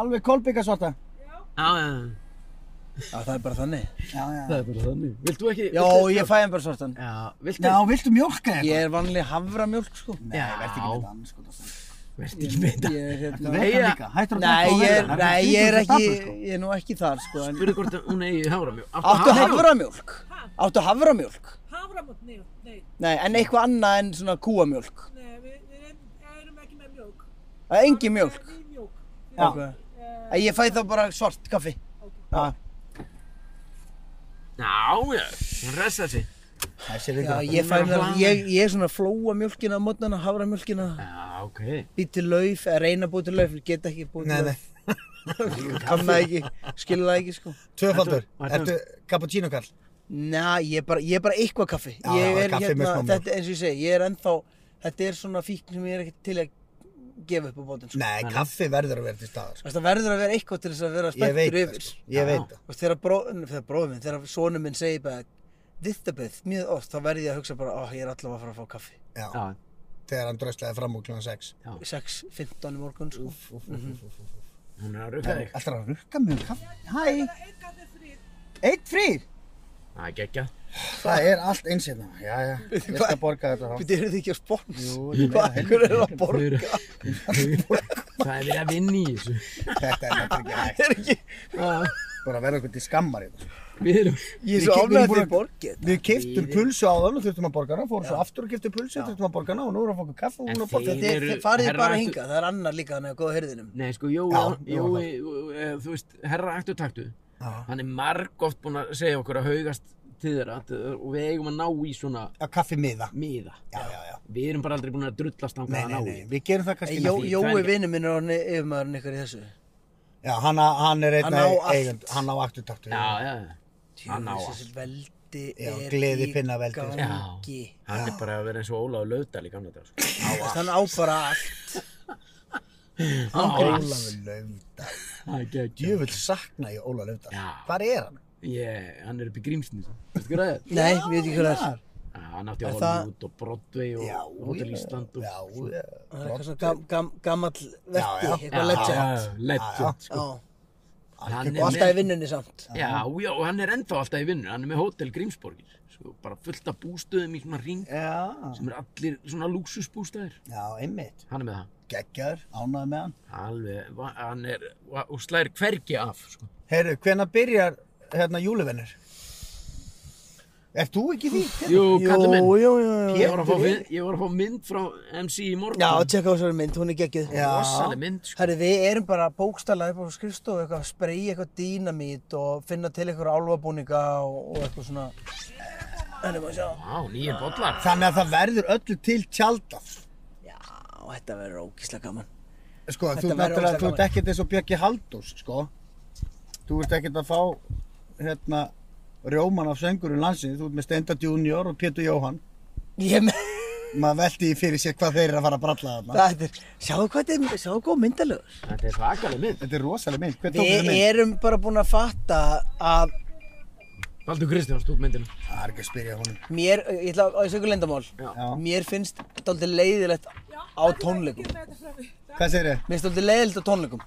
Speaker 2: Alveg kolbygga svarta.
Speaker 1: Já, já,
Speaker 6: Já, það er bara þannig.
Speaker 2: Já, já.
Speaker 1: það er bara þannig. Vilt þú ekki...
Speaker 6: Já,
Speaker 1: viltu-
Speaker 6: ég fæ hann bara svartan.
Speaker 1: Já, vilt
Speaker 2: Já,
Speaker 1: þú...
Speaker 2: viltu mjólka eitthvað?
Speaker 6: Ég er vanlega haframjólk, sko.
Speaker 2: Nei, verði ekki með
Speaker 1: Já,
Speaker 2: þann, sko.
Speaker 1: verð ekki með
Speaker 6: Ég
Speaker 1: þetta.
Speaker 6: er
Speaker 2: Þú
Speaker 6: hérna...
Speaker 2: veit
Speaker 1: Nei,
Speaker 2: hann líka. Hættur að
Speaker 6: Nei, ég er,
Speaker 2: drekka og
Speaker 6: nei, ég er
Speaker 2: velja.
Speaker 6: ekki,
Speaker 2: Það sko. er
Speaker 6: ég er nú ekki þar, sko. En...
Speaker 1: Spurðu hvort hún eigi haframjólk.
Speaker 6: Áttu haframjólk? Áttu haframjólk?
Speaker 8: Haframjólk, nei, nei,
Speaker 6: Nei, en eitthvað annað en svona kúamjólk.
Speaker 8: nei, við, við erum- erum ekki með mjólk.
Speaker 6: Það er engin mjólk.
Speaker 8: Við mjólk.
Speaker 6: Já. Okay. Ég fæ þá bara svart kaffi. Já,
Speaker 1: Já, já, hún ressa sig.
Speaker 2: Þessi er
Speaker 6: já
Speaker 2: ykkur.
Speaker 6: ég fæ mér, ég, ég er svona flóa mjólkina á mótnana, haframjólkina.
Speaker 1: Já, ok.
Speaker 6: býr til lauf, eða reyna að búa til lauf, ég get ekki búa til
Speaker 2: Nei,
Speaker 6: lauf. Nei. kann það ekki, skilur það ekki, sko.
Speaker 2: Tvöfaldur.
Speaker 1: Ertu- ertu-
Speaker 2: Ertu cappuccino kall?
Speaker 6: Næ, ég er bara, ég er bara eitthvað kaffi.
Speaker 2: Já,
Speaker 6: ég
Speaker 2: já,
Speaker 6: er hérna,
Speaker 2: kaffi með smá mjólk.
Speaker 6: þetta, eins og ég segi, ég er ennþá, þetta er svona fíkn sem ég er ekkert til að gefa upp á bátinn sko.
Speaker 2: Nei, kaffi verður að vera til staðar. sko.
Speaker 6: Þú veist, Það verður að vera eitthvað til þess að vera
Speaker 2: Ég veit
Speaker 6: spenntur
Speaker 2: það,
Speaker 6: yfir
Speaker 2: sko.
Speaker 1: Já.
Speaker 2: Ég veit það.
Speaker 6: og þegar, bró, þegar bróðum minn, þegar sonum minn segir bara Dittabeth, mjög oft, þá verði ég að hugsa bara, ó, ég er allavega að fara að fá kaffi
Speaker 2: Já,
Speaker 1: Já,
Speaker 2: þegar hann dröslaði fram úr kljóðan 6.
Speaker 1: Já.
Speaker 6: 6.15 í morgun, sko
Speaker 1: hún er að rukka þig.
Speaker 2: Alltaf að rukka mig um kaffi. Hæ,
Speaker 9: Bara einn kaffi frýr.
Speaker 2: eitt frýr.
Speaker 1: Það er geggjað.
Speaker 2: Það er allt eins hérna. Já, já, ég skal borga þetta þá.
Speaker 6: Býttu, eru þið ekki á spons?
Speaker 2: Jú, ég meina
Speaker 6: Hvað, hvernig eru það að borga?
Speaker 1: Það er verið að vinna í þessu.
Speaker 2: Þetta er náttúrulega ekki hægt.
Speaker 6: Er ekki,
Speaker 2: Bara verður okkur til skammar í þetta.
Speaker 1: Við erum,
Speaker 6: ég er
Speaker 2: Við
Speaker 6: svo
Speaker 2: getum
Speaker 6: ánægð að
Speaker 2: búin
Speaker 6: þið
Speaker 2: að-
Speaker 6: borgið
Speaker 2: Við keiptum pulsu á þann og þurftum að borga hana, fórum svo aftur og keiptum pulsu, þurftum að borga hana og nú erum við að fá okkur kaffi
Speaker 1: En
Speaker 2: og hún er að
Speaker 1: þeir-
Speaker 2: borga þetta.
Speaker 6: Þið
Speaker 1: eru-
Speaker 6: þið farið
Speaker 1: herra,
Speaker 6: bara
Speaker 1: ættu-
Speaker 6: hingað, það er annar líka þannig að góða hörðinum
Speaker 1: nei sko, Jói,
Speaker 2: Já,
Speaker 1: Jói, eh, þú veist, herra ættu taktu. Hann er margótt búinn að segja okkur að haugast til þeirra til- og við eigum að ná í svona
Speaker 2: Að kaffi miða.
Speaker 1: miða.
Speaker 2: Já, já, já.
Speaker 1: Við erum bara aldrei búin að drullast á
Speaker 2: Nei,
Speaker 1: hvað að
Speaker 2: nei,
Speaker 1: ná
Speaker 2: nei,
Speaker 1: í.
Speaker 2: við gerum það
Speaker 6: En
Speaker 2: kannski
Speaker 6: Jó,
Speaker 2: með því.
Speaker 6: Jói vinnu minn er orðinn yfirmaðurinn ykkar í þessu
Speaker 2: Já, hann, hann er einn
Speaker 6: Hann á allt.
Speaker 2: eigund, hann á afturtaktu.
Speaker 1: Já, já, já. Hann á
Speaker 6: Djöfull,
Speaker 1: allt.
Speaker 6: þessi veldi
Speaker 2: Já,
Speaker 6: er í
Speaker 2: gleðipinnaveldi, sko.
Speaker 6: gangi
Speaker 1: Hann er bara að vera eins og Ólaður Laudal í gamla dag. sko.
Speaker 6: Þannig á bara allt
Speaker 2: Ólafur Laufdal.
Speaker 1: Það er geggjað.
Speaker 2: Djöfull sakna ég Ólafur Laufdal.
Speaker 1: Já.
Speaker 2: Hvar er hann?
Speaker 1: Ég, hann er upp í Grímsni. Veistu hvað það er?
Speaker 6: Nei, ég veit ekki hvað það er
Speaker 1: Já, Hann átti
Speaker 6: Er
Speaker 1: Hollywood
Speaker 6: það-
Speaker 1: og Broadway og
Speaker 2: Já,
Speaker 1: Hotel
Speaker 2: já,
Speaker 1: Ísland og...
Speaker 2: Já, já.
Speaker 6: Það er eitthvað svona gam, gam, gamall
Speaker 2: Já,
Speaker 6: verti,
Speaker 2: já. Já,
Speaker 6: eitthvað
Speaker 1: Já,
Speaker 6: legend
Speaker 1: já, legend,
Speaker 6: Já,
Speaker 1: sko. Hann
Speaker 6: og
Speaker 1: er
Speaker 6: alltaf í
Speaker 1: með-
Speaker 6: vinnunni samt
Speaker 1: Já, já, og hann er ennþá alltaf í vinnu, hann er með Hotel Grímsborgir, sko, bara fullt af bústöðum í svona ring
Speaker 2: Já,
Speaker 1: sem er allir svona lúksusbústæðir,
Speaker 2: já, einmitt.
Speaker 1: hann er með það,
Speaker 2: Geggjar, ánæði með hann.
Speaker 1: alveg, va- hann er, va- og slæðir hvergi af, sko.
Speaker 2: Heyrðu, hvenær byrjar hérna júluvennir? Ert þú ekki í því?
Speaker 1: Jú, kallir minn,
Speaker 6: jú, jú, jú.
Speaker 1: ég var að fá, vi- ég var að fá mynd frá MC í morgun,
Speaker 6: Já, tjekka á þessari mynd, hún er geggið.
Speaker 1: rosaleg mynd, sko,
Speaker 6: Herri, við erum bara bókstæla upp á skrifstofu, eitthvað að spreyja eitthvað dýnamít og finna til eitthvað álfabúninga og, og eitthvað svona. Herri, maður sjá.
Speaker 1: á, nýjum bollar,
Speaker 2: Þannig að það verður öllu til tjaldað.
Speaker 6: Já, þetta verður ógíslega gaman.
Speaker 2: Sko,
Speaker 6: Þetta
Speaker 2: þú
Speaker 6: verður
Speaker 2: náttúrulega,
Speaker 6: ógeðslega
Speaker 2: þú ert
Speaker 6: gaman.
Speaker 2: ekkert eins og Björki Haldós, sko. Þú ert ekkert að fá, hérna, rjóman af söngurum landsinni. Þú ert með Stenda Junior og Pétur Jóhann.
Speaker 6: Ég með,
Speaker 2: Maður velti í fyrir sér hvað þeir eru að fara að bralla þarna.
Speaker 6: þetta er, sjáðu hvað þetta er, sjáðu hvað myndalögur.
Speaker 1: þetta er svakaleg mynd,
Speaker 2: Þetta er rosaleg mynd. Hver tók
Speaker 6: Við
Speaker 2: þetta mynd?
Speaker 6: erum bara búin að fatta að
Speaker 1: Baldur Kristjáns tók myndina,
Speaker 2: Það er ekki að spyrja honum.
Speaker 6: mér, ég ætla að sögja lendamál,
Speaker 2: Já.
Speaker 6: mér finnst dálítið leiðilegt á tónleikum.
Speaker 9: Með þetta frammi.
Speaker 2: Hvað segir þið?
Speaker 6: Mér finnst dálítið leiðilegt á tónleikum.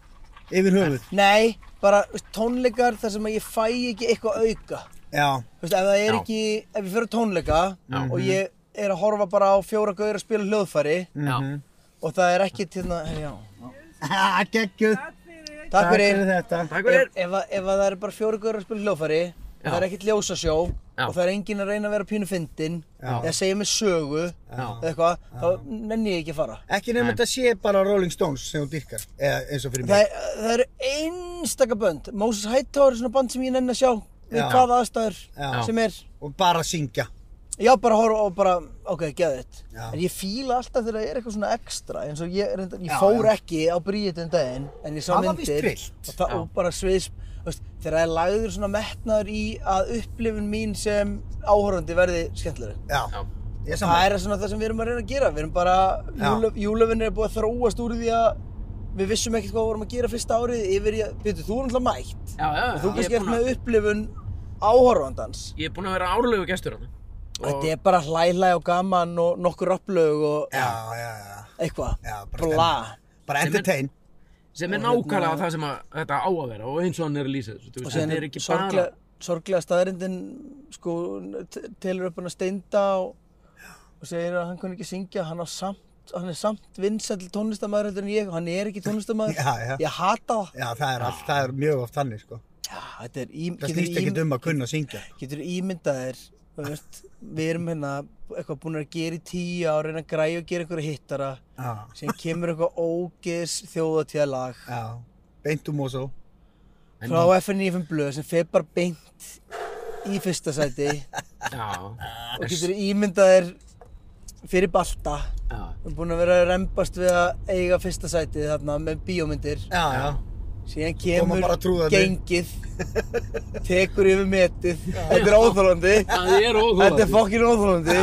Speaker 2: Yfir höfuð?
Speaker 6: Nei, bara veist, tónleikar þar sem að ég fæ ekki eitthvað auka.
Speaker 2: Já.
Speaker 6: Þú veist, ef það er
Speaker 1: Já.
Speaker 6: ekki, ef ég fyrir tónleika og ég er að horfa bara á fjóra gauður að spila hljóðfæri
Speaker 1: já,
Speaker 6: og það er ekki til það, já.
Speaker 2: Ha, Mhm. geggjuð.
Speaker 6: Takk fyrir.
Speaker 2: þetta.
Speaker 1: takk
Speaker 6: Ef,
Speaker 1: fyrir,
Speaker 6: ef, að- ef að það er bara fjóra gauður að spila hljóðfæri, það er ekkert ljósasjó
Speaker 1: Já.
Speaker 6: og það er enginn að reyna að vera pínu fyndinn eða segja mér sögu eða eitthvað, þá nenni ég ekki að fara.
Speaker 2: Ekki nefnum þetta sé bara Rolling Stones sem þú dyrkar, eða eins og fyrir
Speaker 6: Það,
Speaker 2: mig.
Speaker 6: er, það eru einstaka bönd. Moses Hightower er svona band sem ég nenni að sjá við
Speaker 2: Já.
Speaker 6: hvaða aðstæður
Speaker 2: Já.
Speaker 6: sem er.
Speaker 2: Og bara syngja.
Speaker 6: Já, bara horfa og bara, ok, geða þetta.
Speaker 2: Já.
Speaker 6: En ég fíla alltaf þegar það er eitthvað svona ekstra, eins og ég, reyndar, ég
Speaker 2: Já,
Speaker 6: fór
Speaker 2: já.
Speaker 6: ekki á bríðutinn daginn, en ég sá
Speaker 2: Það var víst
Speaker 6: myndir.
Speaker 2: trillt.
Speaker 6: og, það, og bara sviðs, veist, þegar það er lagður svona metnaður í að upplifun mín sem áhorfandi verði skemmtilegri.
Speaker 2: Já. Ég er
Speaker 6: Það
Speaker 2: saman.
Speaker 6: er svona það sem við erum að reyna að gera, við erum bara,
Speaker 2: Já.
Speaker 6: júlöf- júlöfin er búið að þróast úr því að við vissum ekkert hvað við vorum að gera fyrsta árið yfir í að, betur, þú er alltaf
Speaker 1: já,
Speaker 6: mætt.
Speaker 1: já,
Speaker 6: Þú
Speaker 1: ég
Speaker 6: kannski
Speaker 1: er
Speaker 6: ert
Speaker 1: búinn að-
Speaker 6: með upplifun áhorfandans.
Speaker 1: ég er búinn að vera árlegu gestur hann,
Speaker 6: Þetta er bara hlæla og gaman og nokkur upplög og
Speaker 2: Já, já, já.
Speaker 6: eitthvað,
Speaker 2: Já, bara
Speaker 6: bla
Speaker 2: Bara
Speaker 1: Sem er-
Speaker 2: entertain.
Speaker 1: sem er nákvæmlega það sem að, þetta á að vera og eins og hann er að lýsa þessu, þú
Speaker 6: hérna- og
Speaker 1: veist,
Speaker 6: síðan
Speaker 1: þetta
Speaker 6: er
Speaker 1: er ekki bara,
Speaker 6: sorglega, sorglega staðarindin sko, t- telur upp hann að steinda og, og segir að hann kunni ekki syngja hann, á samt, hann er samt vinsæll tónlistamæður heldur en ég og hann er ekki tónlistamæður
Speaker 2: Já, já.
Speaker 6: ég hata það
Speaker 2: Já, það er, allt, það er mjög oft þannig, sko.
Speaker 6: já, þetta er ím,
Speaker 2: Það snýst ekkert um að kunna að syngja.
Speaker 6: getur ímyndað þér þú veist, við erum hérna eitthvað búin að gera í tíu ár reyna að græja og gera einhverja hittara
Speaker 2: Já.
Speaker 6: sem kemur eitthvað ógeðs þjóðatíðalag
Speaker 2: Já. Beintum og svo.
Speaker 6: frá FNF blöð sem fer bara beint í fyrsta sæti
Speaker 1: já,
Speaker 6: og getur ímyndaðir fyrir balta
Speaker 1: já,
Speaker 6: við erum búin að vera að rembast við að eiga fyrsta sætið þarna með bíómyndir
Speaker 2: Já, já.
Speaker 6: síðan
Speaker 2: koma
Speaker 6: kemur
Speaker 2: bara trúðarnir.
Speaker 6: gengið tekur yfir metið þetta er óþólandi
Speaker 1: það er
Speaker 6: þetta er
Speaker 1: óþólandi
Speaker 6: fokkin óþólandi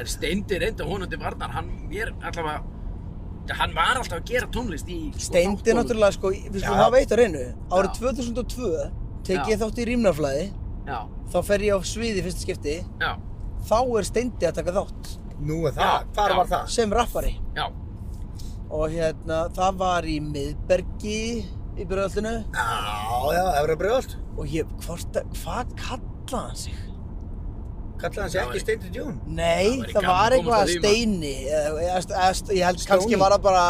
Speaker 1: en Steindi reyndi honum til varnar, hann er allavega, hann var alltaf að gera tónlist í sko,
Speaker 6: Steindi
Speaker 1: þáttunum.
Speaker 6: náttúrulega sko, við skulum
Speaker 2: Já.
Speaker 6: hafa eitt á reynu Árið
Speaker 1: Já.
Speaker 6: 2002 tek
Speaker 1: Já.
Speaker 6: ég þátt í rýmnaflæði
Speaker 1: Já,
Speaker 6: Þá fer ég á sviði í fyrsta skipti
Speaker 1: já,
Speaker 6: Þá er Steindi að taka þátt
Speaker 2: Nú er það,
Speaker 1: Já,
Speaker 2: hvar
Speaker 1: já.
Speaker 2: var það?
Speaker 6: sem rappari
Speaker 1: já,
Speaker 6: Og hérna, það var í miðbergi í byrjallinu
Speaker 2: Já, já, Efra Brjóðalt.
Speaker 6: Og ég, hvort, að- hvað kallaði hann sig?
Speaker 2: Kallaði hans
Speaker 1: Já,
Speaker 2: ekki
Speaker 1: ég-
Speaker 2: Steindi Djún?
Speaker 6: Nei,
Speaker 1: Það væri
Speaker 6: það
Speaker 1: gaman
Speaker 6: var
Speaker 1: að komast
Speaker 6: eitthvað
Speaker 1: að
Speaker 6: að
Speaker 1: því,
Speaker 6: steini eða- eða- eða- Ég held, kannski
Speaker 2: Stóni.
Speaker 6: var það bara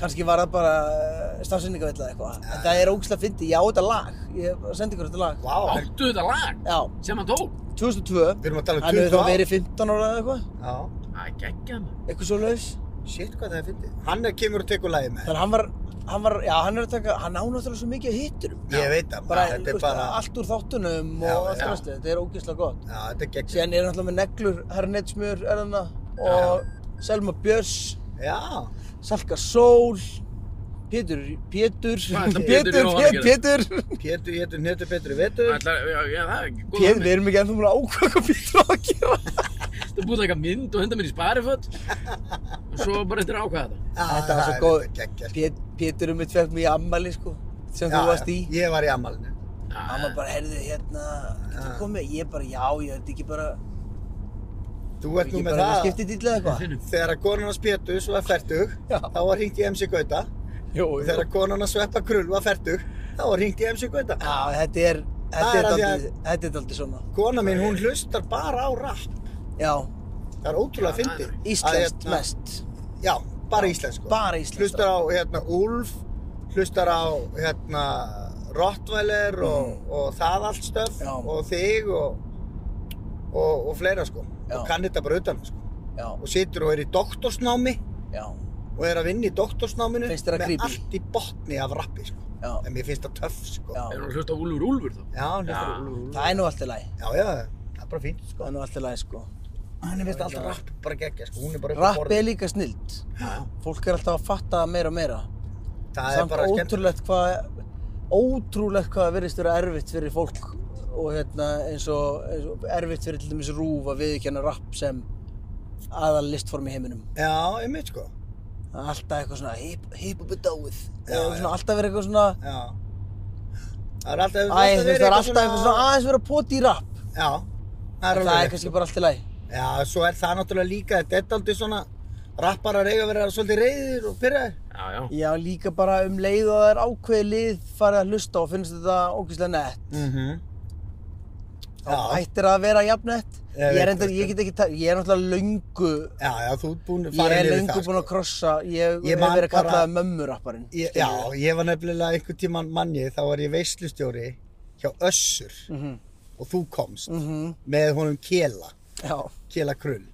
Speaker 6: kannski var það bara stafsynningavill eða eitthvað En það er ógislega fyndi, ég á þetta lag Ég sendi ykkur þetta lag
Speaker 2: Vá, en-
Speaker 1: áttu þetta lag
Speaker 6: Já,
Speaker 1: sem hann tók.
Speaker 6: 2002
Speaker 2: við erum að tala um
Speaker 6: Hann
Speaker 2: 20
Speaker 6: hefur þá
Speaker 2: ár.
Speaker 6: verið 15 ára eða eitthvað
Speaker 2: Já,
Speaker 1: Það er geggjað maður.
Speaker 6: Eitthvað svo laus
Speaker 2: shit hvað það er fyndið. Hann er kemur og tekur lagið með.
Speaker 6: Þannig að hann var, hann var, já hann er að taka, hann á náttúrulega svo mikið að hitturum
Speaker 2: Ég veit það,
Speaker 6: Bara,
Speaker 2: þetta
Speaker 6: þú
Speaker 2: er
Speaker 6: veist,
Speaker 2: bara,
Speaker 6: allt úr þáttunum
Speaker 2: Já,
Speaker 6: og allt
Speaker 1: já.
Speaker 6: rastið, þetta er ógislega gott
Speaker 2: já, þetta er gegn.
Speaker 6: Síðan er hann alltaf með neglur, hernetsmjör er hann Og Selma Björns
Speaker 2: Já,
Speaker 6: Salka Sól Pétur, Pétur,
Speaker 1: Hvað ætlar Pétur
Speaker 6: Pétur,
Speaker 1: Jóhann að gera?
Speaker 6: Pétur
Speaker 2: Pétur, hétur, hétur, betur, vetur.
Speaker 1: Ætlar, já, já, það er ekki góð
Speaker 6: Pétur,
Speaker 1: hugmynd.
Speaker 6: við erum ekki ennþá múin að ákvæða hvað Pétur á að gera
Speaker 1: Þú búið að taka mynd og henda mér í spariföt og svo bara eftir að ákvæða þetta.
Speaker 2: Já,
Speaker 6: Þetta
Speaker 2: Ah, það
Speaker 6: var svo
Speaker 2: er
Speaker 6: góð.
Speaker 2: þetta geggjað, sko.
Speaker 6: Pét- Pétur um eitt fekk mig í ammali sko sem
Speaker 2: Já,
Speaker 6: þú varst í
Speaker 2: já, Ég var í amalinu.
Speaker 6: Hann var bara, heyrðu, hérna, getur
Speaker 2: Já.
Speaker 6: komið? Ég bara, já, ég veit ekki bara,
Speaker 2: Þú ert nú
Speaker 6: ekki
Speaker 2: með
Speaker 6: bara
Speaker 2: það.
Speaker 6: skiptið dýrlega eitthvað.
Speaker 1: Finnum.
Speaker 2: Þegar að konan hans Péturs var færtug,
Speaker 6: Já.
Speaker 2: þá var hringt í MC Gauta.
Speaker 6: Jú,
Speaker 2: Og
Speaker 6: jú.
Speaker 2: þegar að konan hans Sveppa Krull var færtug, þá var hringt í MC Gauta.
Speaker 6: Já, þetta er, þetta
Speaker 2: Það
Speaker 6: er
Speaker 2: er af því
Speaker 6: daldið, þetta er daldið svona.
Speaker 2: Kona mín, hún hlustar bara á rapp.
Speaker 6: Já,
Speaker 2: Það er
Speaker 1: Já,
Speaker 2: ótrúlega
Speaker 1: það er
Speaker 2: fyndið. Að
Speaker 6: íslenskt
Speaker 2: hérna-
Speaker 6: mest.
Speaker 2: Já, bara sko. íslensku.
Speaker 6: Bara íslenskt.
Speaker 2: Hlustar á, hérna, Úlf, hlustar á, hérna, Rottweiler og, og það allt stöf
Speaker 6: Mm. Já.
Speaker 2: og þig og, og, og fleira, sko.
Speaker 6: Já.
Speaker 2: Og kann þetta bara utan, sko.
Speaker 6: Já,
Speaker 2: Og situr og er í doktorsnámi
Speaker 6: já,
Speaker 2: og er að vinna í doktorsnáminu
Speaker 6: Finnst þér það
Speaker 2: með
Speaker 6: creepy?
Speaker 2: allt í botni af rappi, sko.
Speaker 6: já,
Speaker 2: En mér finnst það töff, sko.
Speaker 6: já.
Speaker 1: Er hún að hlusta á Úlfur Úlfur þá?
Speaker 2: Já, hlustar
Speaker 1: Já.
Speaker 2: á Úlf, Úlf.
Speaker 6: Það er nú allt í lagi,
Speaker 2: Já, já, það er bara fínt, sko.
Speaker 6: það er nú allt í lagi, sko.
Speaker 2: Henni finnst alltaf rapp bara geggja, sko. Hún er bara upp á
Speaker 6: Rapp
Speaker 2: borðið.
Speaker 6: er líka snild. Fólk er alltaf að fatta meira og meira.
Speaker 2: Það er
Speaker 6: Samt
Speaker 2: bara skemmt.
Speaker 6: ótrúlegt hvað, ótrúlegt hvað verðist vera erfitt fyrir fólk og hérna eins og, eins og erfitt fyrir til dæmis rúf að viðkjanna rapp sem aðal listform í heiminum.
Speaker 2: Já, einmitt, sko.
Speaker 6: Það er alltaf eitthvað svona hip- hip-hop er dáið
Speaker 2: Já,
Speaker 6: og svona
Speaker 2: já.
Speaker 6: alltaf verið eitthvað svona
Speaker 2: Já. Það er alltaf,
Speaker 6: Æ, þú veist, það er alltaf eitthvað svona aðeins verið að poti í rapp
Speaker 2: Já, það er
Speaker 6: En
Speaker 2: alveg.
Speaker 6: það er
Speaker 2: rétt,
Speaker 6: kannski
Speaker 2: sko.
Speaker 6: bara allt í lagi
Speaker 2: Já, svo er það náttúrulega líka, þetta er aldrei svona, rapparar eiga að vera svolítið reyðir og pyrraðir.
Speaker 1: Já, já.
Speaker 6: Já, líka bara um leið og það er ákveðið lið farið að hlusta og finnst þetta ógeðslega nett
Speaker 2: Mm -hmm.
Speaker 6: Þá
Speaker 2: Já,
Speaker 6: hættir það að vera jafn nett
Speaker 2: Ég
Speaker 6: Ég
Speaker 2: veit
Speaker 6: er endur,
Speaker 2: það,
Speaker 6: ég get ekki tæ... Ég er náttúrulega löngu
Speaker 2: já, já, þú ert búin
Speaker 6: Ég er
Speaker 2: yfir
Speaker 6: löngu
Speaker 2: það, sko.
Speaker 6: búinn að krossa Ég,
Speaker 2: Ég
Speaker 6: hef
Speaker 2: man
Speaker 6: verið
Speaker 2: bara-
Speaker 6: kallaðið mömmurapparinn
Speaker 2: Ég, já, ég var nefnilega einhvern tíman manni, þá var ég veislustjóri hjá Össur
Speaker 6: Mhm.
Speaker 2: og þú komst með honum Kela,
Speaker 6: Já,
Speaker 2: Kela Krull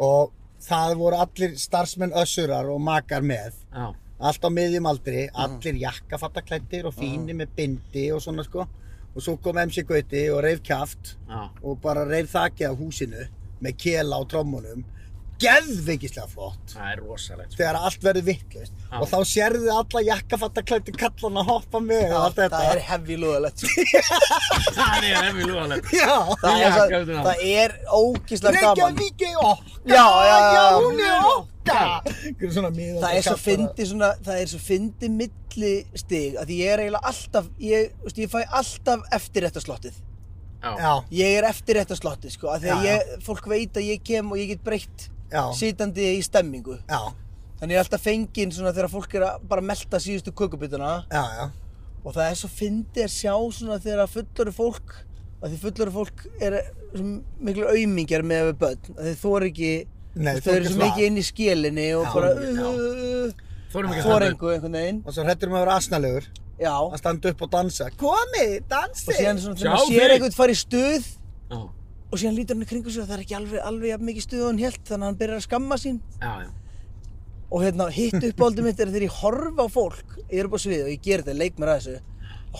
Speaker 2: og það voru allir starfsmenn Össurar og makar með,
Speaker 1: Já,
Speaker 2: allt á miðjum aldri, allir jakkafattaklættir og fínir með bindi og svona sko og svo kom MC Gauti og reif kjaft
Speaker 1: já.
Speaker 2: og bara reif þakið af húsinu með Kela á trommunum, geðveikislega flott
Speaker 1: Það er rosalegt. sko.
Speaker 2: þegar allt verður vittlust
Speaker 1: Já.
Speaker 2: og þá sérðu alla jakkafattaklætti kallan að hoppa með og allt
Speaker 6: það
Speaker 2: þetta
Speaker 6: er hefði lúðalegt sko.
Speaker 1: Það er hefði lúðalegt.
Speaker 2: Já,
Speaker 6: Það er,
Speaker 1: Já,
Speaker 6: svo-
Speaker 1: gæmdu það.
Speaker 6: það er ógeðslega gaman
Speaker 2: Reykjavík er okkar
Speaker 6: Já, já, já.
Speaker 2: hún er okkar Einhver svona miðaldra
Speaker 6: það er svo
Speaker 2: kallar að-
Speaker 6: fyndi svona, það er svo fyndi milli stig, að ég er eiginlega alltaf, ég, veist, ég fæ alltaf eftir þetta slottið.
Speaker 1: Já,
Speaker 2: Já,
Speaker 6: Ég er eftir þetta slottið, sko, að því að
Speaker 2: Já, já.
Speaker 6: ég, fólk veit að ég kem og ég get breytt
Speaker 2: já,
Speaker 6: sitandi í stemmingu.
Speaker 2: já,
Speaker 6: Þannig ég er alltaf fenginn svona þegar fólk er að bara melta síðustu kökubituna
Speaker 2: já, já
Speaker 6: og það er svo fyndi að sjá svona þegar fullori fólk, að því fullori fólk er svo miklu aumingjar með við börn, að því þú er ekki,
Speaker 2: Nei,
Speaker 6: þau eru
Speaker 2: ekki
Speaker 6: svo
Speaker 2: svag.
Speaker 6: mikið inn í skélinni og
Speaker 2: Já,
Speaker 6: bara,
Speaker 2: já.
Speaker 6: uh, uh, uh,
Speaker 1: þórum ekki að um- standa upp.
Speaker 6: þorengu einhvern veginn,
Speaker 2: Og svo hrættur um að vera asnalegur
Speaker 6: já.
Speaker 2: að standa upp og dansa Komið,
Speaker 6: og
Speaker 2: dansi
Speaker 6: síðan svona þegar
Speaker 1: Sjá
Speaker 6: maður sér
Speaker 1: fyrir.
Speaker 6: einhvern fara í stuð
Speaker 1: Já,
Speaker 6: og síðan lítur hann í kringu sig og það er ekki alveg, alveg jafn mikið stuð og hann hélt þannig að hann byrjar að skamma sín
Speaker 1: já, já.
Speaker 6: og hérna hitt uppáldum mitt er þegar ég horfa á fólk ég er upp á svið og ég ger þetta, leik mér að þessu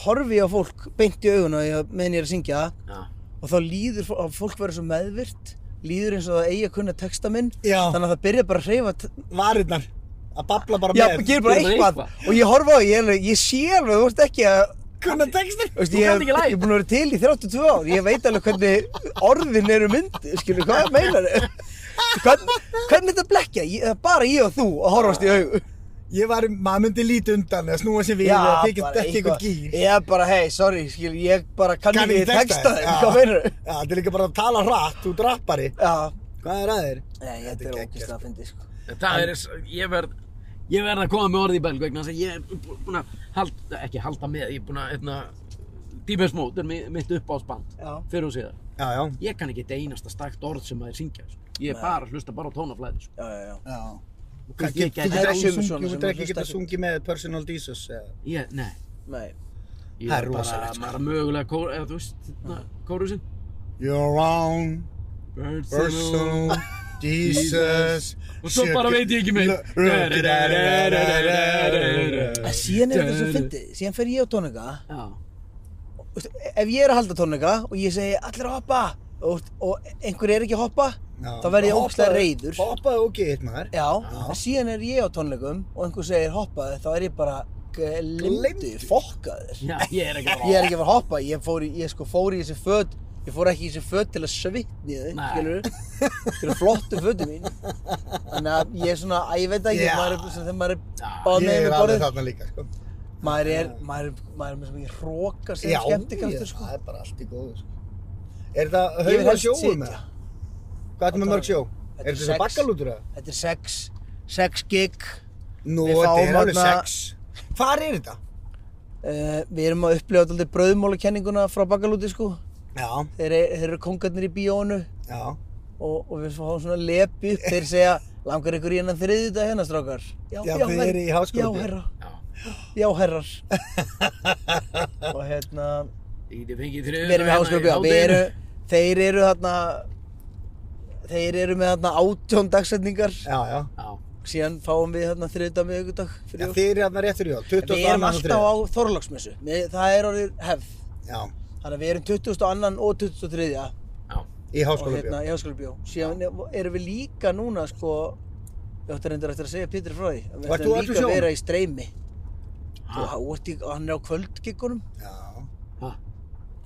Speaker 6: horfi ég á fólk beint í augun og ég, meðan ég er að syngja
Speaker 1: já.
Speaker 6: og þá líður fó- að fólk verður svo meðvirt líður eins og það eigi að kunna texta minn
Speaker 2: Já.
Speaker 6: þannig að það byrja bara að hreyfa t-
Speaker 2: Varirnar, að babla bara
Speaker 6: já,
Speaker 2: með
Speaker 6: ger bara
Speaker 1: Gerðu
Speaker 6: eitthvað
Speaker 1: eitthvað.
Speaker 6: og ég horfa á þig, ég, er alveg- ég sé alveg, þú ert ekki að
Speaker 2: Kunna textin
Speaker 6: Veist,
Speaker 1: Þú
Speaker 6: ég,
Speaker 1: kannt
Speaker 6: ég
Speaker 1: ekki lagið.
Speaker 6: er búinn að vera til í 32 ár, ég veit alveg hvernig orðin eru myndi, skilur, hvað meinar þau? Hvern, hvernig þetta blekkja? Ég, það er bara ég og þú að horfast í augu.
Speaker 2: Ég var, maður myndi lítið undan eða snúa sér við eða þykja ekki eitthvað gýr.
Speaker 6: Ég bara, hei, sorry, skil, ég bara kann
Speaker 2: Kann
Speaker 6: ekki
Speaker 2: ekki texta
Speaker 6: texta
Speaker 2: þér,
Speaker 6: þeim,
Speaker 2: já.
Speaker 6: hvað meinur þau?
Speaker 2: Já, þetta er líka bara að tala hratt, þú drappari.
Speaker 6: Já,
Speaker 2: Hvað er að þér?
Speaker 6: nei, þetta er
Speaker 2: geggjað,
Speaker 6: ógist að fyndi, sko.
Speaker 1: Það er, ég verð, ég verð að koma með orði í belg vegna þess að ég er búin að halda, ekki halda með, ég er búin að, hérna, Deepest Mode er mi- mitt uppáhaldsband
Speaker 6: Já.
Speaker 1: fyrir og síðan.
Speaker 2: Já, já.
Speaker 1: Ég kann ekki þetta einasta stakt orð sem maður syngja, sko. Ég er bara að hlusta bara á tónaflæði, sko.
Speaker 6: Já, já, já.
Speaker 2: Já.
Speaker 1: Og
Speaker 2: Hvað,
Speaker 1: Kannski ég
Speaker 2: Þú
Speaker 1: gæti,
Speaker 6: Það
Speaker 2: getur
Speaker 6: er
Speaker 2: ekki
Speaker 6: sumir
Speaker 2: sungið,
Speaker 6: svona
Speaker 2: þú
Speaker 6: sem
Speaker 2: getur
Speaker 6: að
Speaker 2: ekki
Speaker 6: hlusta
Speaker 2: getað
Speaker 6: ekki.
Speaker 2: sungið með Personal Jesus eða...
Speaker 1: ég, nei,
Speaker 6: Nei.
Speaker 1: ég
Speaker 2: Það er
Speaker 1: er bara,
Speaker 2: rosalegt, sko.
Speaker 1: bara mögulega kór, eða þú veist, hérna, kórusinn.
Speaker 2: You're wrong, Personal Jesus.
Speaker 1: Og svo bara veit ég ekki meir.
Speaker 6: En síðan er þetta svo fyndið, síðan fer ég á tónleika,
Speaker 1: Já,
Speaker 6: og veistu, ef ég er að halda tónleika og ég segi allir að hoppa og, og einhver er ekki að hoppa, þá verð ég ógstlega reyður.
Speaker 2: Hoppaði og geitt maður.
Speaker 6: Já, en síðan er ég á tónleikum og einhver segir hoppaði, þá er ég bara glimti, fokkaður.
Speaker 1: já, ég er ekki að
Speaker 6: Ég er ekki að fara að hoppa, ég fór í, ég sko fór í þessi föt, ég fór ekki í þessi föt til að svitni þið,
Speaker 1: Nei.
Speaker 6: skilur við? Þetta eru flottu fötu mín. Þannig að ég er svona, að ég veit ekki,
Speaker 2: Já.
Speaker 6: maður er, svona, þegar maður er
Speaker 1: Já.
Speaker 6: báð með
Speaker 2: Ég
Speaker 6: með
Speaker 2: er alveg
Speaker 6: borðið,
Speaker 2: þarna líka, sko.
Speaker 6: maður er, maður er, maður er með svo mikið hróka sem
Speaker 2: Já,
Speaker 6: skemmtikraftur, sko.
Speaker 2: það er bara allt í góðu, sko. Er þetta
Speaker 6: Ég vil
Speaker 2: haugur
Speaker 6: helst
Speaker 2: sjóum
Speaker 6: sitja.
Speaker 2: með? Hvað ertu með mörg sjó? Er
Speaker 6: Þetta er
Speaker 2: þetta þessi
Speaker 6: sex.
Speaker 2: bakkalútur eða?
Speaker 6: Þetta er sex, sex gig.
Speaker 2: Nú,
Speaker 6: Við
Speaker 2: þetta er
Speaker 6: fáum
Speaker 2: alveg
Speaker 6: þarna-
Speaker 2: sex. Hvar er þetta?
Speaker 6: Uh, við erum að upplifa alltaf brauðmólakenninguna frá bakalúti, sko.
Speaker 2: Já,
Speaker 6: Þeir, er- þeir eru kongarnir í bíónu.
Speaker 2: já.
Speaker 6: og, og við fáum svona lepi upp þeir segja langar ykkur í hennan þriðið dag hérna strákar
Speaker 2: Já, þið
Speaker 6: herra.
Speaker 2: eru í háskóla.
Speaker 6: já herra,
Speaker 1: Já.
Speaker 6: já herrar og hérna
Speaker 1: Ég geti fengið hérna þriðið.
Speaker 6: við erum í háskóla við eru, þeir eru þarna þeir eru með þarna átjón dagsetningar
Speaker 2: Já, já.
Speaker 1: Já,
Speaker 6: síðan fáum við þarna þriðið dag með ykkur dag
Speaker 2: Já,
Speaker 6: fyrir jól.
Speaker 2: þið eru hérna réttur í jól,
Speaker 6: En
Speaker 2: 22.
Speaker 6: við erum
Speaker 2: annars og
Speaker 6: alltaf á Þorláksmessu Við- það er orðið hefð
Speaker 2: Já,
Speaker 6: þannig að við erum 22. og 23.
Speaker 1: já.
Speaker 2: í
Speaker 6: og
Speaker 2: háskóla
Speaker 6: hérna í Háskólabjó síðan erum við líka núna sko ég átti reyndar eftir að segja Pétur frá því að við
Speaker 2: Varst þú öll í
Speaker 6: ætlum líka að
Speaker 2: sjónum?
Speaker 6: vera í streymi og hann, í, hann er á kvöldgiggunum
Speaker 2: Já.
Speaker 1: Ha,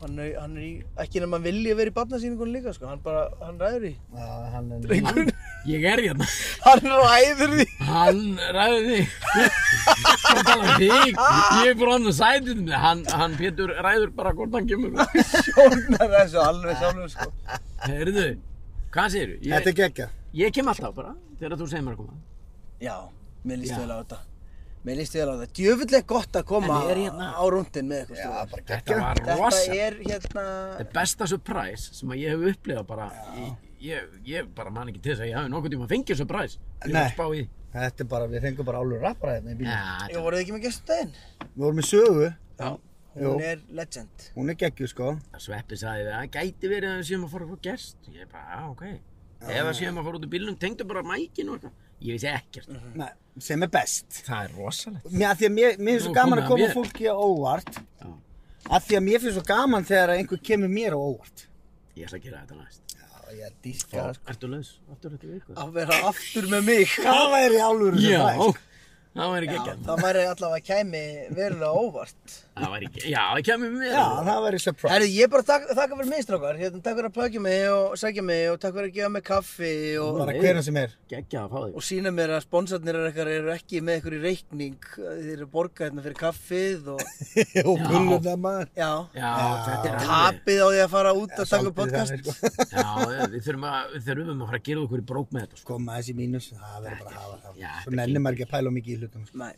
Speaker 6: hann er, hann er í, ekki nema hann vilja vera í barnasýningunum líka sko, hann bara, hann ræður í
Speaker 2: Já, hann er...
Speaker 1: Ég er hérna.
Speaker 6: hann ræður í
Speaker 1: Hann ræði þig Hvað tala um þig? Ég er bara hann að sæti þig Hann, hann Pétur ræður bara hvort hann kemur
Speaker 6: sjónar þessu alveg sjálfur sko
Speaker 1: Heyrðu, hvað segirðu? Ég,
Speaker 2: Þetta er geggja.
Speaker 1: ég kem alltaf bara þegar þú segir mér að koma
Speaker 6: já, mér líst
Speaker 1: Já.
Speaker 6: vel á þetta mér líst vel á þetta, djöfullega gott að koma
Speaker 1: En er hérna-
Speaker 6: á rúndin með eitthvað stróðar
Speaker 2: bara
Speaker 1: Þetta var
Speaker 6: þetta
Speaker 1: rosa
Speaker 6: er hérna
Speaker 1: Þetta er besta surprise sem að ég hef upplifað bara ég, ég, ég bara man ekki til þess að ég hafi nokkuð tíma fengið surprise Ég var
Speaker 2: Nei.
Speaker 1: að spá í
Speaker 2: Þetta er bara, við fengum bara álur rappara hérna í bílum.
Speaker 6: ég
Speaker 1: Já,
Speaker 6: voruð ekki með gestum daginn
Speaker 2: Við vorum í sögu, Jú.
Speaker 6: hún er legend
Speaker 2: hún er geggju, sko.
Speaker 1: það sveppi sagði það Gæti verið að við séum að fara að fá gest Ég bara, já, ok Ef að séum að fara út í bílnum, tengdu bara mækinu og eitthvað. Ég vissi ekkert
Speaker 2: Nei, sem er best.
Speaker 1: Það er rosalegt
Speaker 2: Mér, af því að mér, mér
Speaker 1: Nú
Speaker 2: finnst svo
Speaker 1: er komið
Speaker 2: gaman að
Speaker 1: að
Speaker 2: koma
Speaker 1: mér.
Speaker 2: fólki á óvart.
Speaker 1: Já.
Speaker 2: Af því að mér finnst svo gaman þegar að einhver kemur mér á óvart.
Speaker 1: Ég ætla að gera þetta næst
Speaker 2: Já, ég dýrka það, sko.
Speaker 1: Ertu laus? Aftur þetta viku?
Speaker 6: að vera aftur með mig
Speaker 2: Það væri álur
Speaker 1: Já,
Speaker 2: surprise.
Speaker 1: það væri
Speaker 6: Já,
Speaker 1: ekki ekki
Speaker 6: það væri allavega kæmi verulega óvart
Speaker 1: Það væri ekki, já, það kemur mér
Speaker 2: Já, það væri surprise.
Speaker 6: Herri, ég bara þak, þakka fyrir mig strákar hérna, takk fyrir að plöggja mig og sækja mig og takk fyrir að gefa mig kaffi og,
Speaker 2: Bara hverjum sem er.
Speaker 1: Gekkja að fá þig
Speaker 6: og sína mér að sponsarnir er ekkert eru ekki með ykkur í reikning þeir eru að borga hérna fyrir kaffið og
Speaker 2: Og gullur það maður.
Speaker 6: já,
Speaker 1: Já, þetta er alveg
Speaker 6: tapið á því að fara út að taka
Speaker 2: Svolítið
Speaker 6: upp podcast
Speaker 2: þannig, sko.
Speaker 1: Já, við þurfum að, við þurfum að fara að gera okkur í brók með þetta sko.
Speaker 2: Koma þessi mínus, það verður bara að hafa það.
Speaker 1: Já,
Speaker 2: Svo
Speaker 1: þetta
Speaker 2: nennir maður ekki að pæla of mikið í hlutum, sko.
Speaker 6: Nei.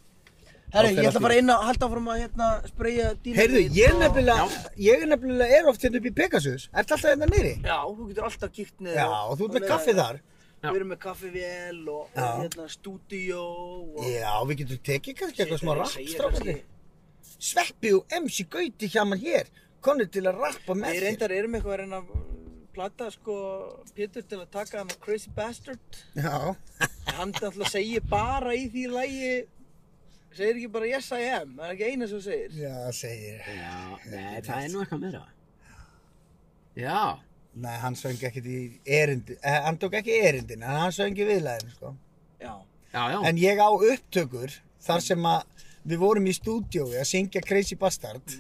Speaker 6: Herri,
Speaker 2: Þá fer
Speaker 6: ég ætla
Speaker 2: allt
Speaker 6: að fara inn að halda áfram að hérna spreyja dýna
Speaker 2: Heyrðu, ég nefnilega, ég nefnilega er oft hérna upp í Pegasus. Ertu alltaf hérna niðri?
Speaker 6: Já, þú getur alltaf kíkt niður
Speaker 2: Já,
Speaker 6: og-
Speaker 2: og þú ert
Speaker 6: og
Speaker 2: með kaffið þar.
Speaker 1: Já.
Speaker 6: Við erum með kaffivél og,
Speaker 2: Já.
Speaker 6: og hérna stúdíó og...
Speaker 2: Já, við getum tekið kannski eitthvað smá rapp,
Speaker 6: Segir
Speaker 2: strákandi.
Speaker 6: kannski-
Speaker 2: Sveppi og MC Gauti hjá mann hér, konur til að rappa með
Speaker 6: Við
Speaker 2: þér.
Speaker 6: reyndar erum eitthvað að reyna að platta sko Pétur til að taka hann Crazy Bastard.
Speaker 2: Já,
Speaker 6: En Hann alltaf segir bara í því lægi, segir ekki bara yes I am, það er ekki eina sem þú segir.
Speaker 2: já, segir.
Speaker 1: Já, nei, það er nú eitthvað meira Já,
Speaker 2: Nei, hann söng ekkert í erindi, eh, hann tók ekki erindin, en hann söng í viðlæðin, sko.
Speaker 6: Já.
Speaker 1: já, já
Speaker 2: En ég á upptökur þar sem að við vorum í stúdíói að syngja Crazy
Speaker 6: Mm.
Speaker 2: Bastard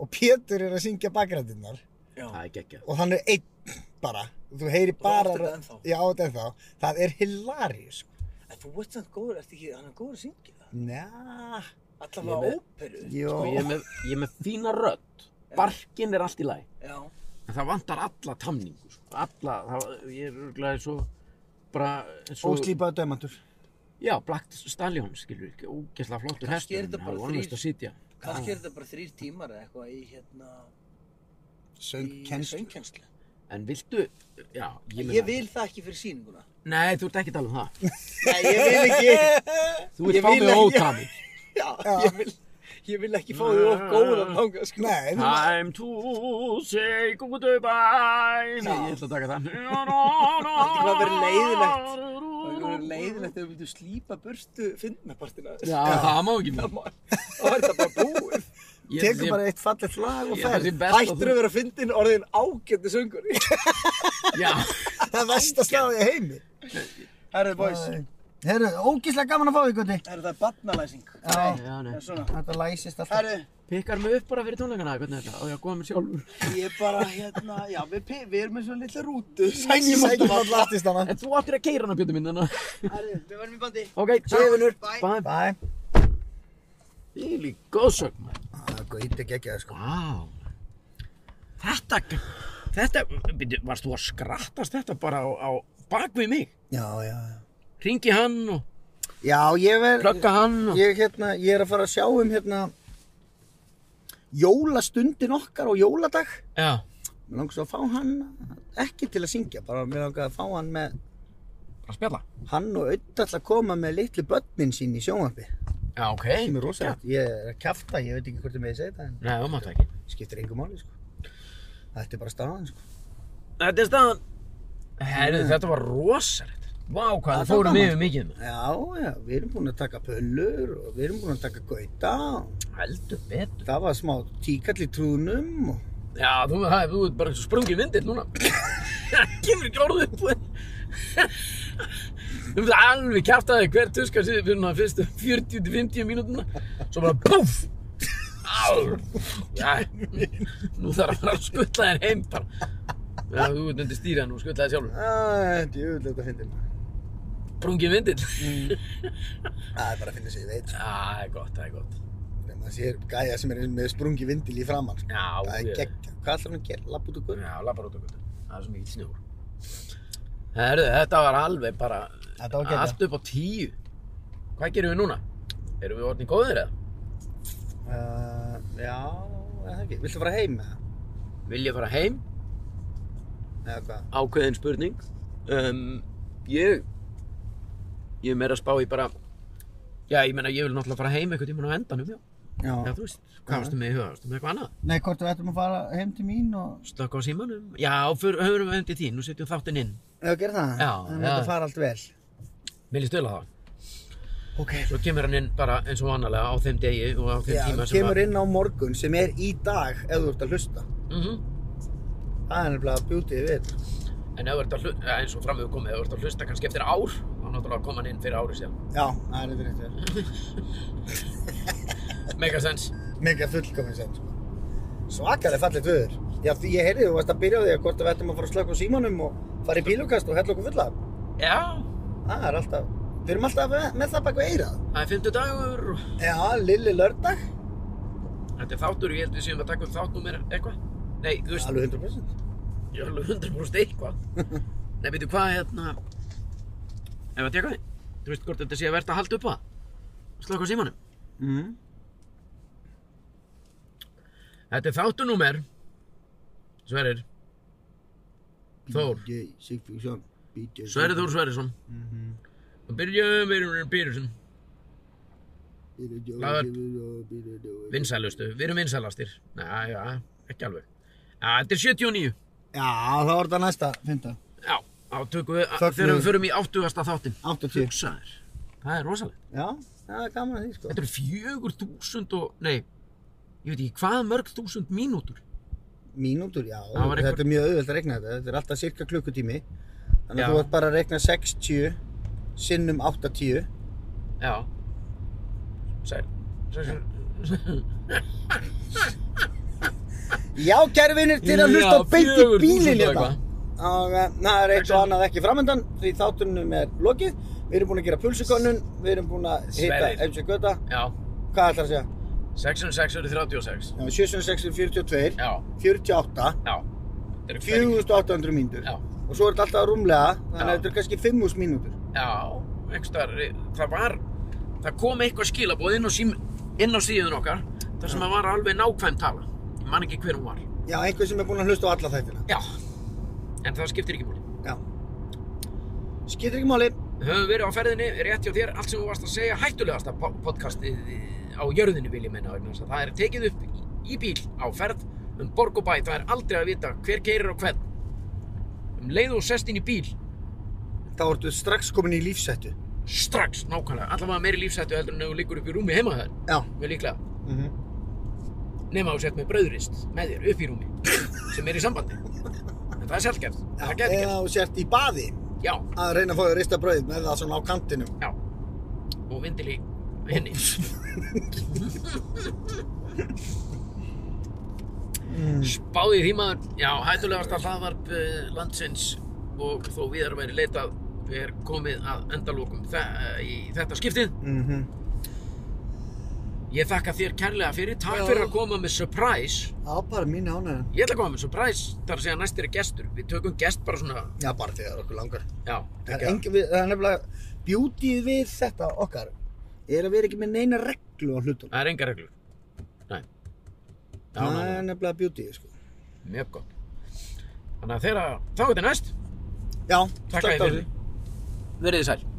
Speaker 2: og Pétur er að syngja bakgræðinnar
Speaker 1: Það er gekkja
Speaker 2: og hann er einn bara, þú heyri
Speaker 6: þú
Speaker 2: bara
Speaker 6: átt þetta ennþá?
Speaker 2: Ég á þetta ennþá, það er hilarís
Speaker 6: En þú ert samt góður, ert ekki, hann er góður að syngja það.
Speaker 2: Njá,
Speaker 6: Allavega óperu.
Speaker 2: jó
Speaker 1: Sko, ég er með, ég er með fína rödd. Barkinn er allt í lagi.
Speaker 6: Já.
Speaker 1: En það vantar alla tamningu. Sko. Alla, það, ég er örgulega svo bara... Svo,
Speaker 2: Óslýpaðu dömandur
Speaker 1: Já, Black Stallion, skilur ekki. Ógæslega flottur hestur.
Speaker 6: Kannski er þetta
Speaker 1: en
Speaker 6: bara
Speaker 1: hann var
Speaker 6: þrír-
Speaker 1: vonlaust að sitja.
Speaker 6: Kannski er þetta bara þrýr tímar eða eitthvað í hérna... í
Speaker 2: Söngkennslu
Speaker 6: Söngkennslu.
Speaker 1: En viltu... Já, ég,
Speaker 6: Ég vil það ekki fyrir sýninguna.
Speaker 1: Nei, þú ert ekki að tala um það.
Speaker 6: Nei, ég vil ekki,
Speaker 1: Þú ert
Speaker 6: Ég
Speaker 1: fá
Speaker 6: vil
Speaker 1: mig
Speaker 6: ekki-
Speaker 1: ótami.
Speaker 6: já, ég vil, ég vil ekki fá því of
Speaker 2: Ah.
Speaker 6: góðan langa, sko.
Speaker 2: Nei, þú
Speaker 1: Time to say goodbye. Nei, ég ætla að taka það. Það
Speaker 6: hafa verið leiðinlegt. Það er leiðilegt ef við myndum slípa burstu finnapartina.
Speaker 1: Já, það má ekki
Speaker 6: Það má- þá er þetta bara búið.
Speaker 1: Ég-
Speaker 2: tekur
Speaker 1: ég-
Speaker 2: bara eitt fallið lag og
Speaker 1: ég- það
Speaker 2: ferð
Speaker 1: sé best að
Speaker 6: Hættur að vera fyndin orðin ágætni söngur.
Speaker 1: þú- Já,
Speaker 2: Það er vest að staða í heimi
Speaker 6: Herðu, boys.
Speaker 2: Herru, ógíslega gaman að fá því, Gutti
Speaker 6: Herðu, það er barnalæsing.
Speaker 2: Já,
Speaker 1: já, nei.
Speaker 6: Það er svona.
Speaker 2: þetta læsist alltaf
Speaker 6: Herðu,
Speaker 1: Pikkar mig upp bara fyrir tónleikana, hvernig er þetta? Og ég að góða mér sjálfur.
Speaker 6: ég er bara hérna, já, við, pi- við erum með svona litla rútu.
Speaker 2: Sækjum
Speaker 6: Sækjum alltaf
Speaker 2: alltaf artist hana
Speaker 1: En þú áttir að keira hana, Björn minn, þannig að...
Speaker 6: Herðu, við verðum í bandi.
Speaker 1: Ok,
Speaker 2: Séu, vinur.
Speaker 1: Bæ.
Speaker 2: Bæ
Speaker 1: Ég er líka góðsögn, maður.
Speaker 2: Það er gauti geggjaði Ah, sko
Speaker 1: Vá. Þetta, þetta, byrju, varst þú að skrattast þetta bara á, á bak við mig?
Speaker 2: Já, já, já
Speaker 1: Ringi hann og
Speaker 2: Já, ég verð
Speaker 1: plugga hann og...
Speaker 2: ég, hérna, ég er að fara að sjá um hérna jólastundin okkar og jóladag
Speaker 1: Já.
Speaker 2: mér langar svo að fá hann ekki til að syngja, bara mér langar að fá hann með
Speaker 1: Bara spjalla.
Speaker 2: hann og auðvitað að koma með litlu börnin sín í sjónvarpi
Speaker 1: Já, ok.
Speaker 2: sem er rosalegt, ég er að kjafta, ég veit ekki hvort ég með að segja þetta en
Speaker 1: Nei, það máttu ekki.
Speaker 2: skiptir engu máli sko Þetta er bara staðan sko
Speaker 1: Þetta er staðan. Herðu, þetta var rosalegt. Vá, hvað það fórum yfir mikið með.
Speaker 2: Já, já, við erum búin að taka pöllur og við erum búin að taka gauta og
Speaker 1: Heldur betur.
Speaker 2: það var smá tíkall í trúnum og
Speaker 1: Já, þú, það, þú ert bara eins og sprungið vindið núna. Það kemur ekki orðið upp úr. Þú veist alveg kæft að þig hver tuska síðan fyrir svona fyrstu 40-50 mínútuna. Svo bara búf! Ár! Já, nú þarf að fara að skutla þér heim bara. Já, þú ert undir stýra nú, skutla þér sjálfur.
Speaker 2: Æ, djúvill þetta finnir maður.
Speaker 1: Sprungið vindið.
Speaker 2: Mm. Það er bara að finna sig, ég veit. sko.
Speaker 1: Já, það er gott, það er gott.
Speaker 2: Þegar maður sér gæja sem er með sprungi vindil í framann. sko.
Speaker 1: Já,
Speaker 2: Það er
Speaker 1: ég-
Speaker 2: gegn. Hvað ætlar hann að gera? Lapp út og guð?
Speaker 1: Já, labbar út okkur. Það er svo mikið snjór. Herðu, þetta var alveg bara
Speaker 2: Þetta var geggjað.
Speaker 1: allt upp á tíu. Hvað gerum við núna? Erum við orðin góðir eða?
Speaker 2: Uh, já, eða ekki. Viltu fara heim eða?
Speaker 1: Vil ég fara heim?
Speaker 2: Eða hvað?
Speaker 1: Ákveðin spurning. Um, ég, ég er meira að spá í bara, já, ég meina, ég vil náttúrulega fara heim einhvern tímann á endanum, já. Já, þú veist, hvað varstu með í huga? Varstu með eitthvað annað?
Speaker 2: Nei, hvort við ættum að fara heim til mín og...
Speaker 1: Slökka á símanum? Já, för, höfum við heim til þín, nú setjum við þáttinn inn.
Speaker 2: Eða gera það?
Speaker 1: Já,
Speaker 2: Þannig að
Speaker 1: já.
Speaker 2: þetta fara allt vel.
Speaker 1: Vil ég stöla það?
Speaker 2: Ok.
Speaker 1: Svo kemur hann inn bara eins og annarlega á þeim degi og á þeim
Speaker 2: Já,
Speaker 1: tíma sem
Speaker 2: kemur inn á morgun sem er í dag ef þú ert að hlusta.
Speaker 1: Mm
Speaker 2: Það er nefnilega beauty við þetta.
Speaker 1: En ef þú ert að hlusta, eins og fram hefur komið, ef þú ert að hlusta kannski eftir ár, þá náttúrulega kom hann inn fyrir ári síðan.
Speaker 2: Já, það er þetta rétt verið.
Speaker 1: Mega sens.
Speaker 2: Mega fullkominn sem, sko. Svakalega fallit viður. Já, því ég heyrði, þú varst að byrja á því að hvort að við ættum að fara að slökka á símanum og fara í bílukast og hella okkur fulla.
Speaker 1: Já,
Speaker 2: Það er alltaf, við erum alltaf með, með það bak við eirað.
Speaker 1: það er 50 dagur og
Speaker 2: Já, lilli lördag.
Speaker 1: þetta er þáttur og ég held við séum að taka upp þáttnúmer eitthvað. Nei, þú veist,
Speaker 2: Alveg 100%.
Speaker 1: ég er alveg 100% eitthvað. Nei, veitu hvað, hérna, ef að teka því, þú veist hvort þetta sé að verða að halda upp á það. Slökk á símanum.
Speaker 2: Mm.
Speaker 1: Mhm. Þetta er þáttunúmer, Sverir, Þór,
Speaker 2: DJ Sigfússon. DJ
Speaker 1: Sverrir Þór Sverrisson. Og byrjum, byrjum, byrjum, Lagður.
Speaker 2: Vinn.
Speaker 1: vinsælustu, við erum vinsælastir. Nei, já, ekki alveg. Já, þetta er 79.
Speaker 2: Já, þá er þetta næsta, fynda.
Speaker 1: Já, þá tökum við,
Speaker 2: Fögnum.
Speaker 1: þegar við förum í áttugasta þáttinn.
Speaker 2: 80.
Speaker 1: Hugsaður, það er rosalegt.
Speaker 2: Já, það er gaman að því, sko.
Speaker 1: Þetta eru fjögur þúsund og, nei, ég veit ekki hvað mörg þúsund mínútur.
Speaker 2: Mínútur, já.
Speaker 1: Það var
Speaker 2: Þetta
Speaker 1: einhver-
Speaker 2: er mjög auðvelt að regna þetta. Þetta er alltaf cirka klukkutími. Þannig
Speaker 1: Já.
Speaker 2: að þú ert bara að regna 60 sinnum 80.
Speaker 1: Já. Sæl, sæl, sæl.
Speaker 2: Já, kæru vinnir, til að hlusta beint í bílinn hérna. og eh, það er eitt og annað ekki framöndan því þáttunum er lokið við erum búin að gera pulsukönnun við erum búin að hitta
Speaker 1: Sverrir.
Speaker 2: MC Göta
Speaker 1: Já,
Speaker 2: hvað ætlar að segja?
Speaker 1: 606 eru 36
Speaker 2: Já, 76 42
Speaker 1: Já,
Speaker 2: 48
Speaker 1: já Þetta eru pening-
Speaker 2: 4800 mínútur
Speaker 1: Já.
Speaker 2: og svo er þetta alltaf rúmlega þannig að
Speaker 1: Já.
Speaker 2: þetta er kannski 5000 mínútur
Speaker 1: Já, einhverstaðar, það var, það kom eitthvað skilaboð inn á, sím, inn á síðun okkar þar sem það var alveg nákvæm tala, ég man ekki hver hún var.
Speaker 2: já, einhver sem er búin að hlusta á alla þættina
Speaker 1: Já, en það skiptir ekki múli.
Speaker 2: já skiptir ekki máli
Speaker 1: Höfum verið á ferðinni, rétt hjá þér, allt sem þú varst að segja, hættulegasta po- podcastið á jörðinni vil ég meina vegna þess að það er tekið upp í, í bíl á ferð um borg og bæ, það er aldrei að vita hver keirir og hvern. Um leið og þú sest inn í bíl,
Speaker 2: þá ertu strax komin í lífsættu
Speaker 1: strax, nákvæmlega, allavega meiri lífsættu heldur en ef þú liggur upp í rúmi heima þær,
Speaker 2: já
Speaker 1: mjög líklega.
Speaker 2: mm
Speaker 1: Mhm. nema þú sett með brauðrist með þér upp í rúmi sem er í sambandi en það er sjálfgert, það er gæti
Speaker 2: eða þú sért í baði
Speaker 1: gert já,
Speaker 2: að reyna að fá að rista brauð með það svona á kantinum
Speaker 1: já, og vindil í henni Mhm. spáði því maður já, hættulegasta hlaðvarp eh, landsins og þó viðar væri leitað er komið að endalókum þe eh, í þetta skiptið
Speaker 2: mm -hmm.
Speaker 1: Mhm. ég þakka þér kærlega fyrir, takk
Speaker 2: Já.
Speaker 1: fyrir að koma með surprise
Speaker 2: já, bara mín ánægðan
Speaker 1: ég ætla að koma með surprise þar að segja næstir er gestur við tökum gest bara svona
Speaker 2: já, bara þegar okkur langar
Speaker 1: já,
Speaker 2: það er, engi, við, það er nefnilega beauty við þetta okkar er að við erum ekki með neina reglu á hlutum
Speaker 1: Það er enga reglur. Nei. Já,
Speaker 2: það
Speaker 1: nei,
Speaker 2: er nefnilega beauty sko.
Speaker 1: nei, mjög gott. Þannig að þeirra, þá er þetta næst.
Speaker 2: já,
Speaker 1: Takk
Speaker 2: slökkt á
Speaker 1: að
Speaker 2: þessu.
Speaker 1: þið. Verið þið sæl.